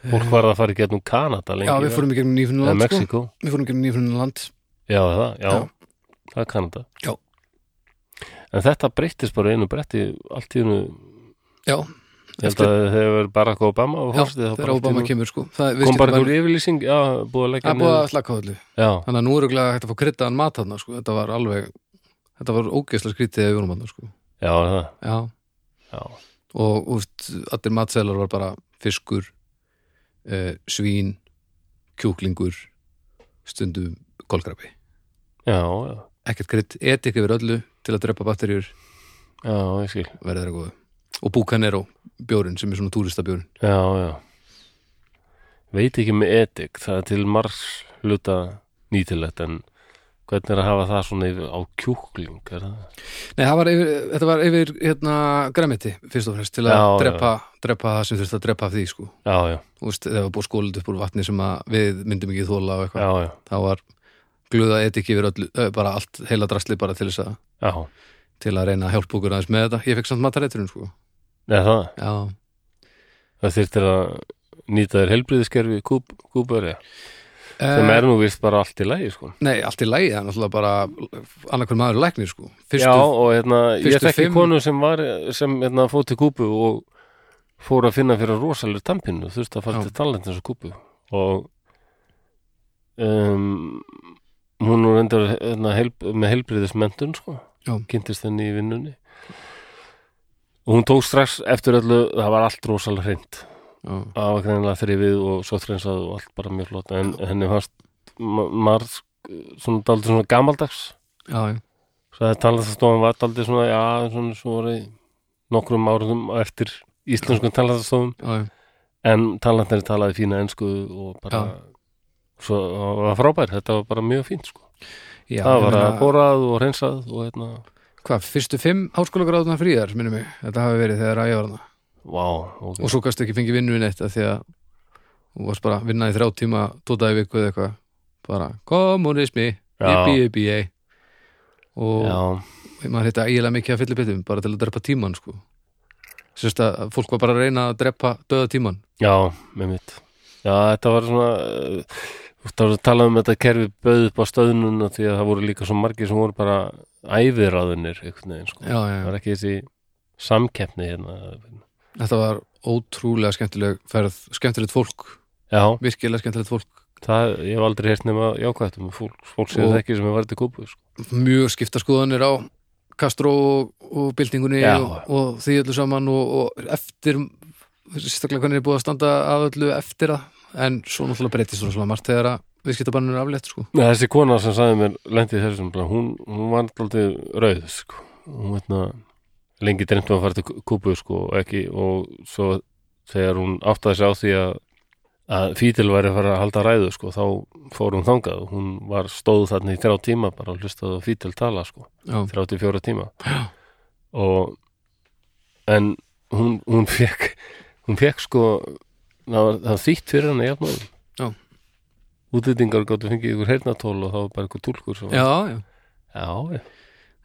Speaker 1: fólk var að fara í gegnum Kanada lengi
Speaker 2: já, við fórum í gegnum
Speaker 1: eða
Speaker 2: nýfunnland sko.
Speaker 1: Mexiko,
Speaker 2: við fórum í gegnum nýfunnland
Speaker 1: já það, já,
Speaker 2: Já.
Speaker 1: það er Kanada
Speaker 2: Já.
Speaker 1: en þetta breyttist bara í einu bretti allt í einu
Speaker 2: já,
Speaker 1: Ég held að þeir verið Barack Obama og
Speaker 2: Já,
Speaker 1: fórstið
Speaker 2: þegar Obama kemur sko það,
Speaker 1: Kom bara
Speaker 2: var,
Speaker 1: einhver yfirlýsing, já, búið að leggja
Speaker 2: að búið að slaka á öllu
Speaker 1: Já,
Speaker 2: þannig að nú eru glæða hægt að fá kryddaðan mat þarna sko. þetta var alveg þetta var ógeðslega skrítið eða vorum þarna sko.
Speaker 1: já, það,
Speaker 2: já,
Speaker 1: já
Speaker 2: og úst, allir matseðlar var bara fiskur eh, svín kjúklingur stundum kolkrabi
Speaker 1: Já, já,
Speaker 2: ekkert krydd, etik yfir öllu til að drepa batterjur
Speaker 1: já, ég skil
Speaker 2: verður það góðu og Bucanero bjórin sem er svona túristabjórin
Speaker 1: Já, já Veit ekki með etik, það er til margs hluta nýtilegt en hvernig er að hafa það svona yfir, á kjúkling, er það?
Speaker 2: Nei, það var yfir, þetta var yfir hérna, græmiti fyrst og fremst til að
Speaker 1: Já,
Speaker 2: drepa, drepa það sem þurfti að drepa af því sko.
Speaker 1: Já, já,
Speaker 2: Þú veist, þegar var búið skólit upp úr vatni sem að við myndum ekki þóla og eitthvað
Speaker 1: já, já,
Speaker 2: þá var gluða etik yfir öllu, ö, bara allt heila drasli bara til þess að
Speaker 1: já
Speaker 2: til að reyna að hjálpa okkur aðeins með þetta ég fekk samt matareiturinn sko
Speaker 1: Nei, það,
Speaker 2: já,
Speaker 1: það þyrftir að nýta þér helbriðiskerfi kúp, kúpari sem
Speaker 2: eh,
Speaker 1: er nú vist bara allt í lægi, sko
Speaker 2: nei, allt í lægi það er náttúrulega bara annarkur maður er læknir sko fyrstu,
Speaker 1: Já, og hérna, ég
Speaker 2: fyrstu
Speaker 1: þekki
Speaker 2: fimm-
Speaker 1: konu sem var, sem hérna fór til Kúbu og fór að finna fyrir rosalega tampinu, þú veist að fara
Speaker 2: Já.
Speaker 1: til talent eins og Kúbu og um, hún nú reyndar hérna, helb, með helbriðismentun, sko
Speaker 2: Já.
Speaker 1: kynntist henni í vinnunni og hún tók strax eftir öllu, það var allt rosalega hreint
Speaker 2: já,
Speaker 1: það var greinlega þrifið og sóttreinsað og allt bara mjög flott, en henni fannst ma- marg, svona daldið svona gamaldags
Speaker 2: já, já,
Speaker 1: Svo það talatastofan var aldrei svona, já, svona svo voru nokkrum árum á eftir íslenskum talatastofum,
Speaker 2: já,
Speaker 1: en talatnir talaði fína ensku og bara svo það var frábær, þetta var bara mjög fínt sko.
Speaker 2: já
Speaker 1: það
Speaker 2: ég
Speaker 1: var
Speaker 2: meina,
Speaker 1: að borað og reynsað og hérna,
Speaker 2: hvað, fyrstu fimm háskóla gráðuna fríðar minnum mig, þetta hafi verið þegar að ég var hana
Speaker 1: vá, ok
Speaker 2: og svo gæstu ekki fengið vinnu í neitt af því að þú varst bara að vinna í þrjá tíma tótaði viku eða eitthvað bara kommunismi,
Speaker 1: Já.
Speaker 2: IBIBA og
Speaker 1: já,
Speaker 2: maður hitta eiginlega mikið að fyllipittum bara til að drepa tíman sko sérst að fólk var bara að reyna að drepa döða tíman
Speaker 1: já, með mitt já, þetta var svona uh, það var að tala um þetta kerfi böð upp á stöðnuna því að það voru líka svo margir sem voru bara æviráðunir einhvern veginn, sko,
Speaker 2: já, já,
Speaker 1: það
Speaker 2: já.
Speaker 1: var ekki þessi samkeppni hérna,
Speaker 2: þetta var ótrúlega skemmtileg ferð, skemmtilegt fólk
Speaker 1: já
Speaker 2: virkilega skemmtilegt fólk,
Speaker 1: Það, ég hef aldrei heyrt nema jákvætt um fólk, fólk sem
Speaker 2: Og-
Speaker 1: það ekki sem er varðið til kúpu sko.
Speaker 2: mjög skipta skoðanir á Castro og, og byltingunni
Speaker 1: Já.
Speaker 2: og, og því öllu saman og, og eftir sérstaklega hvernig er búið að standa að öllu eftir það, en svo náttúrulega breytist svona margt þegar að viðskiptabannur er aflétt sko.
Speaker 1: Nei, Þessi kona sem sagði mér lendið þessum, bara, hún, hún var alltaf rauð sko. hún veitna lengi dreymt um að fara til kúpu sko, og ekki, og svo þegar hún áttaði sig á því að að Fítil væri að fara að halda ræðu sko, þá fór hún þangað og hún var stóð þarna í þrjá tíma bara og hlustaði á Fítil tala sko.
Speaker 2: já,
Speaker 1: 34 tíma
Speaker 2: Já.
Speaker 1: og en hún, hún fekk hún fekk sko það var, það var þýtt fyrir hana
Speaker 2: Já.
Speaker 1: jafnum útlýtingar gáttu fengið ykkur heyrnatól og það var bara ykkur túlkur sem,
Speaker 2: já, já.
Speaker 1: já, já.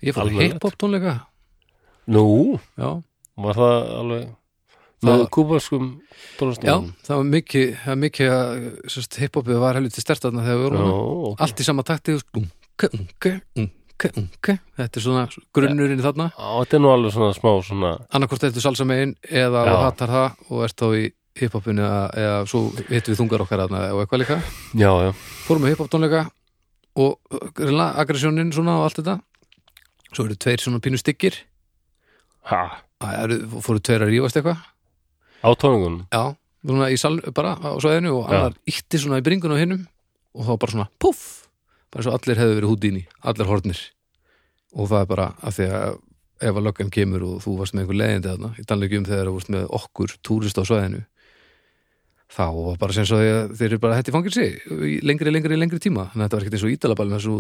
Speaker 2: ég fór
Speaker 1: Almennilegt.
Speaker 2: hip-hop tónleika
Speaker 1: nú,
Speaker 2: já
Speaker 1: var það alveg
Speaker 2: Það-
Speaker 1: með kúbarskum
Speaker 2: Já,
Speaker 1: tónastum
Speaker 2: það var mikið, það var mikið að sérst, hiphopið var helviti stert þarna þegar við vorum hana.
Speaker 1: já,
Speaker 2: Allt í sama takti, þú veist, unke, unke, unke, unke. Þetta er svona grunnurinn þarna.
Speaker 1: Já, þetta er nú alveg svona smá svona
Speaker 2: Annarkvort ertu salsa megin eða
Speaker 1: Já.
Speaker 2: þú hattar það og ert þá í hiphopinu eða, eða svo hittum við þungar okkar þarna og eitthvað líka.
Speaker 1: já, já,
Speaker 2: Fórum með hiphop tónleika og grilla aggressionin svona og allt þetta. Svo eru tveir svona pínu styggir.
Speaker 1: ha,
Speaker 2: Það eru, fóru tveir að rífast eitthvað.
Speaker 1: á tóningunum
Speaker 2: Já, svona í sal bara á svæðinu og
Speaker 1: Já.
Speaker 2: annar ítti svona í bringun á hinnum og þá bara svona puff bara svo allir hefðu verið húdíni, allir hornir og það er bara að því að ef að löggan kemur og þú varst með einhver leiðindi þarna í dannlegjum þegar þú varst með okkur túrist á svæðinu þá var bara sem svo því að þeir eru bara hætti fangir sig í lengri, lengri, lengri tíma þannig að þetta var ekkert eins og ídalaballin þessu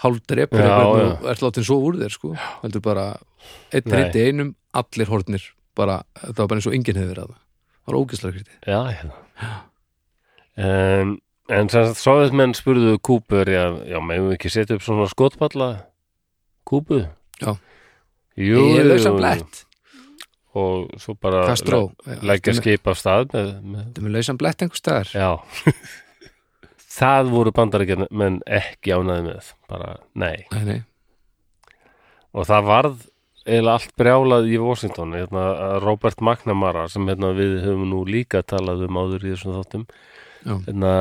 Speaker 2: hálfdrepur
Speaker 1: Já,
Speaker 2: eitthvað
Speaker 1: já.
Speaker 2: og ert látin svo úr þér sko heldur bara einn
Speaker 1: Nei.
Speaker 2: reyndi einum allir hornir bara, þetta var bara eins og enginn hefur verið að það Það var ógæslega krítið.
Speaker 1: Já, hérna um, En sem sagt, sovétmenn spurðu Kúpur, já, já, meðum við ekki setja upp svona skotpalla Kúbu
Speaker 2: Já.
Speaker 1: Jú,
Speaker 2: Ég er
Speaker 1: jú,
Speaker 2: lausan
Speaker 1: jú.
Speaker 2: blett.
Speaker 1: Og svo bara
Speaker 2: Kastró.
Speaker 1: le- leggja skip af stað með, með,
Speaker 2: Það er lausan blett einhver staðar.
Speaker 1: Já Það voru bandaríkjarmenn ekki ánaði með bara, nei
Speaker 2: Nei, nei.
Speaker 1: og það varð eiginlega allt brjálað í Washington hérna, að Robert McNamara sem hérna, við höfum nú líka talað um áður í þessum þáttum
Speaker 2: Já.
Speaker 1: hérna,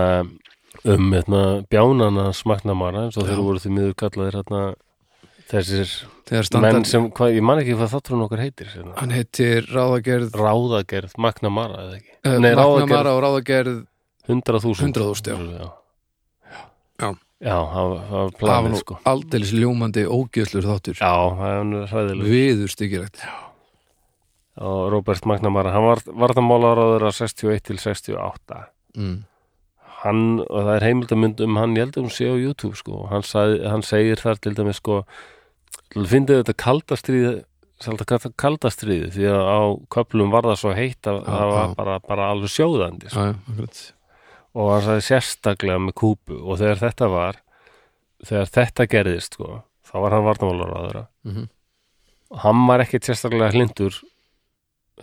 Speaker 1: um hérna, bjánana McNamara eins og
Speaker 2: Já.
Speaker 1: þeir voru því miður kallaðir hérna, þessir
Speaker 2: þegar
Speaker 1: menn
Speaker 2: standart,
Speaker 1: sem, hva, ég man ekki hvað þátturinn okkar heitir hérna.
Speaker 2: hann heitir ráðagerð
Speaker 1: ráðagerð McNamara eða ekki
Speaker 2: uh,
Speaker 1: Nei,
Speaker 2: Magnamara og ráðagerð
Speaker 1: 100.000
Speaker 2: 100.000,
Speaker 1: já
Speaker 2: Já.
Speaker 1: Já, það var- það var
Speaker 2: það var
Speaker 1: planið
Speaker 2: nú
Speaker 1: sko
Speaker 2: aldeilis ljómandi ógjöðslur þáttur
Speaker 1: Já, það er hræðileg
Speaker 2: viður styggilegt
Speaker 1: og Robert McNamara, hann var, var það málaráður að 61 til 68
Speaker 2: mm.
Speaker 1: hann, og það er heimildamund um hann, ég held að hún sé á YouTube sko, hann, sag, hann segir þar til dæmis sko, fyndið þetta kaldastrýð þetta kaldastrýð, því að á köplum var það svo heitt að
Speaker 2: Já,
Speaker 1: það var
Speaker 2: já.
Speaker 1: bara, bara alveg sjóðandi sko.
Speaker 2: já, já, akkurat.
Speaker 1: og hann sagði sérstaklega með kúpu og þegar þetta var þegar þetta gerðist sko, þá var hann varnamálaráður
Speaker 2: Mhm.
Speaker 1: og hann var ekkit sérstaklega hlindur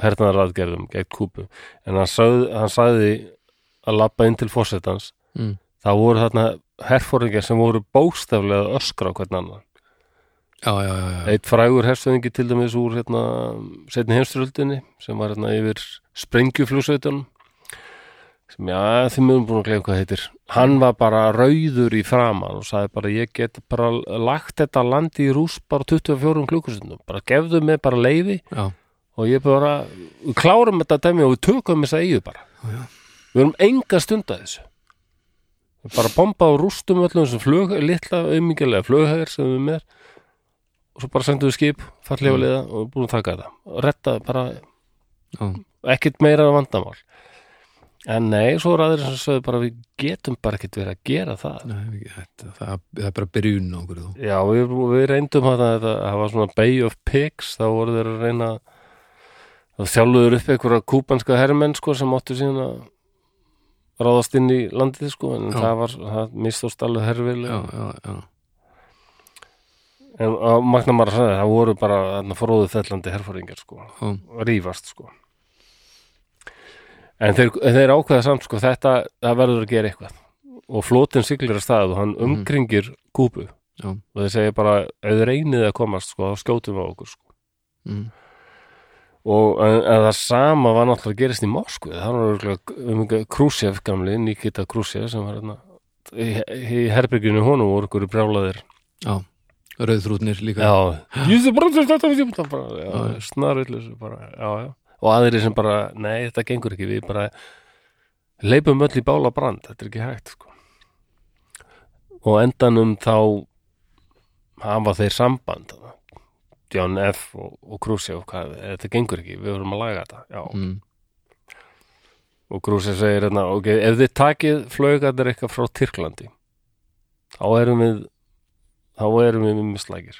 Speaker 1: hernaðaraðgerðum gegn kúpu en hann sagði, hann sagði að labba inn til fórsetans
Speaker 2: Mm.
Speaker 1: þá voru þarna herfóringar sem voru bókstaflega að öskra á hvern annan
Speaker 2: já, já, já, já.
Speaker 1: eitt frægur herstöðingi til dæmis úr hérna, setni heimsturöldinni sem var hérna, yfir sprengjuflúsveitunum sem já, þeim erum búin að gleyma hvað heitir hann var bara rauður í framan og sagði bara ég get bara lagt þetta landi í rúst bara 24 klukkustundum bara gefðu mig bara leifi
Speaker 2: já.
Speaker 1: og ég bara, við klárum þetta dæmi og við tökum þessa eigu bara
Speaker 2: Já, já.
Speaker 1: við erum enga stund að þessu við bara bomba og rústum öllum þessum flug, litla aumingilega flughæðir sem við erum með og svo bara sendum við skip, fallega
Speaker 2: Mm.
Speaker 1: liða og við erum búin að taka þetta og retta bara
Speaker 2: já.
Speaker 1: ekkert meira en vandamál en nei, svo er aðrir sem sögðu bara við getum bara ekkert verið að gera það
Speaker 2: Nei, ekki, þetta, það, það er bara byrjun á okkur þú
Speaker 1: já, við, við reyndum að það, það var svona Bay of Pigs þá voru þeir að reyna þá þjálfuður upp einhverja kúpanska hermenn sko, sem áttu síðan að ráðast inn í landið sko, en
Speaker 2: Já.
Speaker 1: það var, það mistóst alveg herfilega
Speaker 2: já, já, já,
Speaker 1: en að magna maður að sagði, það voru bara þarna fróðu þellandi herfóringar sko,
Speaker 2: já,
Speaker 1: og rífast sko en þeir, þeir ákveða samt sko, þetta, það verður að gera eitthvað og flótin siglir að stað og hann umkringir kúpu
Speaker 2: Já.
Speaker 1: og þeir segja bara, ef þeir reynið að komast sko, þá skjótum við á okkur sko
Speaker 2: mm.
Speaker 1: og en, en það sama var náttúrulega gerist í Moskvu það var örugglega um einhver Khrushchev gamli Nikita Khrushchev sem var hérna í, í herbyrginu honum voru ykkur brjálaðir
Speaker 2: rauðþrútnir líka
Speaker 1: já, ég sé bara þetta við þetta bara,
Speaker 2: Já.
Speaker 1: já, snarvillis bara, já, já, og aðrir sem bara nei, þetta gengur ekki, við bara leipum öll í bála brand, þetta er ekki hægt sko. og á endanum þá hafa þeir samband þarna. John F. og, og Khrushchev hvað, þetta gengur ekki, við vorum að laga þetta já,
Speaker 2: mm.
Speaker 1: og Grúsi segir hérna, ok, ef þið takið flaugarnir eitthvað frá Tyrklandi þá erum við þá erum við mislækir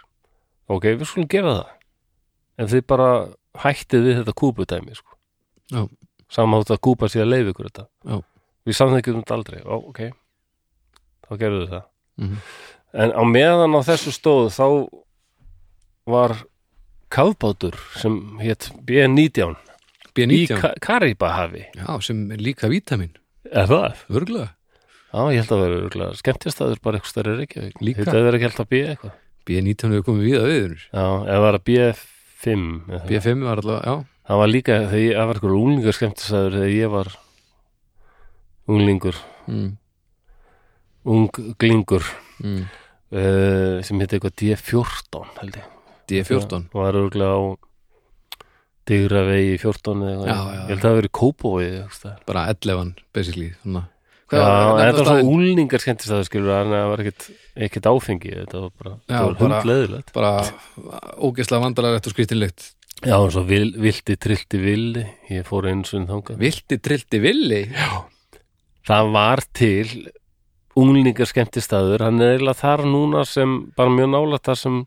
Speaker 1: ok, við skulum gera það en þið bara hættið við þetta kúputæmi sko.
Speaker 2: Já.
Speaker 1: samhátt að kúpa sér að leiði ykkur þetta
Speaker 2: Já.
Speaker 1: við samþekjum þetta aldrei, Ó, ok þá gerðu þið það
Speaker 2: Mhm.
Speaker 1: en á meðan á þessu stóðu þá var kafbátur sem hétt B19 í
Speaker 2: B19,
Speaker 1: Ka- Karibahafi
Speaker 2: já, sem er líka vítamin
Speaker 1: er það?
Speaker 2: örgulega,
Speaker 1: Já, ég held að vera örgulega skemmtistæður bara eitthvað stærri Reykjavík.
Speaker 2: Líka.
Speaker 1: Þetta er ekki held að bíða eitthvað.
Speaker 2: B19 hefur komið við að viður
Speaker 1: Já, eða var að bíða 5. eða-
Speaker 2: B5 var allavega, já,
Speaker 1: Það var líka þegar ég, það var eitthvað unglingar skemmtistæður þegar ég var unglingur,
Speaker 2: mm.
Speaker 1: unglingur
Speaker 2: Mm.
Speaker 1: uh, sem hétt eitthvað D14 held ég.
Speaker 2: D14
Speaker 1: Og það er örgulega á digra vegi 14 eða
Speaker 2: Já, já,
Speaker 1: Ég held að það hafi verið kópói eða eitthvað. staðar.
Speaker 2: bara 11 basically svona.
Speaker 1: Já, en þetta var
Speaker 2: staðinn?
Speaker 1: svona unglingar skemmtistæður skilur en það var ekkit, ekkit áfengi þetta var bara,
Speaker 2: Já,
Speaker 1: það var
Speaker 2: bara-
Speaker 1: hundleðilegt.
Speaker 2: bara ógeðslega vandalarlegt og skrítinlegt
Speaker 1: Já, og svo vil, vildi, trillti, vildi ég fór eins og þangað
Speaker 2: vilti trillti villi
Speaker 1: það var til unglingar skemmtistæður hann er eiginlega þar núna sem bara mjög nálægt þar sem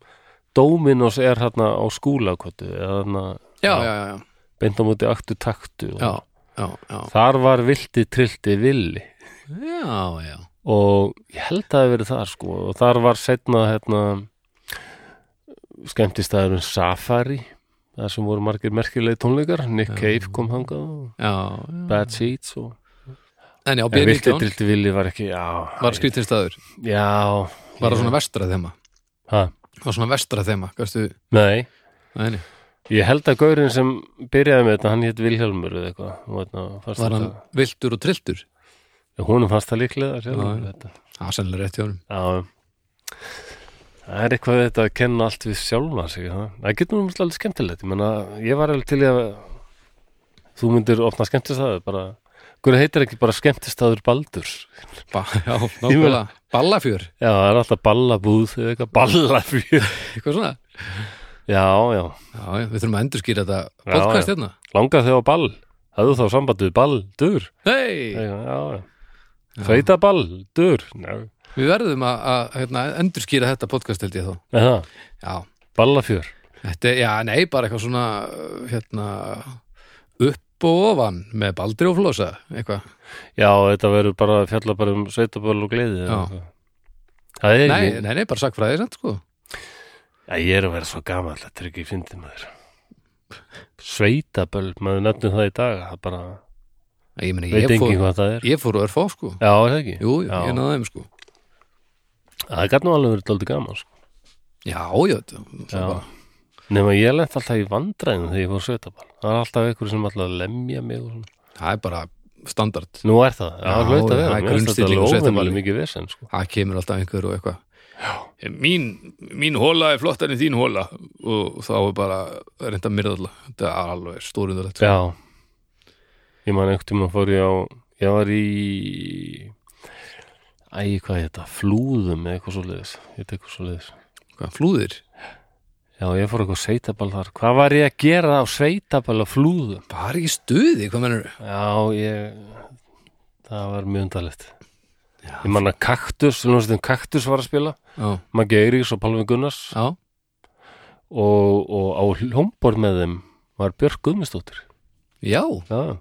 Speaker 1: Dominos er hérna á skúlakotu eða hérna
Speaker 2: já, já, já, já,
Speaker 1: beint á móti aktu taktu og-
Speaker 2: já, já, já.
Speaker 1: þar var vildi, trillti, villi
Speaker 2: já, já.
Speaker 1: og ég held að það hafi verið þar sko og þar var setna hérna, skemmtistæðurinn Safari þar sem voru margir merkilegi tónleikar Nick Cave kom hangað og
Speaker 2: já, já.
Speaker 1: Bad Seeds og
Speaker 2: en já,
Speaker 1: En vilti
Speaker 2: B19
Speaker 1: drilti villi var ekki, já
Speaker 2: var skrítin staður
Speaker 1: Já
Speaker 2: var það svona vestra þema
Speaker 1: ha,
Speaker 2: var svona vestra þema, gæstu
Speaker 1: Nei,
Speaker 2: það Nei, nei.
Speaker 1: Ég held að gaurinn sem byrjaði með þetta, hann hétt Vilhjálmur eða eitthvað og þarna fannst
Speaker 2: Var hann
Speaker 1: þetta-
Speaker 2: viltur og trilltur?
Speaker 1: Já, honum fannst það líklega
Speaker 2: Já,
Speaker 1: sjálfur
Speaker 2: já.
Speaker 1: þetta.
Speaker 2: Já, sennilega rétt hjá hann
Speaker 1: Já, það er eitthvað við þetta að kenna allt við sjálfan sig, það, það getur nú alveg skemmtilegt, ég menna, ég var alveg til í að þú myndir opna skemmtistæður, bara, hverju heitir ekki bara skemmtistæður Baldurs?
Speaker 2: ba Já, nákvæmlega Ballafjör,
Speaker 1: Já, það er alltaf ballabúð eða eitthvað ballafjör.
Speaker 2: eitthvað svona
Speaker 1: Já, já,
Speaker 2: Já, já, við þurfum að endurskýra þetta
Speaker 1: Já,
Speaker 2: podcast
Speaker 1: já.
Speaker 2: hérna
Speaker 1: langar þau á ball, hafðu þá sambandið Baldur? Já,
Speaker 2: Nei,
Speaker 1: já, já. Feita Baldur? Já,
Speaker 2: við verðum að, að hérna, endurskýra þetta podcast held ég þá
Speaker 1: eða,
Speaker 2: Já,
Speaker 1: ballafjör.
Speaker 2: þetta, er- já, nei, bara eitthvað svona hérna upp og ofan með baldri og flosa eitthvað,
Speaker 1: Já, þetta verður bara að fjalla bara um sveitaböl og gleði. eða
Speaker 2: Já.
Speaker 1: eitthvað. Það er
Speaker 2: nei,
Speaker 1: ekki,
Speaker 2: nei, nei, bara sakfræði samt sko
Speaker 1: Já, ég er að vera svo gamall, þetta er ekki fyndið maður. Sveitaböll, maður nefnir það í dag, það bara,
Speaker 2: Ég, meni,
Speaker 1: veit
Speaker 2: ég,
Speaker 1: engin
Speaker 2: fór,
Speaker 1: hvað það er.
Speaker 2: ég fór örfá sko
Speaker 1: Já, er það ekki?
Speaker 2: Jú, jú,
Speaker 1: Já.
Speaker 2: ég náði þeim sko
Speaker 1: Það gæti nú alveg verið dálítið gaman, sko.
Speaker 2: Já, já, þetta
Speaker 1: Já.
Speaker 2: bara-
Speaker 1: Nefnum að ég lent alltaf í vandræðinu þegar ég fór sveitaböll. Það er alltaf einhver sem alltaf að lemja mig og svona.
Speaker 2: það er bara standard
Speaker 1: Nú er það, já,
Speaker 2: Já,
Speaker 1: það hlaut
Speaker 2: já,
Speaker 1: að vera.
Speaker 2: það er
Speaker 1: Mér finnst þetta
Speaker 2: grunnstilling á
Speaker 1: alveg
Speaker 2: sveitaballi.
Speaker 1: óvenjulega mikið vesen, sko.
Speaker 2: það kemur alltaf einhver og eitthvað mín, mín hóla er flottar en þín hóla og þá er bara reynda myrðalla, þetta er alveg stórundalegt
Speaker 1: Já. Ég man einhvern tímann fór ég á, ég var í, æ, hvað er þetta, flúðum eða eitthvað svo leiðis. Ég eitthvað svo
Speaker 2: Hvað, flúðir?
Speaker 1: Já, ég fór eitthvað sveitaball þar. Hvað var ég að gera á sveitaball á flúðum?
Speaker 2: Bara ekki í stuði, hvað mennur
Speaker 1: Já, ég... Það var mjög undarlegt. Ég manna Kaktus, hljómsveitin Kaktus var að spila.
Speaker 2: Já,
Speaker 1: Maggi Eiríks og Pálmi Gunnars.
Speaker 2: já,
Speaker 1: Og, og á hljómbor með þeim var Björk Guðmundsdóttir.
Speaker 2: já
Speaker 1: Já.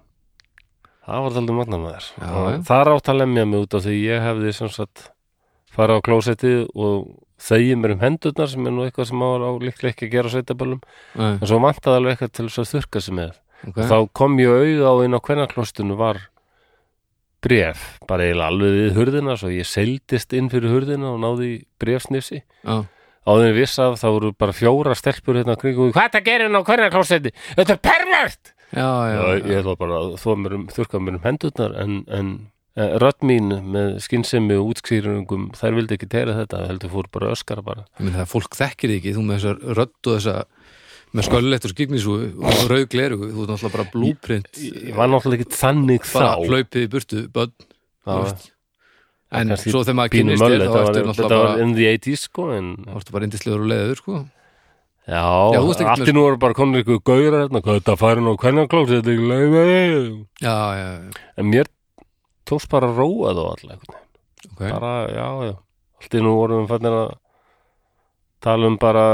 Speaker 1: Það var þaldið magna maður.
Speaker 2: Já,
Speaker 1: Og
Speaker 2: já.
Speaker 1: Þar átt að lemja mig út af því ég hefði sem sagt fara á klósettið og þegið mér um hendurnar sem er nú eitthvað sem maður á líklega ekki að gera á sveitaballum.
Speaker 2: Æ,
Speaker 1: En svo vantaði alveg eitthvað til þess að þurka sig með.
Speaker 2: ok.
Speaker 1: þá kom ég auð á inn á kvennaklostinu var bref, bara eiginlega alveg við hurðina svo ég seldist inn fyrir hurðina og náði í brefsnifsi
Speaker 2: já,
Speaker 1: á þeim viss af þá voru bara fjóra stelpur hérna kringum, hvað það gerir inn á kvennaklostinu þetta er pervert
Speaker 2: já, já,
Speaker 1: Já,
Speaker 2: já.
Speaker 1: ég ætla bara að þó mér um, þurka mér um hendurnar en, en eh, rödd mín með skynsemi og útskýringum þær vildi ekki tera þetta, heldur fór bara öskara bara
Speaker 2: Ég meni það, fólk þekkir þig ekki, þú með þessar rödd og þessa með sköllett og skiknisú og raug gleru, þú ert náttúrulega bara blúprint
Speaker 1: ég var náttúrulega ekki þannig
Speaker 2: bara
Speaker 1: þá
Speaker 2: hlaupið í burtu, börn
Speaker 1: Já,
Speaker 2: þú veist. En
Speaker 1: kannski
Speaker 2: svo þegar maður
Speaker 1: pínu
Speaker 2: kynnist
Speaker 1: möll,
Speaker 2: þér, þá ertu
Speaker 1: þetta var, þetta
Speaker 2: náttúrulega
Speaker 1: var
Speaker 2: bara
Speaker 1: in the 80s sko en
Speaker 2: þá ertu bara indislegur og leiður, sko
Speaker 1: Já,
Speaker 2: Já, þú veist ekkert
Speaker 1: allt í
Speaker 2: með-
Speaker 1: nú eru bara komin ykkur gauður hérna, hvað þetta færi nú hvernig klóks, þetta er ekki leið
Speaker 2: Já, já, já,
Speaker 1: En mér tókst bara að róa þá alltaf einhvern veginn,
Speaker 2: ok
Speaker 1: bara, já, já Allt í nú vorum við fannir að tala um bara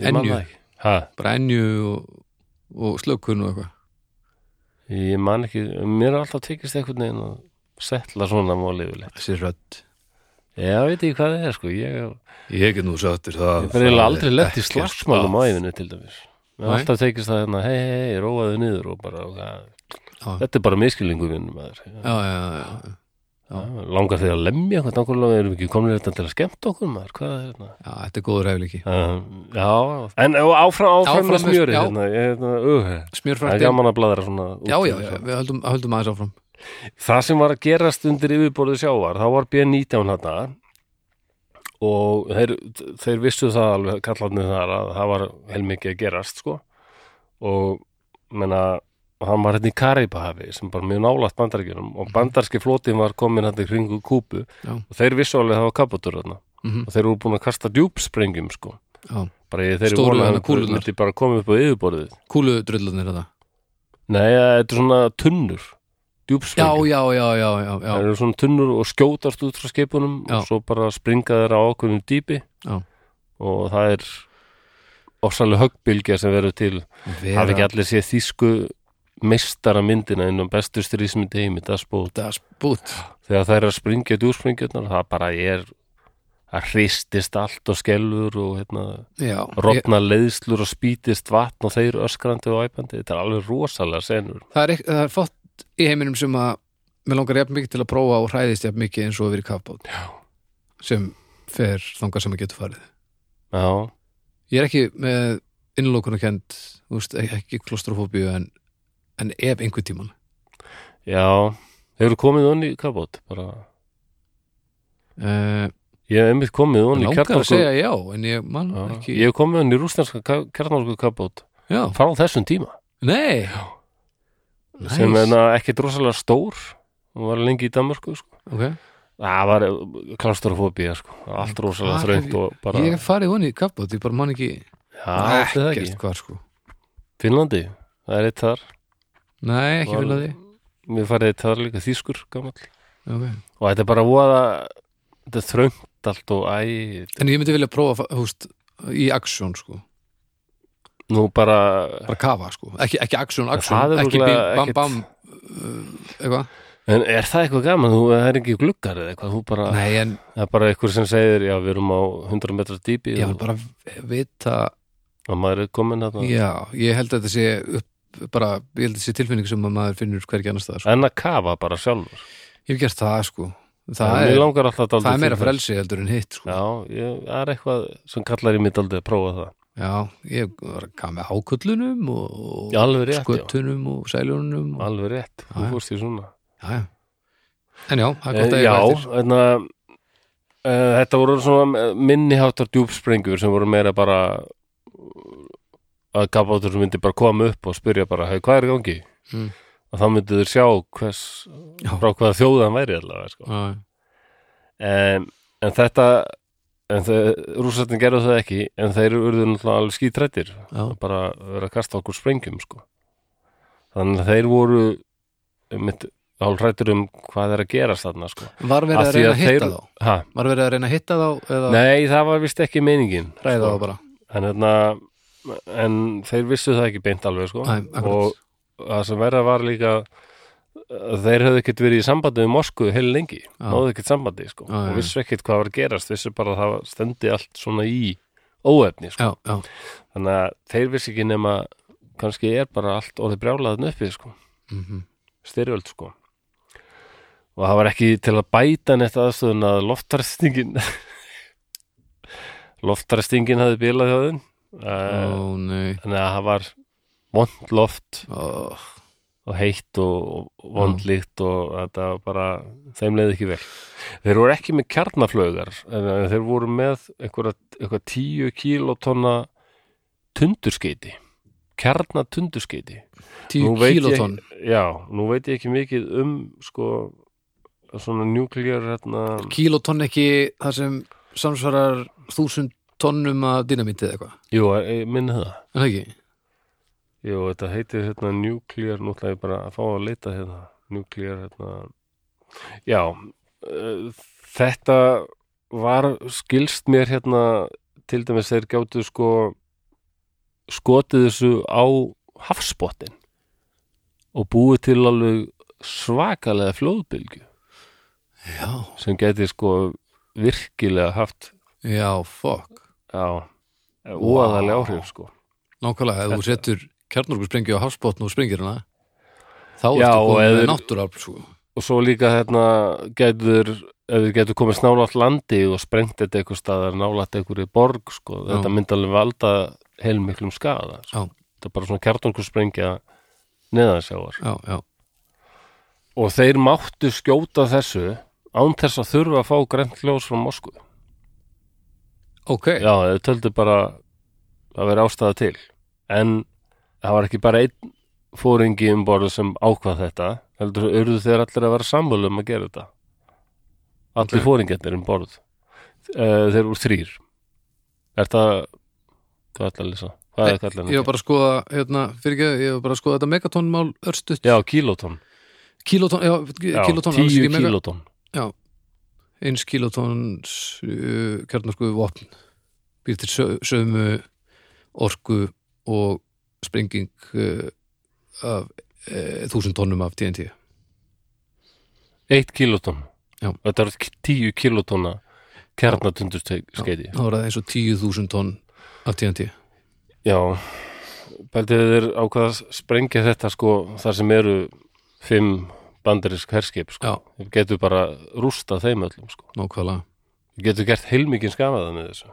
Speaker 1: ég man
Speaker 2: Enju.
Speaker 1: það ekki. Ha,
Speaker 2: bara ennju og, og slökun og eitthvað
Speaker 1: ég man ekki, mér er alltaf tekist einhvern veginn að setla svona máli yfirleitt
Speaker 2: þessi rödd
Speaker 1: Já, veit ekki hvað það er sko, ég
Speaker 2: ég get nú sattir það
Speaker 1: ég fer eiginlega aldrei lett í
Speaker 2: ekkert
Speaker 1: slagsmálum á
Speaker 2: að-
Speaker 1: æfinu til dæmis Mér
Speaker 2: Nei.
Speaker 1: er Alltaf tekist það hérna, hei, hei, hei, róaðu niður og bara, og,
Speaker 2: Já.
Speaker 1: þetta er bara miskilningu minn maður
Speaker 2: já, já, já, já, Já.
Speaker 1: Já, langar þig að lemja hvernig okkur langar erum við ekki komin þetta til að skemmta okkur maður, hvað er þetta?
Speaker 2: já, þetta er góður hefleiki
Speaker 1: Uh, já, en og áfram, áfram,
Speaker 2: Áfram
Speaker 1: með
Speaker 2: með-
Speaker 1: smjörið
Speaker 2: já.
Speaker 1: hérna, ég, hérna, uh, það er
Speaker 2: smjörfrættin,
Speaker 1: gaman að bladra svona út hérna.
Speaker 2: já, já,
Speaker 1: í
Speaker 2: já,
Speaker 1: þessu.
Speaker 2: við höldum, höldum aðeins áfram
Speaker 1: Það sem var að gerast undir yfirborðu sjávar, þá var B19 hérna og þeir, þeir vissu það alveg kallarnir þar að það var heilmikið að gerast sko og menna hann var hérna í Karibahafi sem bara mjög nálaft bandaríkjunum og bandarski flótin var komin hérna í kringu kúpu
Speaker 2: Já.
Speaker 1: og þeir vissu alveg að það var kaputur hérna
Speaker 2: Mhm.
Speaker 1: og þeir eru búin að kasta djúpsprengjum sko
Speaker 2: Já.
Speaker 1: bara ég, þeir eru
Speaker 2: Stóru
Speaker 1: voru
Speaker 2: hana
Speaker 1: að þeir
Speaker 2: kúlurnar.
Speaker 1: myndi bara koma upp á yfirborðið
Speaker 2: kúlu drullarnir þetta
Speaker 1: nei, þetta er svona tunnur
Speaker 2: já,
Speaker 1: djúpsprengjum
Speaker 2: já, já, já, já, já,
Speaker 1: það eru svona tunnur og skjótast út frá skipunum
Speaker 2: Já.
Speaker 1: og svo bara springa þeir á okkurinn dýpi
Speaker 2: Já.
Speaker 1: og það er ofsalega höggbylgja sem verður til
Speaker 2: Vera-
Speaker 1: hafi ekki allir séð þýsku meistara myndina innan bestu strísmyndi heimi dagsbót,
Speaker 2: Das Boot
Speaker 1: þegar það er að springja djúrspringjötnar, það bara er það hristist allt og skelfur og hérna,
Speaker 2: Já, ég,
Speaker 1: rofna leiðslur og spýtist vatn og þeir öskrandi og æpandi, þetta er alveg rosalega senur
Speaker 2: það, er, ekk- það er fótt í heiminum sem að mér langar jafn mikið til að prófa og hræðist jafn mikið eins og að vera í kafbát
Speaker 1: Já.
Speaker 2: sem fer þangað sem að getur farið
Speaker 1: já,
Speaker 2: Ég er ekki með innlókunarkend e- ekki klostrofóbíu en, en ef einhver tíman
Speaker 1: Já, hefur komið onni í karbót bara,
Speaker 2: uh,
Speaker 1: ég hef einmitt komið onni í
Speaker 2: langar að
Speaker 1: kjarnorku
Speaker 2: segja já en ég man
Speaker 1: Já,
Speaker 2: ekki
Speaker 1: ég hef komið onni í rústnarska kjarnorku karbót
Speaker 2: já,
Speaker 1: frá þessum tíma
Speaker 2: nei Næs.
Speaker 1: sem er ekki drosalega stór hún var lengi í Danmörku sko.
Speaker 2: ok
Speaker 1: það var klaustrofóbía sko. allt rosalega
Speaker 2: Hvað hef
Speaker 1: þröngt og bara
Speaker 2: Ég hef farið honni í kappbót, ég bara man ekki
Speaker 1: Já, ætli það ekki.
Speaker 2: ekkert hvar sko
Speaker 1: Finnlandi, það er eitt þar
Speaker 2: Nei, ekki
Speaker 1: Var-
Speaker 2: vilja því
Speaker 1: mér farið eitt þar líka þýskur gamall
Speaker 2: okay.
Speaker 1: og þetta er bara voða þetta er þröngt allt og æ
Speaker 2: En ég myndi vilja prófa fa- húst, í aksjón sko
Speaker 1: nú bara
Speaker 2: bara kafa sko, ekki, ekki aksjón,
Speaker 1: það
Speaker 2: aksjón
Speaker 1: er
Speaker 2: ekki bím,
Speaker 1: örugglega
Speaker 2: bam,
Speaker 1: ekkert-
Speaker 2: bam uh, eitthvað,
Speaker 1: en er það eitthvað gaman, þú það er ekki gluggar eða eitthvað, þú bara,
Speaker 2: nei en
Speaker 1: það er bara einhver sem segir já, við erum á 100 metra dýpi
Speaker 2: ég vil
Speaker 1: og,
Speaker 2: bara vita
Speaker 1: og maður er komin að
Speaker 2: já, ég held að þetta sé upp, bara, ég held að þetta sé tilfinning sem að maður finnur hvergi annars staðar sko.
Speaker 1: en að kafa bara sjálfur
Speaker 2: ég hef gert það sko, það,
Speaker 1: Mér
Speaker 2: er,
Speaker 1: langar alltaf
Speaker 2: það
Speaker 1: dálítið
Speaker 2: er meira
Speaker 1: til þess.
Speaker 2: frelsi heldur en hitt sko,
Speaker 1: Já, ég, það er eitthvað sem kallar í mitt aldrei að prófa það.
Speaker 2: Já, ég var að kama með háköllunum og, og
Speaker 1: Já, alveg rétt, já.
Speaker 2: skötunum og sæljónunum og,
Speaker 1: Alveg rétt, þú
Speaker 2: Já, já.
Speaker 1: fórst í svona.
Speaker 2: já, já. En já, það er
Speaker 1: Eh,
Speaker 2: gott að ég
Speaker 1: Já,
Speaker 2: var eftir
Speaker 1: þannig að þetta voru svona eh, minniháttar djúpsprengjur sem voru meira bara eh, að gabátur myndi bara koma upp og spyrja bara, hey, hvað er í gangi?
Speaker 2: Mm.
Speaker 1: Og þá myndu þur sjá hvers,
Speaker 2: Já.
Speaker 1: frá hvaða þjóðan væri allavega, sko.
Speaker 2: Já,
Speaker 1: En, en þetta, en þau, rússatni gerðu það ekki, en þeir urðu náttúrulega alveg skítrættir.
Speaker 2: já,
Speaker 1: að bara vera að kasta okkur sprengjum sko. þannig að þeir voru mitt hálfrættur um hvað er að gerast þarna sko.
Speaker 2: Var verið
Speaker 1: Af
Speaker 2: að
Speaker 1: því
Speaker 2: reyna
Speaker 1: að
Speaker 2: að hitta
Speaker 1: þeir-
Speaker 2: þá?
Speaker 1: ha,
Speaker 2: Var verið að reyna að hitta þá eða
Speaker 1: nei, það var vist ekki meiningin
Speaker 2: ræða þá
Speaker 1: sko.
Speaker 2: bara?
Speaker 1: en, hérna, en þeir vissu það ekki beint alveg sko.
Speaker 2: Nei, akkurat.
Speaker 1: og það sem verða var líka að þeir höfðu ekkert verið í sambandi við Moskvu heil lengi,
Speaker 2: Já.
Speaker 1: náðu ekkert sambandi sko.
Speaker 2: Já, já,
Speaker 1: og
Speaker 2: já.
Speaker 1: vissu ekkert hvað var að gerast vissu bara að það stendi allt svona í óefni sko.
Speaker 2: Já, já,
Speaker 1: þannig að þeir vissi ekki nema kannski er bara allt orðið brjálaðan uppi sko.
Speaker 2: mm
Speaker 1: styrjöld sko og það var ekki til að bæta neitt aðstöðun að loftarstingin loftarstingin hafði bilað hjá þeim uh,
Speaker 2: ó nei
Speaker 1: þannig að það var vond loft
Speaker 2: Ó,
Speaker 1: og heitt og og vond líkt og þetta var bara, þeim leiði ekki vel þeir voru ekki með kjarnaflögar en en þeir voru með einhverja, einhverja tíu kílótonna tundurskeiti kjarnatundurskeiti
Speaker 2: Tíu
Speaker 1: Nú veit ég-
Speaker 2: kílótonn
Speaker 1: Já, nú veit ég ekki mikið um sko svona njúklíjar hérna
Speaker 2: Kílótonn ekki það sem samsvarar þúsund tonnum að dynamítið eða eitthvað
Speaker 1: Jú, eh, minni það
Speaker 2: En það ekki?
Speaker 1: Jú, þetta heitir hérna njúklíjar nú ætla ég bara að fá að leita hérna njúklíjar hérna Já, eh, þetta var skilst mér hérna til dæmis þeir gjátu sko skotið þessu á hafsbottin og búið til alveg svakalega flóðbylgju
Speaker 2: Já,
Speaker 1: sem geti sko virkilega haft
Speaker 2: já, fuck
Speaker 1: já, óaðalega
Speaker 2: Vá.
Speaker 1: áhrif sko.
Speaker 2: Nákvæmlega, ef þú setur kjarnorku sprengju á hafsbótn og sprengir hana þá
Speaker 1: Já,
Speaker 2: ertu
Speaker 1: og
Speaker 2: komið
Speaker 1: ef-
Speaker 2: með náttúrafl sko.
Speaker 1: og svo líka hérna getur ef þið getur komið snálaft landi og sprengt þetta eitthvað staðar nálaft einhverju borg sko.
Speaker 2: Já.
Speaker 1: þetta myndi alveg valda heilmiklum skada sko.
Speaker 2: Já.
Speaker 1: þetta er bara svona kjartungur sprengja neðansjávar
Speaker 2: Já, já,
Speaker 1: og þeir máttu skjóta þessu án þess að þurfa að fá grænt ljós frá Moskvu
Speaker 2: ok
Speaker 1: Já, þau töldu bara að vera ástæða til en það var ekki bara einn fóringi um borðu sem ákvað þetta heldur urðu þeir allir að vera sammála um að gera þetta
Speaker 2: Ok.
Speaker 1: allir okay. fóringarnir um borð uh, þeir voru þrýr er það hvað ætla að lýsa? Hvað
Speaker 2: Eh,
Speaker 1: er kallan?
Speaker 2: Ég var bara að skoða, hérna, fyrir ekki ég var bara að skoða þetta megatónmál örstutt
Speaker 1: Já, kílóton
Speaker 2: Kílótonn, já,
Speaker 1: Já,
Speaker 2: kílótonn Eh, alls
Speaker 1: Tíu
Speaker 2: ekki mega-
Speaker 1: kílóton
Speaker 2: eins kílótons uh, kjarnorku vopn býr til sö- sömu orku og sprenging uh, af uh, þúsund tonnum af TNT
Speaker 1: Eitt kílóton
Speaker 2: Já.
Speaker 1: Þetta er tíu kílótona kjarnatundursteiti
Speaker 2: þá er það eins og tíu þúsund tonn af TNT
Speaker 1: Já, bældið þeir ákvað að sprengja þetta sko þar sem eru fimm bandarisk herskip sko.
Speaker 2: já,
Speaker 1: Þeir getur bara rústað þeim öllum sko.
Speaker 2: nákvæmlega
Speaker 1: Þeir getur gert heilmikinn skafaða með þessu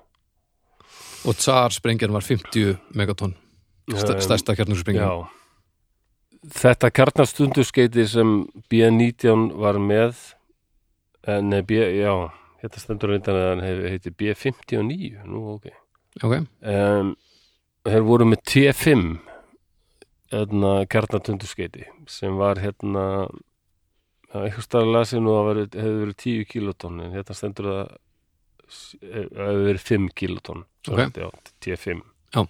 Speaker 2: og tsar sprengjan var 50 megatonn sta-
Speaker 1: Um,
Speaker 2: stærsta kjarnursprengjum
Speaker 1: Já. Þetta kjarnastundurskeiti sem B19 var með eh, nei, B, já þetta stendur reyndan að hann hef- heiti B59 nú, ok
Speaker 2: ok,
Speaker 1: um, Þeir voru með T5 hérna, kjarnatundurskeiti sem var hérna já, einhvers staðar lasið nú að veri, hefði verið 10 kilotonn en þetta stendur að s- eh, hefði verið 5 kilotonn
Speaker 2: Ok.
Speaker 1: já, T5
Speaker 2: Já.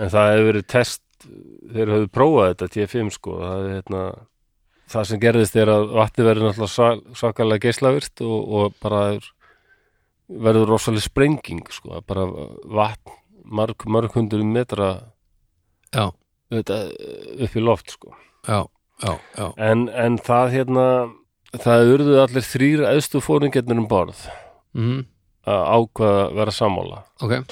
Speaker 1: en það hefði verið test þeir höfðu prófað þetta T5 sko það, er, hérna, það sem gerðist er að vatni verður náttúrulega sval- svakalega geislavirt og, og bara er- verður rosalega sprenging sko, að bara vatn marg, marg hundur metra
Speaker 2: já,
Speaker 1: þetta, upp í loft sko
Speaker 2: já, já, já
Speaker 1: en, en það hérna það urðu allir þrýr eðstu fóringetnir um borð
Speaker 2: mhm,
Speaker 1: að ákvaða að vera sammála
Speaker 2: ok,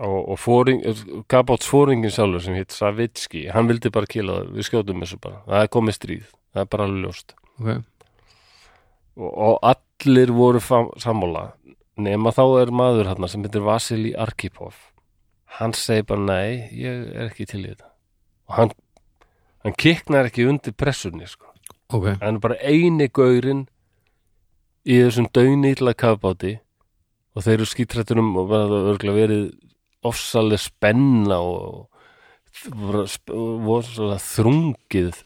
Speaker 1: og, og fóring, Gabáts fóringin sjálfur sem hitt Savitski, hann vildi bara kýla það, við skjótum þessu bara, það er komið stríð það er bara alveg ljóst
Speaker 2: ok
Speaker 1: og, og allir voru fam- sammála nema þá er maður hann sem heitir Vasili Arkipov hann segi bara nei, ég er ekki til í þetta og hann, hann kiknar ekki undir pressunni sko
Speaker 2: ok,
Speaker 1: hann er bara eini gaurinn í þessum daunýtla kafbáti og þeir eru skítrættunum og það er örgulega verið ofsaleg spenna og bara sp- voru þrungið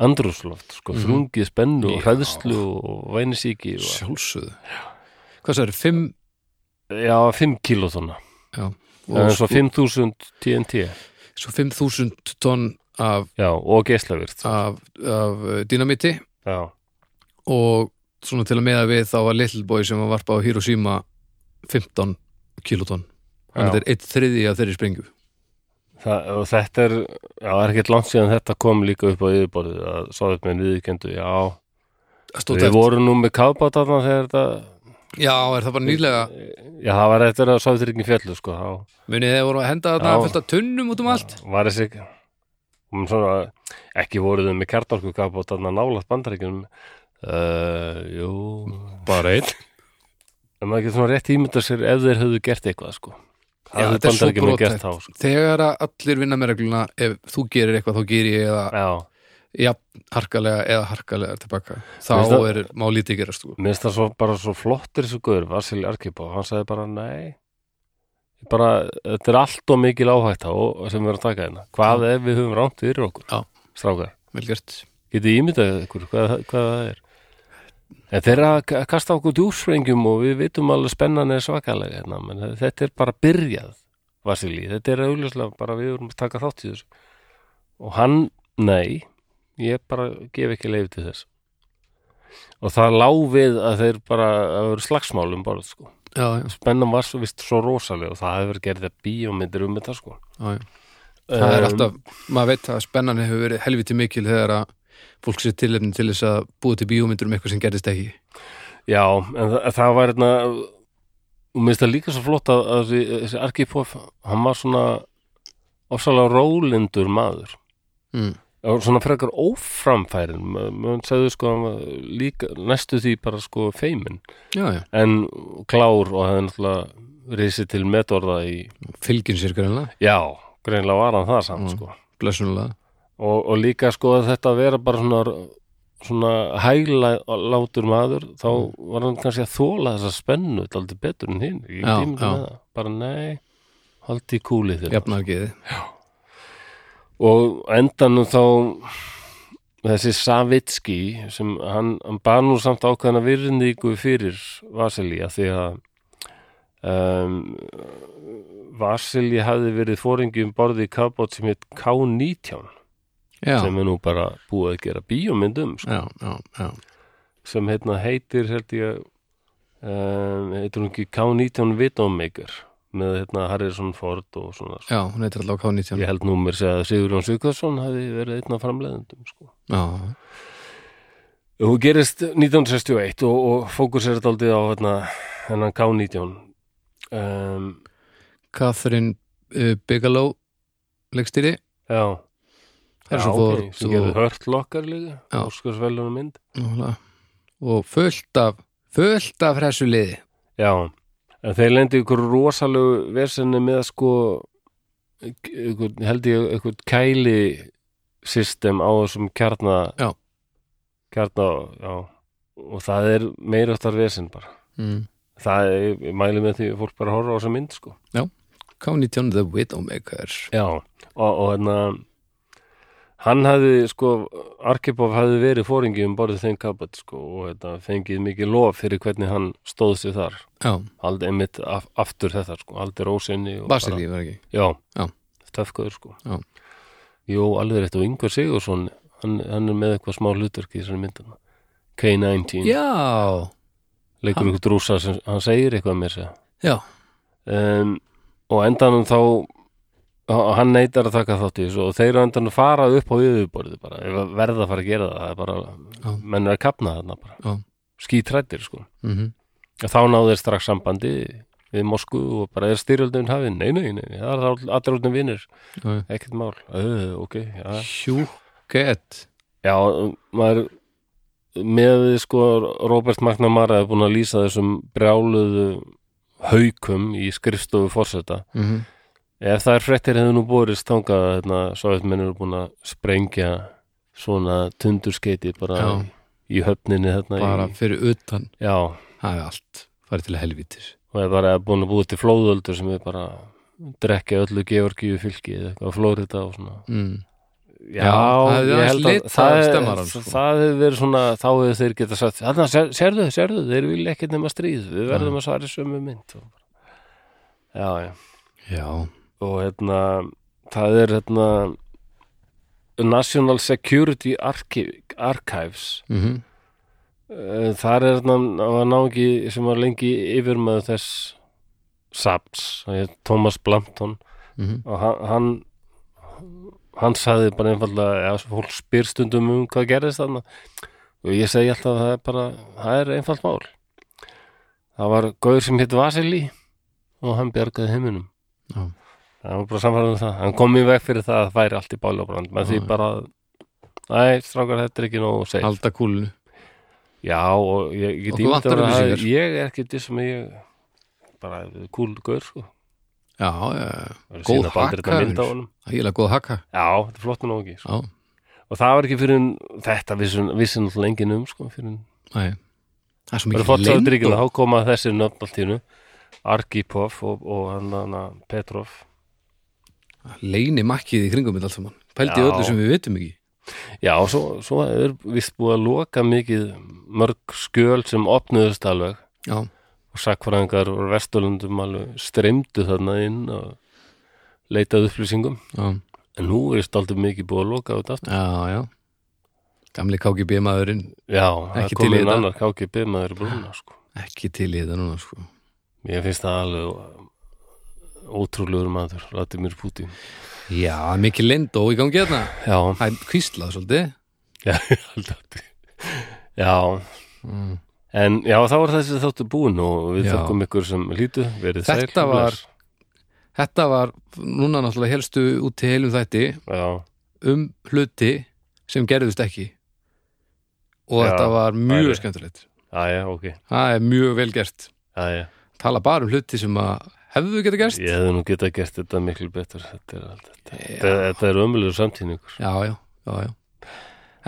Speaker 1: andrúsloft sko,
Speaker 2: Mhm.
Speaker 1: þrungið spennu
Speaker 2: Já.
Speaker 1: og hræðslu og vænisíki og,
Speaker 2: sjálfsögðu hvað sagði, 5
Speaker 1: já, 5 kilótonna það
Speaker 2: og
Speaker 1: er svo 5000 TNT
Speaker 2: svo 5000 tonn af,
Speaker 1: já, og geislavirt
Speaker 2: af, af uh, dynamiti
Speaker 1: já,
Speaker 2: og svona til að meða við þá var Little Boy sem var varpað á Hiroshima 15 kilotonn þannig að
Speaker 1: Já.
Speaker 2: þetta er eitt þriði af þeirri sprengu
Speaker 1: Það, og þetta er, já, það er ekkert langt síðan þetta kom líka upp á yfirborðið að sáðið með viðkendu, já,
Speaker 2: Það stóð
Speaker 1: Við
Speaker 2: eftir-
Speaker 1: vorum nú með kafbátarna þegar þetta
Speaker 2: Já, er það bara nýlega
Speaker 1: Já, það var eftir að sáðutryggjum fjallu sko,
Speaker 2: munið þið voru að henda þarna
Speaker 1: Já.
Speaker 2: fullt af tunnum út um allt
Speaker 1: þá var þessi um, svona, ekki voruð með kjartorku kafbátarna nálaðt bandaríkjum uh, Jú, bara einn En maður getur svona rétt ímynda sér ef þeir höfðu gert eitthvað sko
Speaker 2: Já,
Speaker 1: Það
Speaker 2: þetta er
Speaker 1: hefðu
Speaker 2: svo
Speaker 1: bandaríkjum
Speaker 2: brothætt.
Speaker 1: gert þá sko.
Speaker 2: þegar að allir vinna með regluna ef þú gerir eitthvað þá gerir ég eða
Speaker 1: Já,
Speaker 2: jafn harkalega eða harkalega tilbaka þá
Speaker 1: Mér finnst það-
Speaker 2: er má lítið gerast sko.
Speaker 1: mér finnst það svo, bara svo flottir þessu guður, Vasili Arkipov, hann sagði bara nei bara, þetta er allt og mikil áhætta og, sem við erum að taka hérna hvað ef við höfum rámt fyrir okkur
Speaker 2: Já.
Speaker 1: strákar,
Speaker 2: vel gert
Speaker 1: getið ímyndað ykkur hvað, hvað það er en þeirra að kasta okkur djúsrengjum og við vitum alveg spennan er svakalega hérna, menn þetta er bara byrjað Vasili, þetta er auðljóslega bara við erum að taka þátt í þessu og hann, nei ég bara gef ekki leif til þess og það lá við að þeir bara að vera slagsmál um borð sko.
Speaker 2: já, já,
Speaker 1: spennan var svo vist svo rosaleg og það hefur verið gerðið bíómyndir um þetta sko.
Speaker 2: já, já. það er
Speaker 1: Um,
Speaker 2: alltaf, maður veit að spennan hefur verið helviti mikil þegar að fólk sér tilefni til þess að búa til bíómyndur um eitthvað sem gerðist ekki
Speaker 1: Já, en það, það var hérna og mér finnst það líka svo flott að, að þessi, þessi Arkipof, hann var svona ofsalega rólindur maður
Speaker 2: mm.
Speaker 1: og svona frekar óframfærin maður segðu sko hann var líka, næstu því bara sko feimin
Speaker 2: já, já,
Speaker 1: en klár og hefði náttúrulega risið til metorða í
Speaker 2: fylgin sér greinlega
Speaker 1: já, greinlega var hann það samt
Speaker 2: Mm.
Speaker 1: sko
Speaker 2: blessunulega,
Speaker 1: og, og líka sko að þetta að vera bara svona svona hæglátur maður þá
Speaker 2: Mm.
Speaker 1: var hann kannski að þóla þessa spennu aldrei betur en hinn ég
Speaker 2: Já,
Speaker 1: tími
Speaker 2: já.
Speaker 1: með það, bara nei haldi í kúlið þér
Speaker 2: jafnargiði
Speaker 1: og á endanum þá þessi Savitski sem hann, hann bar nú samt ákveðna virðingu fyrir Vasilí að því að um, Vasilí hafði verið fóringi um borði í kafbót sem heit K-19
Speaker 2: já,
Speaker 1: sem er nú bara búið að gera bíómyndum sko,
Speaker 2: já, já, já
Speaker 1: sem heitna heitir held ég um, heitir hún ekki K-19 Vidómeikar með heitna Harrison Ford og svona
Speaker 2: Já, hún heitir allavega K-19
Speaker 1: ég held nú mér segja að Sigurjón Sigurðsson hafi verið einn af framleiðendum sko.
Speaker 2: Já,
Speaker 1: hún gerist 1961 og, og fókus er þetta aldrei á hérna, heitna, hennan K-19 um,
Speaker 2: Catherine uh, Bigelow leikstýri
Speaker 1: já
Speaker 2: Það er
Speaker 1: Já,
Speaker 2: svo
Speaker 1: ok,
Speaker 2: fór-
Speaker 1: sem
Speaker 2: þú-
Speaker 1: gerði hörtlokkar líka
Speaker 2: Já.
Speaker 1: Óskarsvelunum mynd
Speaker 2: Nálega. og fullt af fullt af hressu liði
Speaker 1: Já, en þeir lendi ykkur rosalegu versinni með sko ykkur, held ég ykkur kæli system á þessum kjarna
Speaker 2: Já.
Speaker 1: kjarna, já og það er meiráttar vesinn bara
Speaker 2: mm.
Speaker 1: það er, ég mæli með því að fólk bara horfa á þessa mynd sko
Speaker 2: K-19 The Widowmaker
Speaker 1: já, og, og hérna hann hafði sko Arkipov hafði verið fóringi um borðið þeim kapat sko og hérna, fengið mikið lof fyrir hvernig hann stóð sér þar
Speaker 2: Já,
Speaker 1: aldrei einmitt af, aftur þetta sko aldrei rósinni og
Speaker 2: Basili var ekki
Speaker 1: Já,
Speaker 2: Já.
Speaker 1: töfkaður sko
Speaker 2: Já.
Speaker 1: Jó, alveg rétt og Yngvar Sigursson hann, hann er með eitthvað smá hlutverk í þessari myndana K-19,
Speaker 2: Já,
Speaker 1: leikur
Speaker 2: hann-
Speaker 1: ykkur drúsa sem hann segir eitthvað mér segja
Speaker 2: já,
Speaker 1: um, og á endanum þá h- hann neitar að taka þátt í þessu og þeir á endanum fara upp á yfirborðið bara, ef að verða að fara að gera það það er bara,
Speaker 2: Já.
Speaker 1: menn er að kapna þarna bara
Speaker 2: Já.
Speaker 1: skítrættir sko
Speaker 2: mm
Speaker 1: og þá náðu þeir strax sambandi við Moskú og bara er styrjöldin hafið, nei, nei, nei, það er all- allir orðin vinnir
Speaker 2: Já, já.
Speaker 1: ekkert mál, uh, ok já,
Speaker 2: Hjúkett
Speaker 1: já maður með því sko Robert McNamara hefur búin að lýsa þessum brjáluðu haukum í skrifstofu fórseta
Speaker 2: mm -hmm.
Speaker 1: ef það er fréttir hefur nú borist þangað að hérna, sovetmenn eru búin að sprengja svona tundurskeiti bara
Speaker 2: Já.
Speaker 1: í höfninni hérna,
Speaker 2: Bara
Speaker 1: í,
Speaker 2: fyrir utan
Speaker 1: já,
Speaker 2: Það er allt farið til helvítis
Speaker 1: og er bara búin að búið til flóðöldur sem er bara drekja öllu Georgíu fylki eða eitthvað Flórida og svona
Speaker 2: mm.
Speaker 1: Já,
Speaker 2: það hefði
Speaker 1: ég
Speaker 2: aðeins
Speaker 1: held að
Speaker 2: litað
Speaker 1: það,
Speaker 2: stemmarann, sko.
Speaker 1: það hefur verið svona, þá hefur þeir geta sagt þarna, sér, sérðu, sérðu, þeir vilja ekkert nema stríð við verðum að svara í sömu mynd og, já, já,
Speaker 2: Já,
Speaker 1: og hérna það er hérna National Security Archive, Archives
Speaker 2: mm
Speaker 1: Eh, þar er hérna var náungi sem var lengi yfir með þess Saps, Thomas Blampton
Speaker 2: mhm.
Speaker 1: og hann, hann hann sagði bara einfallega já, svo fólk spyr stundum um hvað gerðist þarna og ég segi alltaf að það er bara það er einfalt mál það var gauður sem hitt Vasili og hann bjargaði heiminum
Speaker 2: Já.
Speaker 1: það var bara samfæðan um það hann kom í veg fyrir það að það færi allt í bálabrand með því
Speaker 2: Já, já.
Speaker 1: bara Æ, strákar, þetta er ekki nógu safe
Speaker 2: Halda kúlinu
Speaker 1: Já, og ég ég get
Speaker 2: Okkur vantar
Speaker 1: ímyndað mér að það-
Speaker 2: upplýsingar.
Speaker 1: ég er ekki þessum að ég bara kúl gaur sko
Speaker 2: Já, já, já,
Speaker 1: Það er
Speaker 2: Góð
Speaker 1: síðan bara aldrei þetta
Speaker 2: haka,
Speaker 1: mynd á
Speaker 2: vinur.
Speaker 1: honum.
Speaker 2: ægilega góð haka
Speaker 1: Já, þetta er flott með nógi sko.
Speaker 2: Já,
Speaker 1: og það var ekki fyrir en, þetta vissin, vissin alltaf enginn um sko, fyrir en
Speaker 2: næ Það er svo
Speaker 1: bara
Speaker 2: mikið
Speaker 1: fótsáðuríkina, þá koma þessi nöfn allt í hennu, Argipov og, og hann, hann Petrov
Speaker 2: Leini makkið í kringum þetta allt saman Pældi í
Speaker 1: Já.
Speaker 2: öllu sem við vitum ekki
Speaker 1: Já, og svo, svo er vist búið að loka mikið mörg skjöl sem opnuðust alveg
Speaker 2: Já,
Speaker 1: og sakfræðingar og vesturlundum alveg streymdu þarna inn og leitaðu upplýsingum
Speaker 2: já,
Speaker 1: en nú er staldið mikið búið að loka út aftur
Speaker 2: já, já. Gamli KGB maðurinn
Speaker 1: Já, það
Speaker 2: Ekki
Speaker 1: er
Speaker 2: til í
Speaker 1: komin
Speaker 2: þetta.
Speaker 1: annar KGB maður í brúna sko
Speaker 2: Ekki til í þetta núna sko
Speaker 1: Mér finnst það alveg ótrúlegur maður, Vladimir Putin.
Speaker 2: Já, mikið lindó í gangi hérna
Speaker 1: Já,
Speaker 2: Það er kvíslað svolítið
Speaker 1: já, ég held að þið. Já,
Speaker 2: mm.
Speaker 1: en já, þá var þessi þáttu búin og við
Speaker 2: Já.
Speaker 1: þökkum ykkur sem hlýtu, verið sæl.
Speaker 2: Þetta var- Þetta var núna náttúrulega helstu út til heilum þætti
Speaker 1: Já,
Speaker 2: um hluti sem gerðust ekki og
Speaker 1: Já,
Speaker 2: þetta var mjög
Speaker 1: bæði.
Speaker 2: skemmtilegt
Speaker 1: já, já, ok.
Speaker 2: það er mjög vel gert
Speaker 1: Já, já,
Speaker 2: tala bara um hluti sem að hefðu geta gerst
Speaker 1: ég hefði nú getað gert þetta miklu betur. Þetta er, allt- þetta, þetta, þetta er ömulegur samtíningur.
Speaker 2: já, já, já, já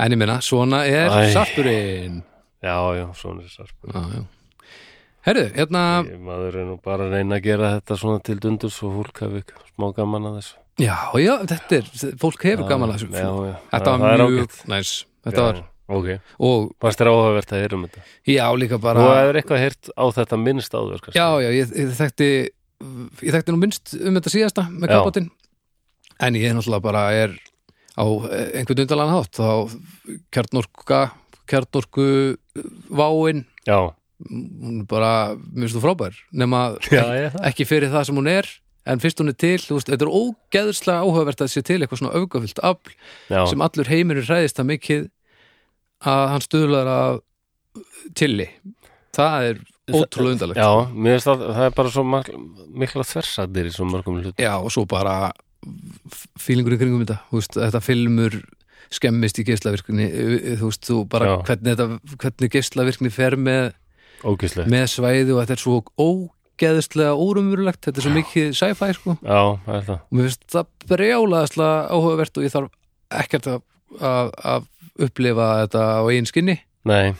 Speaker 2: en ég minna, svona er
Speaker 1: Æ.
Speaker 2: sarpurinn
Speaker 1: Já, já, svona er sarpur.
Speaker 2: já, já herru, hérna,
Speaker 1: Ég- Maður er nú bara að reyna að gera þetta svona til dundur svo fólk hafi smá gaman að þessu.
Speaker 2: já, já, þetta er fólk hefur gaman að
Speaker 1: Já,
Speaker 2: þessu
Speaker 1: já.
Speaker 2: þetta
Speaker 1: það er
Speaker 2: var mjög
Speaker 1: ágætt.
Speaker 2: næs þetta var,
Speaker 1: Já, ok.
Speaker 2: og
Speaker 1: Fannst þér áhugavert að heyra um þetta?
Speaker 2: já, líka
Speaker 1: Þú
Speaker 2: bara
Speaker 1: hefur eitthvað heyrt á þetta minnst áður, kannski?
Speaker 2: já, já, ég, ég þekkti ég þekkti nú minnst um þetta síðasta með
Speaker 1: Já.
Speaker 2: kapotinn en ég er náttúrulega bara er á eh, einhvern undanlega hátt þá kjarnorka kjarnorku váin
Speaker 1: Já,
Speaker 2: hún er bara, mér finnst þú frábær nema
Speaker 1: já, ég það.
Speaker 2: ekki fyrir það sem hún er en fyrst hún er til, þú veist, þetta er ógeðslega áhugavert að sé til eitthvað svona öfgafyllt afl
Speaker 1: Já,
Speaker 2: sem allur heimurinn hræðist það mikið að hann stuðlar að tilli það er ótrúlega undarlegt
Speaker 1: já, mér finnst það, það er bara svo mak- mikla þversatir í svo mörgum hlut.
Speaker 2: Já, og svo bara fílingurinn kringum þetta, þú veist, þetta filmur skemmist í geislavirkni eh, þú veist, þú bara
Speaker 1: Já.
Speaker 2: hvernig, þetta, hvernig geislavirkni fer með,
Speaker 1: Ógislegt.
Speaker 2: með svæði og þetta er svo ógeðislega órumurulegt þetta er svo mikið sci-fi sko
Speaker 1: já, það er það
Speaker 2: og mér finnst það brjálaðislega áhugavert og ég þarf ekkert að, að, að upplifa þetta á eigin skinni
Speaker 1: nei,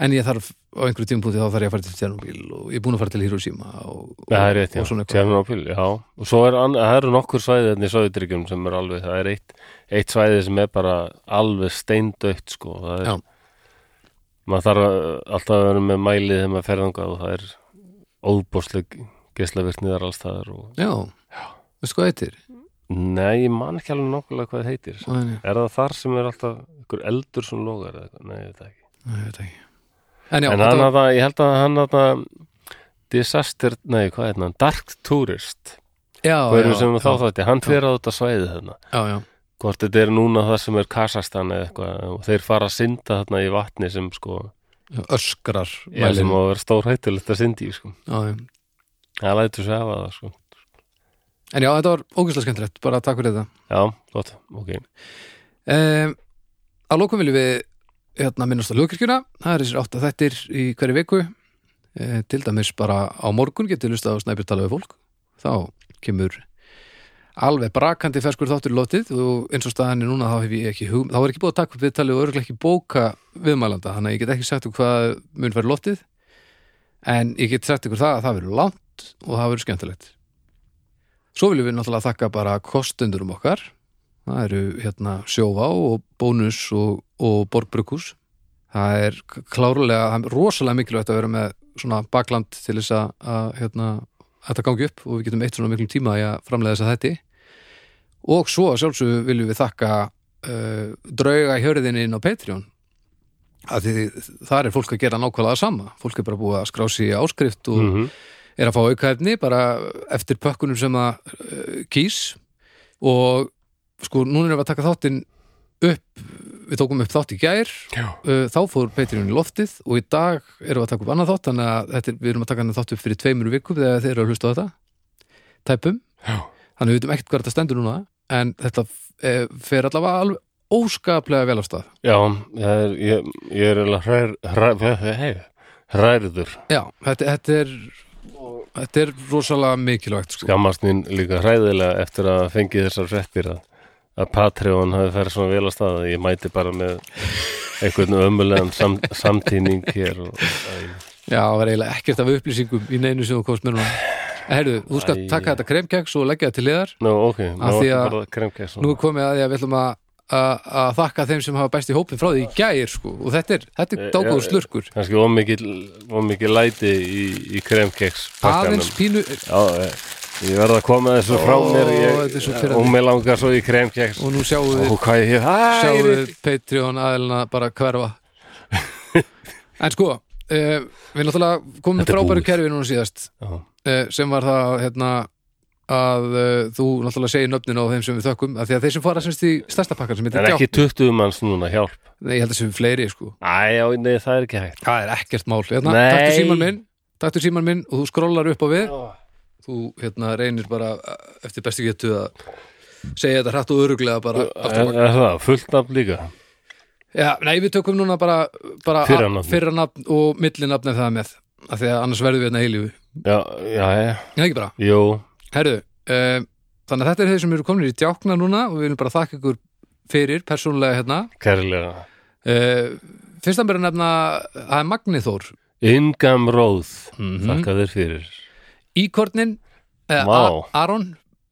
Speaker 2: en ég þarf á einhverju tímpúti þá þarf ég að fara til Tjernobyl og ég er búin að fara til Hiroshima og, og,
Speaker 1: ja, það er rétt, já,
Speaker 2: og svona eitthvað
Speaker 1: Tjernobyl já, og svo er, an- það eru nokkur svæði þannig svæðutryggjum sem er alveg, það er eitt eitt svæði sem er bara alveg steindautt sko, það er
Speaker 2: Já.
Speaker 1: maður þarf að, alltaf að vera með mælið þegar maður ferðangað og það er óbóðsleg geslavirkni þar alls staðar og
Speaker 2: já, veistu hvað þetta er?
Speaker 1: nei, ég man ekki alveg nokkulega hvað það heitir
Speaker 2: Nei, nei,
Speaker 1: er það þar sem er alltaf ykkur eldur sem logar eða eitthvað, nei, ég veit það ekki
Speaker 2: nei, ég veit ekki en já,
Speaker 1: en hann
Speaker 2: þetta var
Speaker 1: að ég held að hann að disaster, nei hvað er hann dark tourist,
Speaker 2: já, já,
Speaker 1: hverjum sem
Speaker 2: já,
Speaker 1: þá þátti hann fer á þetta svæði þarna
Speaker 2: já, já,
Speaker 1: hvort þetta er núna það sem er Kazakstan eða eitthvað og þeir fara að synda þarna í vatni sem sko,
Speaker 2: já, öskrar
Speaker 1: er
Speaker 2: mælin.
Speaker 1: sem á að vera stór hættulegt að syndi í, sko,
Speaker 2: já, já.
Speaker 1: það lætur sér hafa það sko,
Speaker 2: en já, þetta var ógeðslega skemmtilegt bara takk fyrir þetta
Speaker 1: já, flott, ok
Speaker 2: Um, að lókum viljum við hérna, minnast á ljókirkjuna, það er þessir átta þættir í hverju viku uh, til dæmis bara á morgun getur lust á snæpjur tala við fólk, þá kemur alveg brakandi ferskur þáttur í lotið og eins og staðan er núna þá hef ég ekki hugum, þá er ekki búið að taka upp viðtalið og örgulega ekki bóka viðmælanda, þannig að ég get ekki sagt um hvað mun verið lotið en ég get sagt ykkur það að það verður langt og það verður skemmtilegt Svo viljum við náttúrulega þakka bara kostendurum okkar Það eru hérna sjóvá og bónus og, og borgbrukus. Það er k- klárlega, það er rosalega mikilvægt að vera með svona bakland til þess að, að hérna, að þetta gangi upp og við getum eitt svona miklum tíma í að framlega þess að þetta. Og svo að sjálfsögðu viljum við þakka uh, drauga hjörðinni inn á Patreon. Af Því, þar er fólk að gera nákvæmlega það sama. Fólk er bara búið að skrá sig í áskrift og
Speaker 1: mm
Speaker 2: er að fá aukaefni bara eftir pökkunum sem það uh, kýs og sko núna erum við að taka þáttinn upp við tókum upp þátt í gær uh, þá fór Patreon í loftið og í dag erum við að taka upp annað þátt þannig að þetta, er- við erum að taka annað þátt upp fyrir tveimur vikum þegar þeir eru að hlusta á þetta tæpum,
Speaker 1: Já.
Speaker 2: þannig að við veitum ekkert hvað þetta stendur núna en þetta eh, fer allavega alveg óskaplega vel af stað
Speaker 1: já, það er ég, ég er alveg hrær, hrær, hrær, hrærður
Speaker 2: já, þetta, þetta er þetta er rosalega mikilvægt sko.
Speaker 1: skammast mín líka hræðilega eftir að fengi þessar fréttir að, að Patreon hafi ferð svona vel að stað að ég mæti bara með einhvern ömulegan sam, samtíning hér og æ,
Speaker 2: Já, það var eiginlega ekkert af upplýsingum í neinu sem þú komst með núna En Herðu, þú skal
Speaker 1: Æ.
Speaker 2: taka þetta kremkeks og leggja það til liðar
Speaker 1: Nú, ok, nú
Speaker 2: Af því
Speaker 1: er
Speaker 2: að-
Speaker 1: bara kremkess
Speaker 2: Nú er komið að því að við ætlum að að að þakka þeim sem hafa bæst í hópin frá því í gær sko og þetta er, þetta er
Speaker 1: Eh,
Speaker 2: dágóður
Speaker 1: já,
Speaker 2: slurkur
Speaker 1: kannski ómikið, ómikið læti í, í kremkeks
Speaker 2: aðeins pínu
Speaker 1: Já, eh, ég verð að koma þessu frá
Speaker 2: Ó,
Speaker 1: mér
Speaker 2: þetta er
Speaker 1: ég,
Speaker 2: svo pirrandi.
Speaker 1: og mér langar svo í kremkeks
Speaker 2: og nú sjáum við,
Speaker 1: og hvað ég
Speaker 2: sjáum
Speaker 1: hæri
Speaker 2: við Patreon aðeilina bara hverfa En sko, uh, við náttúrulega komum
Speaker 1: Þetta er
Speaker 2: frábæru
Speaker 1: búið.
Speaker 2: kerfi núna síðast
Speaker 1: Já,
Speaker 2: eh, sem var það hérna, að uh, þú náttúrulega segir nöfnin á þeim sem við þökkum af því að þeir sem fara semst í stærsta pakkan sem heitir
Speaker 1: en
Speaker 2: Gjá
Speaker 1: ekki 20 manns núna hjálp
Speaker 2: Nei, ég held að sem fleiri sko
Speaker 1: Æ, já, nei, það er ekki hægt
Speaker 2: Það er ekkert mál hérna,
Speaker 1: Nei.
Speaker 2: Taktu síman minn, taktu síman minn og þú skrollar upp á við Þú hérna, reynir bara eh, eftir bestu getu að segja þetta hrætt og öruglega bara aftur á
Speaker 1: Er,
Speaker 2: bak.
Speaker 1: er það, fullt nafn líka
Speaker 2: Já, nei, við tökum núna bara, bara
Speaker 1: Fyrra nafnið.
Speaker 2: fyrra nafn og millinafn ef það er með af því að annars verðum við hérna eilífu
Speaker 1: Já, já, já,
Speaker 2: Nei, ekki bara,
Speaker 1: jú
Speaker 2: herðu um, Þannig að þetta er þeir sem eru komin í djákna núna og við viljum bara þakka ykkur fyrir persónulega hérna
Speaker 1: Kærlega
Speaker 2: uh, Fyrst að mér að nefna það er Magni Þór
Speaker 1: Ingam Róð,
Speaker 2: Mhm.
Speaker 1: þakka þér fyrir
Speaker 2: Íkornin, eh,
Speaker 1: Vá.
Speaker 2: Aron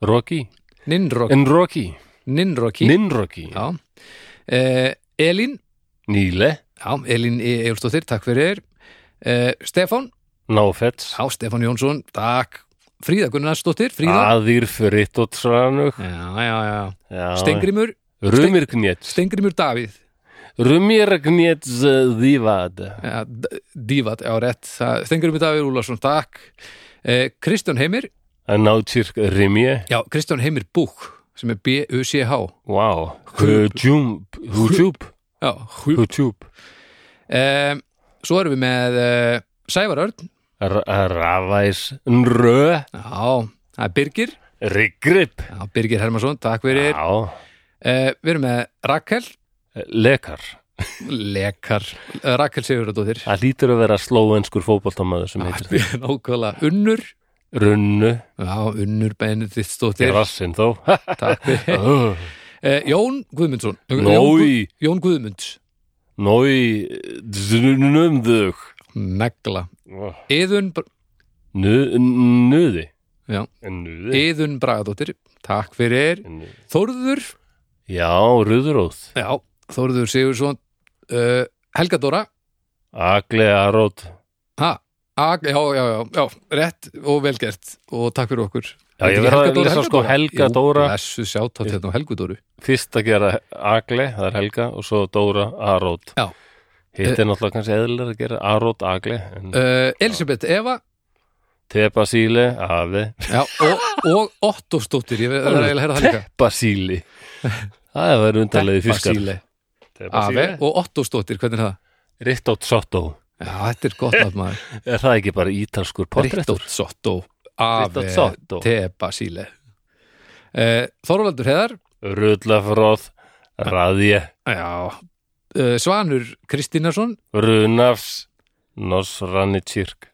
Speaker 1: Rocky,
Speaker 2: Ninroki,
Speaker 1: en Rocky
Speaker 2: Ninroki
Speaker 1: Ninrocky,
Speaker 2: já. Eh, Elín
Speaker 1: Níle
Speaker 2: já, Elín E. Eilstóttir, takk fyrir eh, Stefán,
Speaker 1: Náfets,
Speaker 2: já, Stefán Jónsson takk, Fríða Gunnarsdóttir Fríða,
Speaker 1: Aðir Frittotsranug
Speaker 2: já, já, Ah. já Stengrimur,
Speaker 1: Rumirgnets
Speaker 2: Stengrimur Davíð
Speaker 1: Rumirgnets Þývad
Speaker 2: ja, D- Dívat, já, rétt það- Stengrimur Davíð Úlarsson, takk eh, Kristján Heimir,
Speaker 1: Nátsirk Rimje
Speaker 2: já, Kristján Heimir Búk sem er B-U-C-H
Speaker 1: Wow, Hujjúb Hujjúb
Speaker 2: já, hú
Speaker 1: Hujjúb
Speaker 2: eh, svo erum við með eh, Sævar Örn,
Speaker 1: Ravæs Nrö
Speaker 2: já, það er Birgir
Speaker 1: Rigrip
Speaker 2: já, Birgir Hermansson, takk fyrir
Speaker 1: Já,
Speaker 2: Uh, við erum með Rakel
Speaker 1: Lekar
Speaker 2: lekar, Eh, Rakel Sigurðardóttir
Speaker 1: Það lítur að vera slóenskur fótboltamaður sem heitir því.
Speaker 2: nákvæmlega Unnur
Speaker 1: Runnu,
Speaker 2: já, Unnur Benediktsdóttir
Speaker 1: rassinn þó.
Speaker 2: Takk fyrir. Eh, Jón Guðmundsson Jón Gu-
Speaker 1: Nói,
Speaker 2: Jón Guðmunds
Speaker 1: nói, dnumðug.
Speaker 2: Negla Eðun, Br-
Speaker 1: Nuði.
Speaker 2: Já.
Speaker 1: Nuði.
Speaker 2: Eðun Bragadóttir Takk fyrir Þórður
Speaker 1: Já, Rúðuróð.
Speaker 2: Já, Þórður Sigursson uh, Helga Dóra
Speaker 1: Agli Aróð.
Speaker 2: ha, ag, já, já, já, já, rétt og velgert og takk fyrir okkur
Speaker 1: Já, ég verð að lesa sko Helga Dóra.
Speaker 2: Þessu sjátt átt hérna á Helgu Dóru
Speaker 1: Fyrst að gera Agli, það er Helga, og svo Dóra Aróð.
Speaker 2: Já.
Speaker 1: Hitt er náttúrulega kannski eðlilega að gera Aróð Agli. En
Speaker 2: uh, Elisabeth Eva
Speaker 1: Tepasíli, Afi.
Speaker 2: já, og, og Ottósdóttir Ég verð að eiginlega herra það líka
Speaker 1: Tepasíli. Það er verið undarlegið fiskar.
Speaker 2: Basile. Afi
Speaker 1: Tepasíli.
Speaker 2: og Ottósdóttir, hvernig er það?
Speaker 1: Rittótt Sottó.
Speaker 2: Já, þetta er gott að maður
Speaker 1: Er það ekki bara ítalskur portréttur?
Speaker 2: Rittótt Sotto Ave
Speaker 1: Rittótt Sottó.
Speaker 2: Te Basile uh, Þorvaldur Heðar
Speaker 1: Rullafróð, Raðje,
Speaker 2: Já uh, Svanur Kristínarsson
Speaker 1: Runafs, Nosrani Tjirk.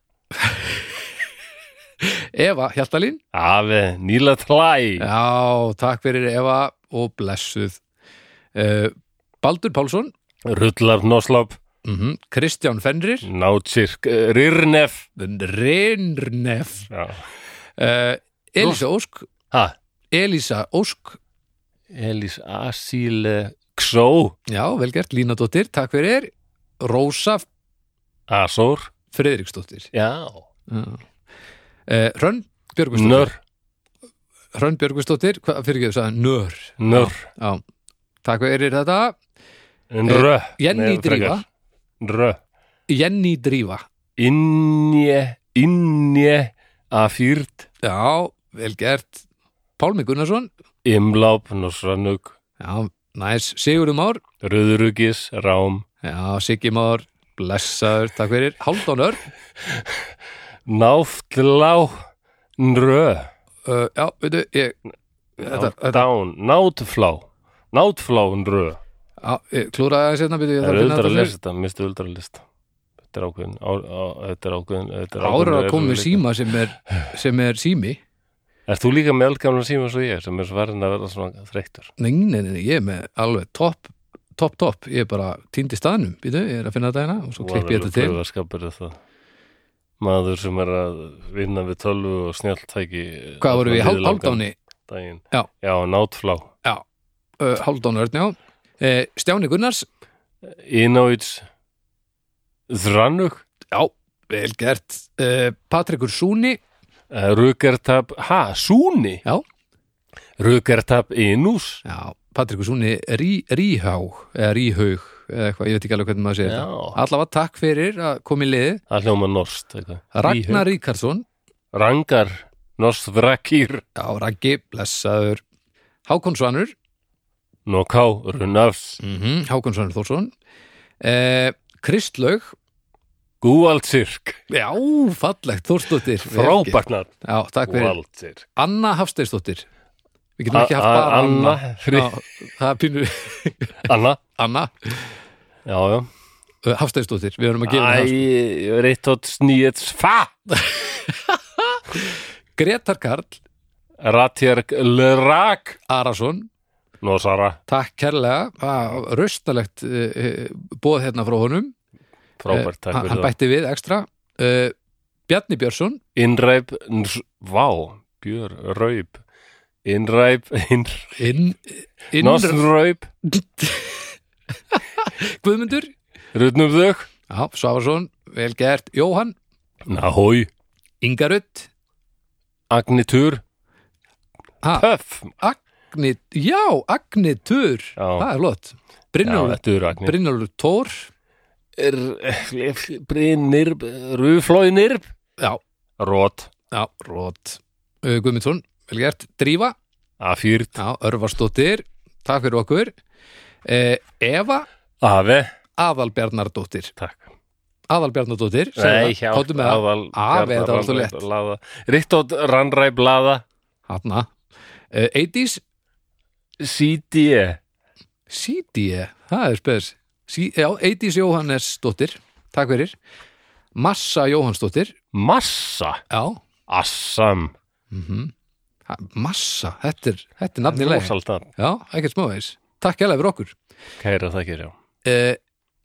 Speaker 2: Eva Hjaltalín
Speaker 1: Afi, Níla Tlæ,
Speaker 2: Já, takk fyrir Eva og blessuð uh, Baldur Pálsson
Speaker 1: Rullar Noslop,
Speaker 2: mm Kristján Fenrir
Speaker 1: Nátjirk, Rirnef.
Speaker 2: Rinnef
Speaker 1: Já.
Speaker 2: uh, Elisa Ósk
Speaker 1: Ha,
Speaker 2: Elisa Ósk
Speaker 1: Elís eh, Asíle, Xó,
Speaker 2: Já, vel gert, Lína Dóttir, takk fyrir Rósa
Speaker 1: Asór,
Speaker 2: Friðriksdóttir
Speaker 1: já,
Speaker 2: uh, Hrönn Björgustóttir
Speaker 1: Nör,
Speaker 2: Hrönn Björgustóttir, hvað fyrir ekki það? Nör
Speaker 1: Nör,
Speaker 2: Já, takk fyrir þetta
Speaker 1: Nrö.
Speaker 2: Jenny
Speaker 1: Nei,
Speaker 2: Drífa
Speaker 1: frekar. Nrö.
Speaker 2: Jenny Drífa
Speaker 1: Innje, Innje, Afýrt,
Speaker 2: Já, vel gert Pálmi Gunnarsson
Speaker 1: Imláp, Nosranug,
Speaker 2: Já, næs, Sigurður Már
Speaker 1: Röðurugis, Rám,
Speaker 2: Já, Siggi Már, blessaður, takk fyrir Haldón Örn,
Speaker 1: Náftlá Nrö
Speaker 2: uh, já, veitu ég, þetta, þetta,
Speaker 1: Down, nátflá Nátflá Nrö
Speaker 2: já, ég klúraði aðeins hérna, byrju, ég
Speaker 1: Það er
Speaker 2: þarf að finna
Speaker 1: auðvitað að
Speaker 2: þetta
Speaker 1: lesa
Speaker 2: fyrir
Speaker 1: þetta, mistu auðvitað að lesa Þetta er ákveðin á- á- Þetta er ákveðin þetta er
Speaker 2: Ára að
Speaker 1: ákveðin
Speaker 2: koma með
Speaker 1: erfiðleikar.
Speaker 2: síma sem er, sem er sími
Speaker 1: Ert þú líka með eldgamla síma svo ég sem er sverðin að verða svona þreyttur
Speaker 2: Nei, nei, nei, nei, ég er með alveg topp, topp, topp Ég er bara týndi staðnum, býtu, ég er að finna þetta hérna og svo klippi ég þetta til
Speaker 1: Flögaskapur er það Maður sem er að vinna við tölvu og snjalltæki
Speaker 2: Hvað voru við, Hál- Hálfdáni,
Speaker 1: Daginn.
Speaker 2: Já.
Speaker 1: Já, nátflá
Speaker 2: uh, Hálfdán Örn, já uh, Stjáni Gunnars,
Speaker 1: Inuits Þrannug
Speaker 2: já, vel gert uh, Patrikur Súni,
Speaker 1: Rukertab, eh, ha, Súni?
Speaker 2: Já.
Speaker 1: Rukertab Inús?
Speaker 2: Já, Patrikur Súni rí, Ríhá eða Ríhaug eða eitthvað, ég veit ekki alveg hvernig maður segir
Speaker 1: Já,
Speaker 2: þetta Allavega takk fyrir að koma í liði
Speaker 1: það hljóma norskt eitthvað.
Speaker 2: Ragnar Ríkarsson,
Speaker 1: Í- Rangar, Norsvrakir,
Speaker 2: já, Raggi, blessaður Hákon Svanur
Speaker 1: Noká, Runafs,
Speaker 2: mm Hákon Svanur Þórsson eh, Kristlaug
Speaker 1: Gúaldsirk,
Speaker 2: Já, fallegt, Þórsdóttir vel gert.
Speaker 1: Frábarnar,
Speaker 2: Já, takk fyrir
Speaker 1: Gúaldsirk.
Speaker 2: Anna Hafsteinsdóttir Við getum
Speaker 1: A-
Speaker 2: ekki haft bara
Speaker 1: a-
Speaker 2: Anna,
Speaker 1: Anna, frí,
Speaker 2: Já, það er pínu
Speaker 1: Anna,
Speaker 2: Anna
Speaker 1: já, já.
Speaker 2: uh, Hafsteinsdóttir, við erum að gefa henni Hafstein-
Speaker 1: Æ, Reittótt Sníets, Fa,
Speaker 2: Gretar Karl
Speaker 1: Ratjark, Lrak,
Speaker 2: Arason
Speaker 1: Nosara,
Speaker 2: Takk kærlega, það var raustalegt uh, bóð hérna frá honum
Speaker 1: frábært,
Speaker 2: Eh, Hann-
Speaker 1: takk
Speaker 2: Hann
Speaker 1: fyrir það.
Speaker 2: bætti við ekstra uh, Bjarni Björnsson
Speaker 1: Innræp, Ns- Vá, Björ, Raup, Innræp, Innræp.
Speaker 2: inn, inn,
Speaker 1: Norsraup,
Speaker 2: Guðmundur
Speaker 1: Rutnum þau
Speaker 2: Já, Svavarsson, vel gert Jóhann,
Speaker 1: Nahói,
Speaker 2: Ingarut
Speaker 1: Agnitur
Speaker 2: Ha.
Speaker 1: Töff
Speaker 2: Agni, Já, Agni Tur
Speaker 1: Já,
Speaker 2: Það er flott
Speaker 1: já
Speaker 2: Brynjólfur
Speaker 1: þetta eru Agnir
Speaker 2: Brynjólfur Tór eh,
Speaker 1: Brynir, Ruflóinir
Speaker 2: Já,
Speaker 1: Rót,
Speaker 2: já, rót uh, Guðmundsson, vel gert Drífa,
Speaker 1: Afýrt,
Speaker 2: já, Örvarsdóttir Takk fyrir okkur uh, Eva,
Speaker 1: Ave
Speaker 2: Aðalbjarnardóttir
Speaker 1: Takk
Speaker 2: Aðalbjarnardóttir, segðu það, kóttum með það
Speaker 1: aðal
Speaker 2: Afi, þetta var alltaf létt.
Speaker 1: létt Rittótt, Rannræ, Blada
Speaker 2: Hanna uh, 80s
Speaker 1: Sídie
Speaker 2: CD, það er spes sí, já, Eidís Jóhannesdóttir takk fyrir Massa Jóhannsdóttir
Speaker 1: Massa,
Speaker 2: já, mhm.
Speaker 1: assam
Speaker 2: ha, Massa, þetta er, þetta er nafnilega
Speaker 1: Rósaldan,
Speaker 2: já, ekkert smávegis, takk hella fyrir okkur
Speaker 1: kæra það gerir já
Speaker 2: uh,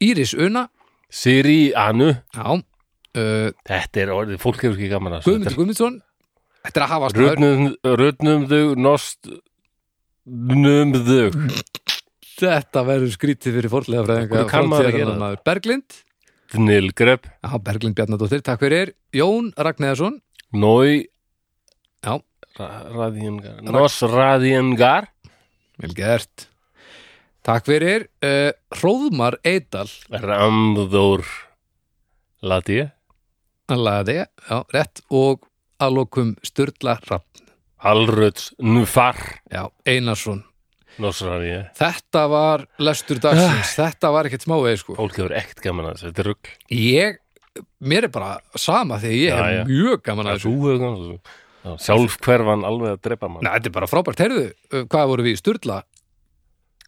Speaker 2: Íris Una
Speaker 1: Siri Anu,
Speaker 2: já, uh,
Speaker 1: þetta er orðið, fólk hefur ekki gaman að þessu.
Speaker 2: Guðmundur Guðmundsson þetta er að hafa
Speaker 1: Þetta er- Rudnum- Rudnum þau, nost Num þau
Speaker 2: þetta verður skrítið fyrir forlega fræðinga
Speaker 1: Hvernig kann maður að gera
Speaker 2: maður. Berglind,
Speaker 1: Nilgrep,
Speaker 2: já, Berglind Bjarnadóttir takk fyrir, Jón Ragnarsson
Speaker 1: Nói
Speaker 2: Já.
Speaker 1: Radiengar Nos Radiengar
Speaker 2: vel gert takk fyrir, uh, Hróðmar Eidal
Speaker 1: Ramður Lati
Speaker 2: hann lagði, já, rétt og aðlokum Sturla Rapp
Speaker 1: Alröts Nufar
Speaker 2: já, Einarsson
Speaker 1: Nos Radien
Speaker 2: þetta var lestur dagsins, þetta var ekkert smávegi sko
Speaker 1: Fólk hefur ekkert gaman að þessu, þetta er rugg
Speaker 2: ég, mér er bara sama þegar ég
Speaker 1: Já,
Speaker 2: hef
Speaker 1: já.
Speaker 2: mjög gaman að þessu
Speaker 1: Þú hefur gaman að þessu Já, Sjálfhverfan alveg að drepa mann
Speaker 2: Nei, þetta er bara frábært, heyrðu, eh, hvað voru við, Sturla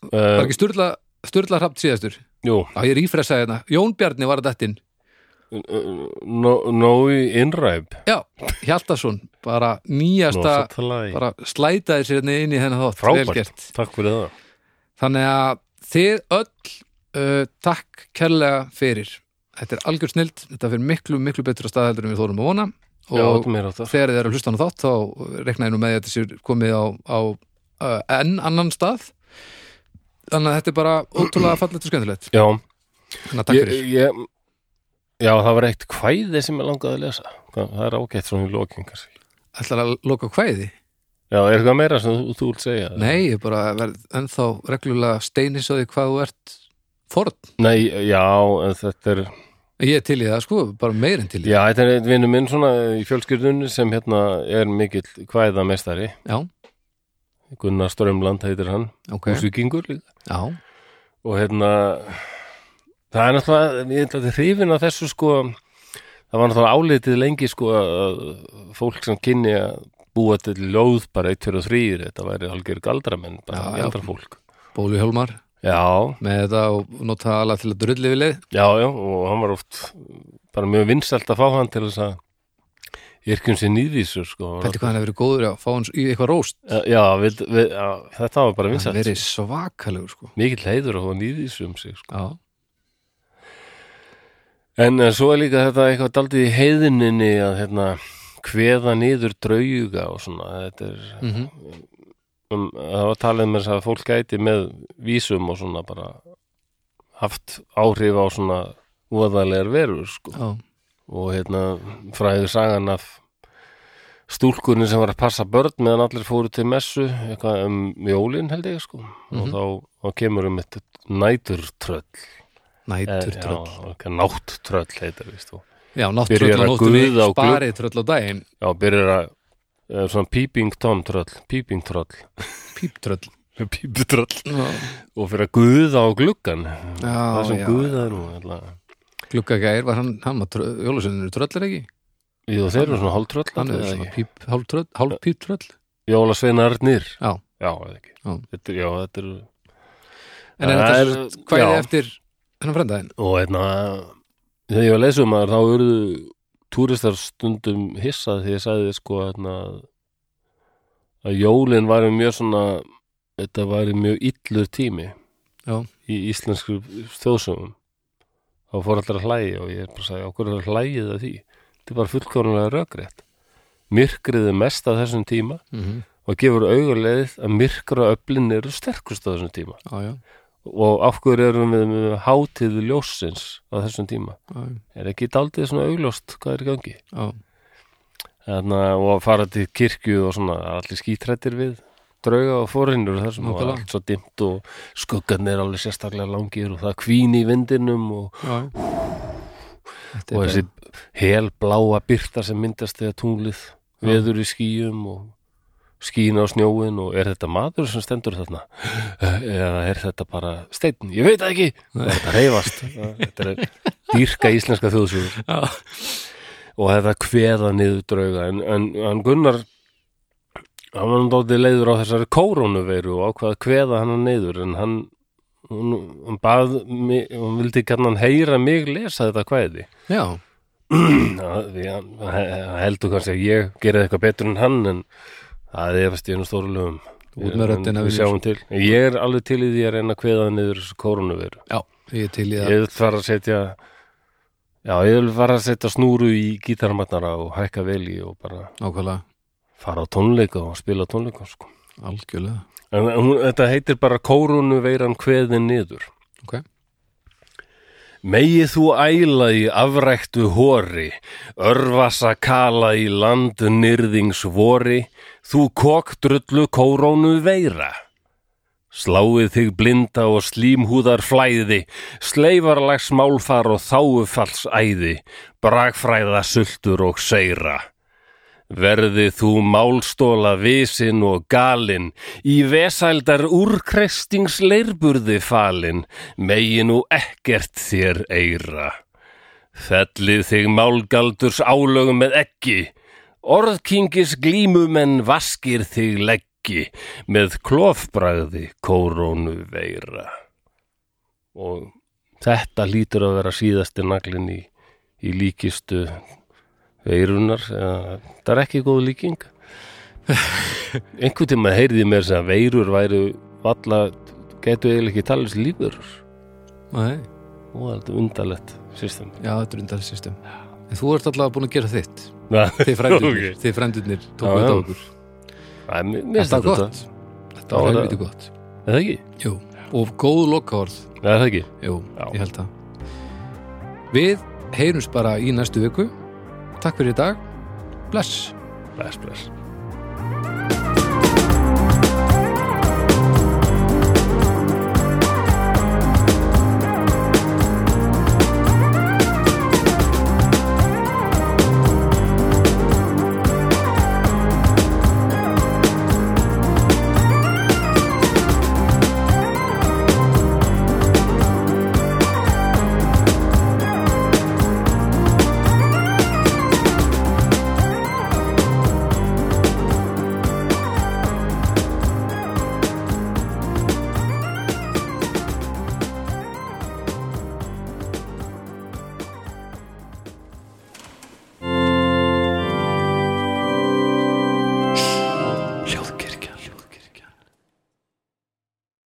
Speaker 2: var
Speaker 1: uh,
Speaker 2: ekki Sturla, Sturla Rapp síðastur
Speaker 1: Jú,
Speaker 2: Já, ég rífressaði hérna. Jón Bjarni var að dettin.
Speaker 1: uh, Nó- Nói Innræb
Speaker 2: Já, Hjaltason, bara nýjasta, bara slætaði sér hérna inn í þennan þátt.
Speaker 1: Frábært.
Speaker 2: Vel gert.
Speaker 1: Takk fyrir það
Speaker 2: Þannig að þið öll, uh, takk kærlega fyrir. Þetta er algjör snild, þetta fyrir miklu, miklu betra staðheldur en við þórum að vona. Og
Speaker 1: Já, þetta er meira áttar
Speaker 2: þegar þið eru að hlusta á þennan þátt, þá reknaði nú með því að þetta sér komið á, á uh, enn annan stað. Þannig að þetta er bara ótrúlega fallegt og skemmtilegt.
Speaker 1: Já,
Speaker 2: Þannig að takk fyrir.
Speaker 1: Ég, ég, já, það var eitt kvæði sem ég langaði að lesa. Það, það er ágætt svona í lokin, kannski.
Speaker 2: Ætlar að loka kvæði?
Speaker 1: Já, er eitthvað meira sem þú, þú vilt segja?
Speaker 2: Nei, ég bara verð ennþá reglulega steinis á því hvað þú ert forn.
Speaker 1: Nei, já, en þetta er,
Speaker 2: Ég er til í það, sko, bara meir en til í það.
Speaker 1: já, þetta er einn vinnu minn svona í fjölskyldunni sem hérna er mikill kvæðamestari.
Speaker 2: Já,
Speaker 1: Gunnar Strömland heitir hann,
Speaker 2: ok.
Speaker 1: húsvíkingur líka.
Speaker 2: Já,
Speaker 1: Og hérna, það er náttúrulega, ég ætla til hrifin að þessu sko, það var náttúrulega álitið lengi sko að fólk sem kynni að búa til ljóð bara 1, 2 og 3, þetta væri algjör galdramenn,
Speaker 2: Já,
Speaker 1: bara
Speaker 2: já.
Speaker 1: galdrafólk.
Speaker 2: Bólu Hjálmar
Speaker 1: Já,
Speaker 2: með þetta og nota alla til að drulli við leið.
Speaker 1: já, já og hann var oft bara mjög vinsælt að fá hann til þess að yrkjum sér nýðvísur sko. Hann var
Speaker 2: Pætti hvað hann hefur verið góður að fá hans í eitthvað róst.
Speaker 1: oft- Já, við, við, já, þetta var bara
Speaker 2: Hann hefur
Speaker 1: vinsælt
Speaker 2: verið svakalegur, sko.
Speaker 1: Mikill heiður að fá nýðvísu um sig sko.
Speaker 2: Já,
Speaker 1: En eh, svo er líka þetta eitthvað daldið í heiðinni að hérna hveða niður drauga og svona þetta er,
Speaker 2: mm
Speaker 1: um, það var talið með þess að fólk gæti með vísum og svona bara haft áhrif á svona úðalegar verur sko.
Speaker 2: já,
Speaker 1: og hérna fræður sagan af stúlkunni sem var að passa börn meðan allir fóru til messu eitthvað um jólin held ég sko og
Speaker 2: Mhm.
Speaker 1: þá, þá kemur um eitt næturtröll Eh,
Speaker 2: nætur tröll.
Speaker 1: náttröll heitir víst þú
Speaker 2: Já,
Speaker 1: Byrjar
Speaker 2: náttröll
Speaker 1: að
Speaker 2: og nóttunni,
Speaker 1: guða á glugg-
Speaker 2: sparið tröll á daginn,
Speaker 1: já, byrjar að eh, svona peeping tom tröll peeping tröll
Speaker 2: píptröll.
Speaker 1: píputröll
Speaker 2: Já,
Speaker 1: og fyrir að guða á gluggan það
Speaker 2: já,
Speaker 1: sem
Speaker 2: já.
Speaker 1: guða er nú ætla-
Speaker 2: Gluggagæir var hann, hann var jólusuninu tröllir ekki?
Speaker 1: Jú, þeir eru svona
Speaker 2: Hann er svona
Speaker 1: hálftröll
Speaker 2: píp, hálftröll, hálfpíptröll.
Speaker 1: Jólasveinarnir
Speaker 2: Já.
Speaker 1: já, eða ekki
Speaker 2: Já.
Speaker 1: Þetta, já, þetta er
Speaker 2: En er
Speaker 1: Það
Speaker 2: þetta
Speaker 1: er-
Speaker 2: svo sagt kvæði
Speaker 1: já.
Speaker 2: eftir hennan frendaðin?
Speaker 1: og hérna þegar ég var leysum að um þá urðu túristar stundum hissað því ég sagði sko hérna, að jólin væri mjög svona þetta væri mjög illur tími
Speaker 2: Já.
Speaker 1: í íslensku þjóðsögum þá fór allir að hlæja og ég er bara að sagði okkur er hlægið að því þetta er bara fullkomlega rökrétt myrkrið er mest á þessum tíma
Speaker 2: Mm -hmm.
Speaker 1: og gefur augulegð að myrkra öflin eru sterkust á þessum tíma
Speaker 2: Já, já,
Speaker 1: og af hverju erum við með hátíð ljósins á þessum tíma
Speaker 2: já,
Speaker 1: er ekki daldið svona augljóst hvað er í gangi
Speaker 2: já,
Speaker 1: Þarna, og að fara til kirkju og svona allir skítrættir við drauga og fórinnur þar sem var
Speaker 2: Nákvæmlega.
Speaker 1: allt svo dimmt og skuggarnir alveg sérstaklega langir og það kvín í vindinum og,
Speaker 2: já. Þetta er
Speaker 1: og
Speaker 2: bara-
Speaker 1: þessi helbláa byrta sem myndast þegar tunglið
Speaker 2: Já.
Speaker 1: veður í skýjum og skín á snjóin og er þetta maður sem stendur þarna eða er þetta bara steinn, ég veit það ekki og þetta reyfast þetta er dýrka íslenska þjóðsjóður
Speaker 2: Já,
Speaker 1: og þetta kveða niður drauga en, en, en Gunnar hann var náttúrulega leiður á þessari kórónuveiru og ákvað að kveða hann niður en hann hún, hún bað mig, hún vildi kannan heyra mig lesa þetta kvæði
Speaker 2: já,
Speaker 1: Já, því hann hann heldur kannski að ég gerði eitthvað betur en hann en það er fast ég nú stórulegum
Speaker 2: Út með röddina,
Speaker 1: við
Speaker 2: Vilhjálmsson.
Speaker 1: sjáum til ég er alveg til í því að reyna að kveða niður þessu koronaviru
Speaker 2: já, ég er til í það
Speaker 1: ég vil fara að setja já, ég vil fara að setja snúru í gítarmatnara og hækka vel í og bara
Speaker 2: nákvæmlega
Speaker 1: fara á tónleika og spila á tónleika sko.
Speaker 2: algjörlega,
Speaker 1: en hún, þetta heitir bara koronuveiran kveðin niður
Speaker 2: ok
Speaker 1: Megið þú æla í afræktu hóri, örvasa kala í landnyrðingsvori, þú kokdrullu kórónu veira. Sláið þig blinda og slímhúðar flæði, sleifarlags málfar og þáufalls æði, bragfræða sultur og seira. Verði þú málstóla visin og galin, í vesældar úrkrestings leirburði falin, megi nú ekkert þér eira. Fellið þig málgaldurs álögum með ekki, orðkingis glímumenn vaskir þig leggi, með klofbragði kórónu veira. Og þetta lítur að vera síðasti naglinn í, í líkistu veirunar eða, það er ekki góð líking einhvern tíma heyrði mér sem að veirur væru valla getur eiginlega ekki talist lífverur
Speaker 2: Nei,
Speaker 1: og það er undarlegt system
Speaker 2: já, þetta er undarlega system En þú ert allavega búin að gera þitt
Speaker 1: það
Speaker 2: Þið frændurnir,
Speaker 1: Ok.
Speaker 2: þið frændurnir
Speaker 1: Já,
Speaker 2: tóku þetta
Speaker 1: já.
Speaker 2: á okkur
Speaker 1: er mér mér finnst
Speaker 2: Þetta var
Speaker 1: þetta
Speaker 2: gott Þetta var
Speaker 1: Já,
Speaker 2: helviti gott
Speaker 1: er það ekki?
Speaker 2: Jú, og góð lokaorð
Speaker 1: Nei, er það ekki?
Speaker 2: Jú,
Speaker 1: Já.
Speaker 2: ég held það Við heyrums bara í næstu viku Takk fyrir í dag Bless
Speaker 1: bless bless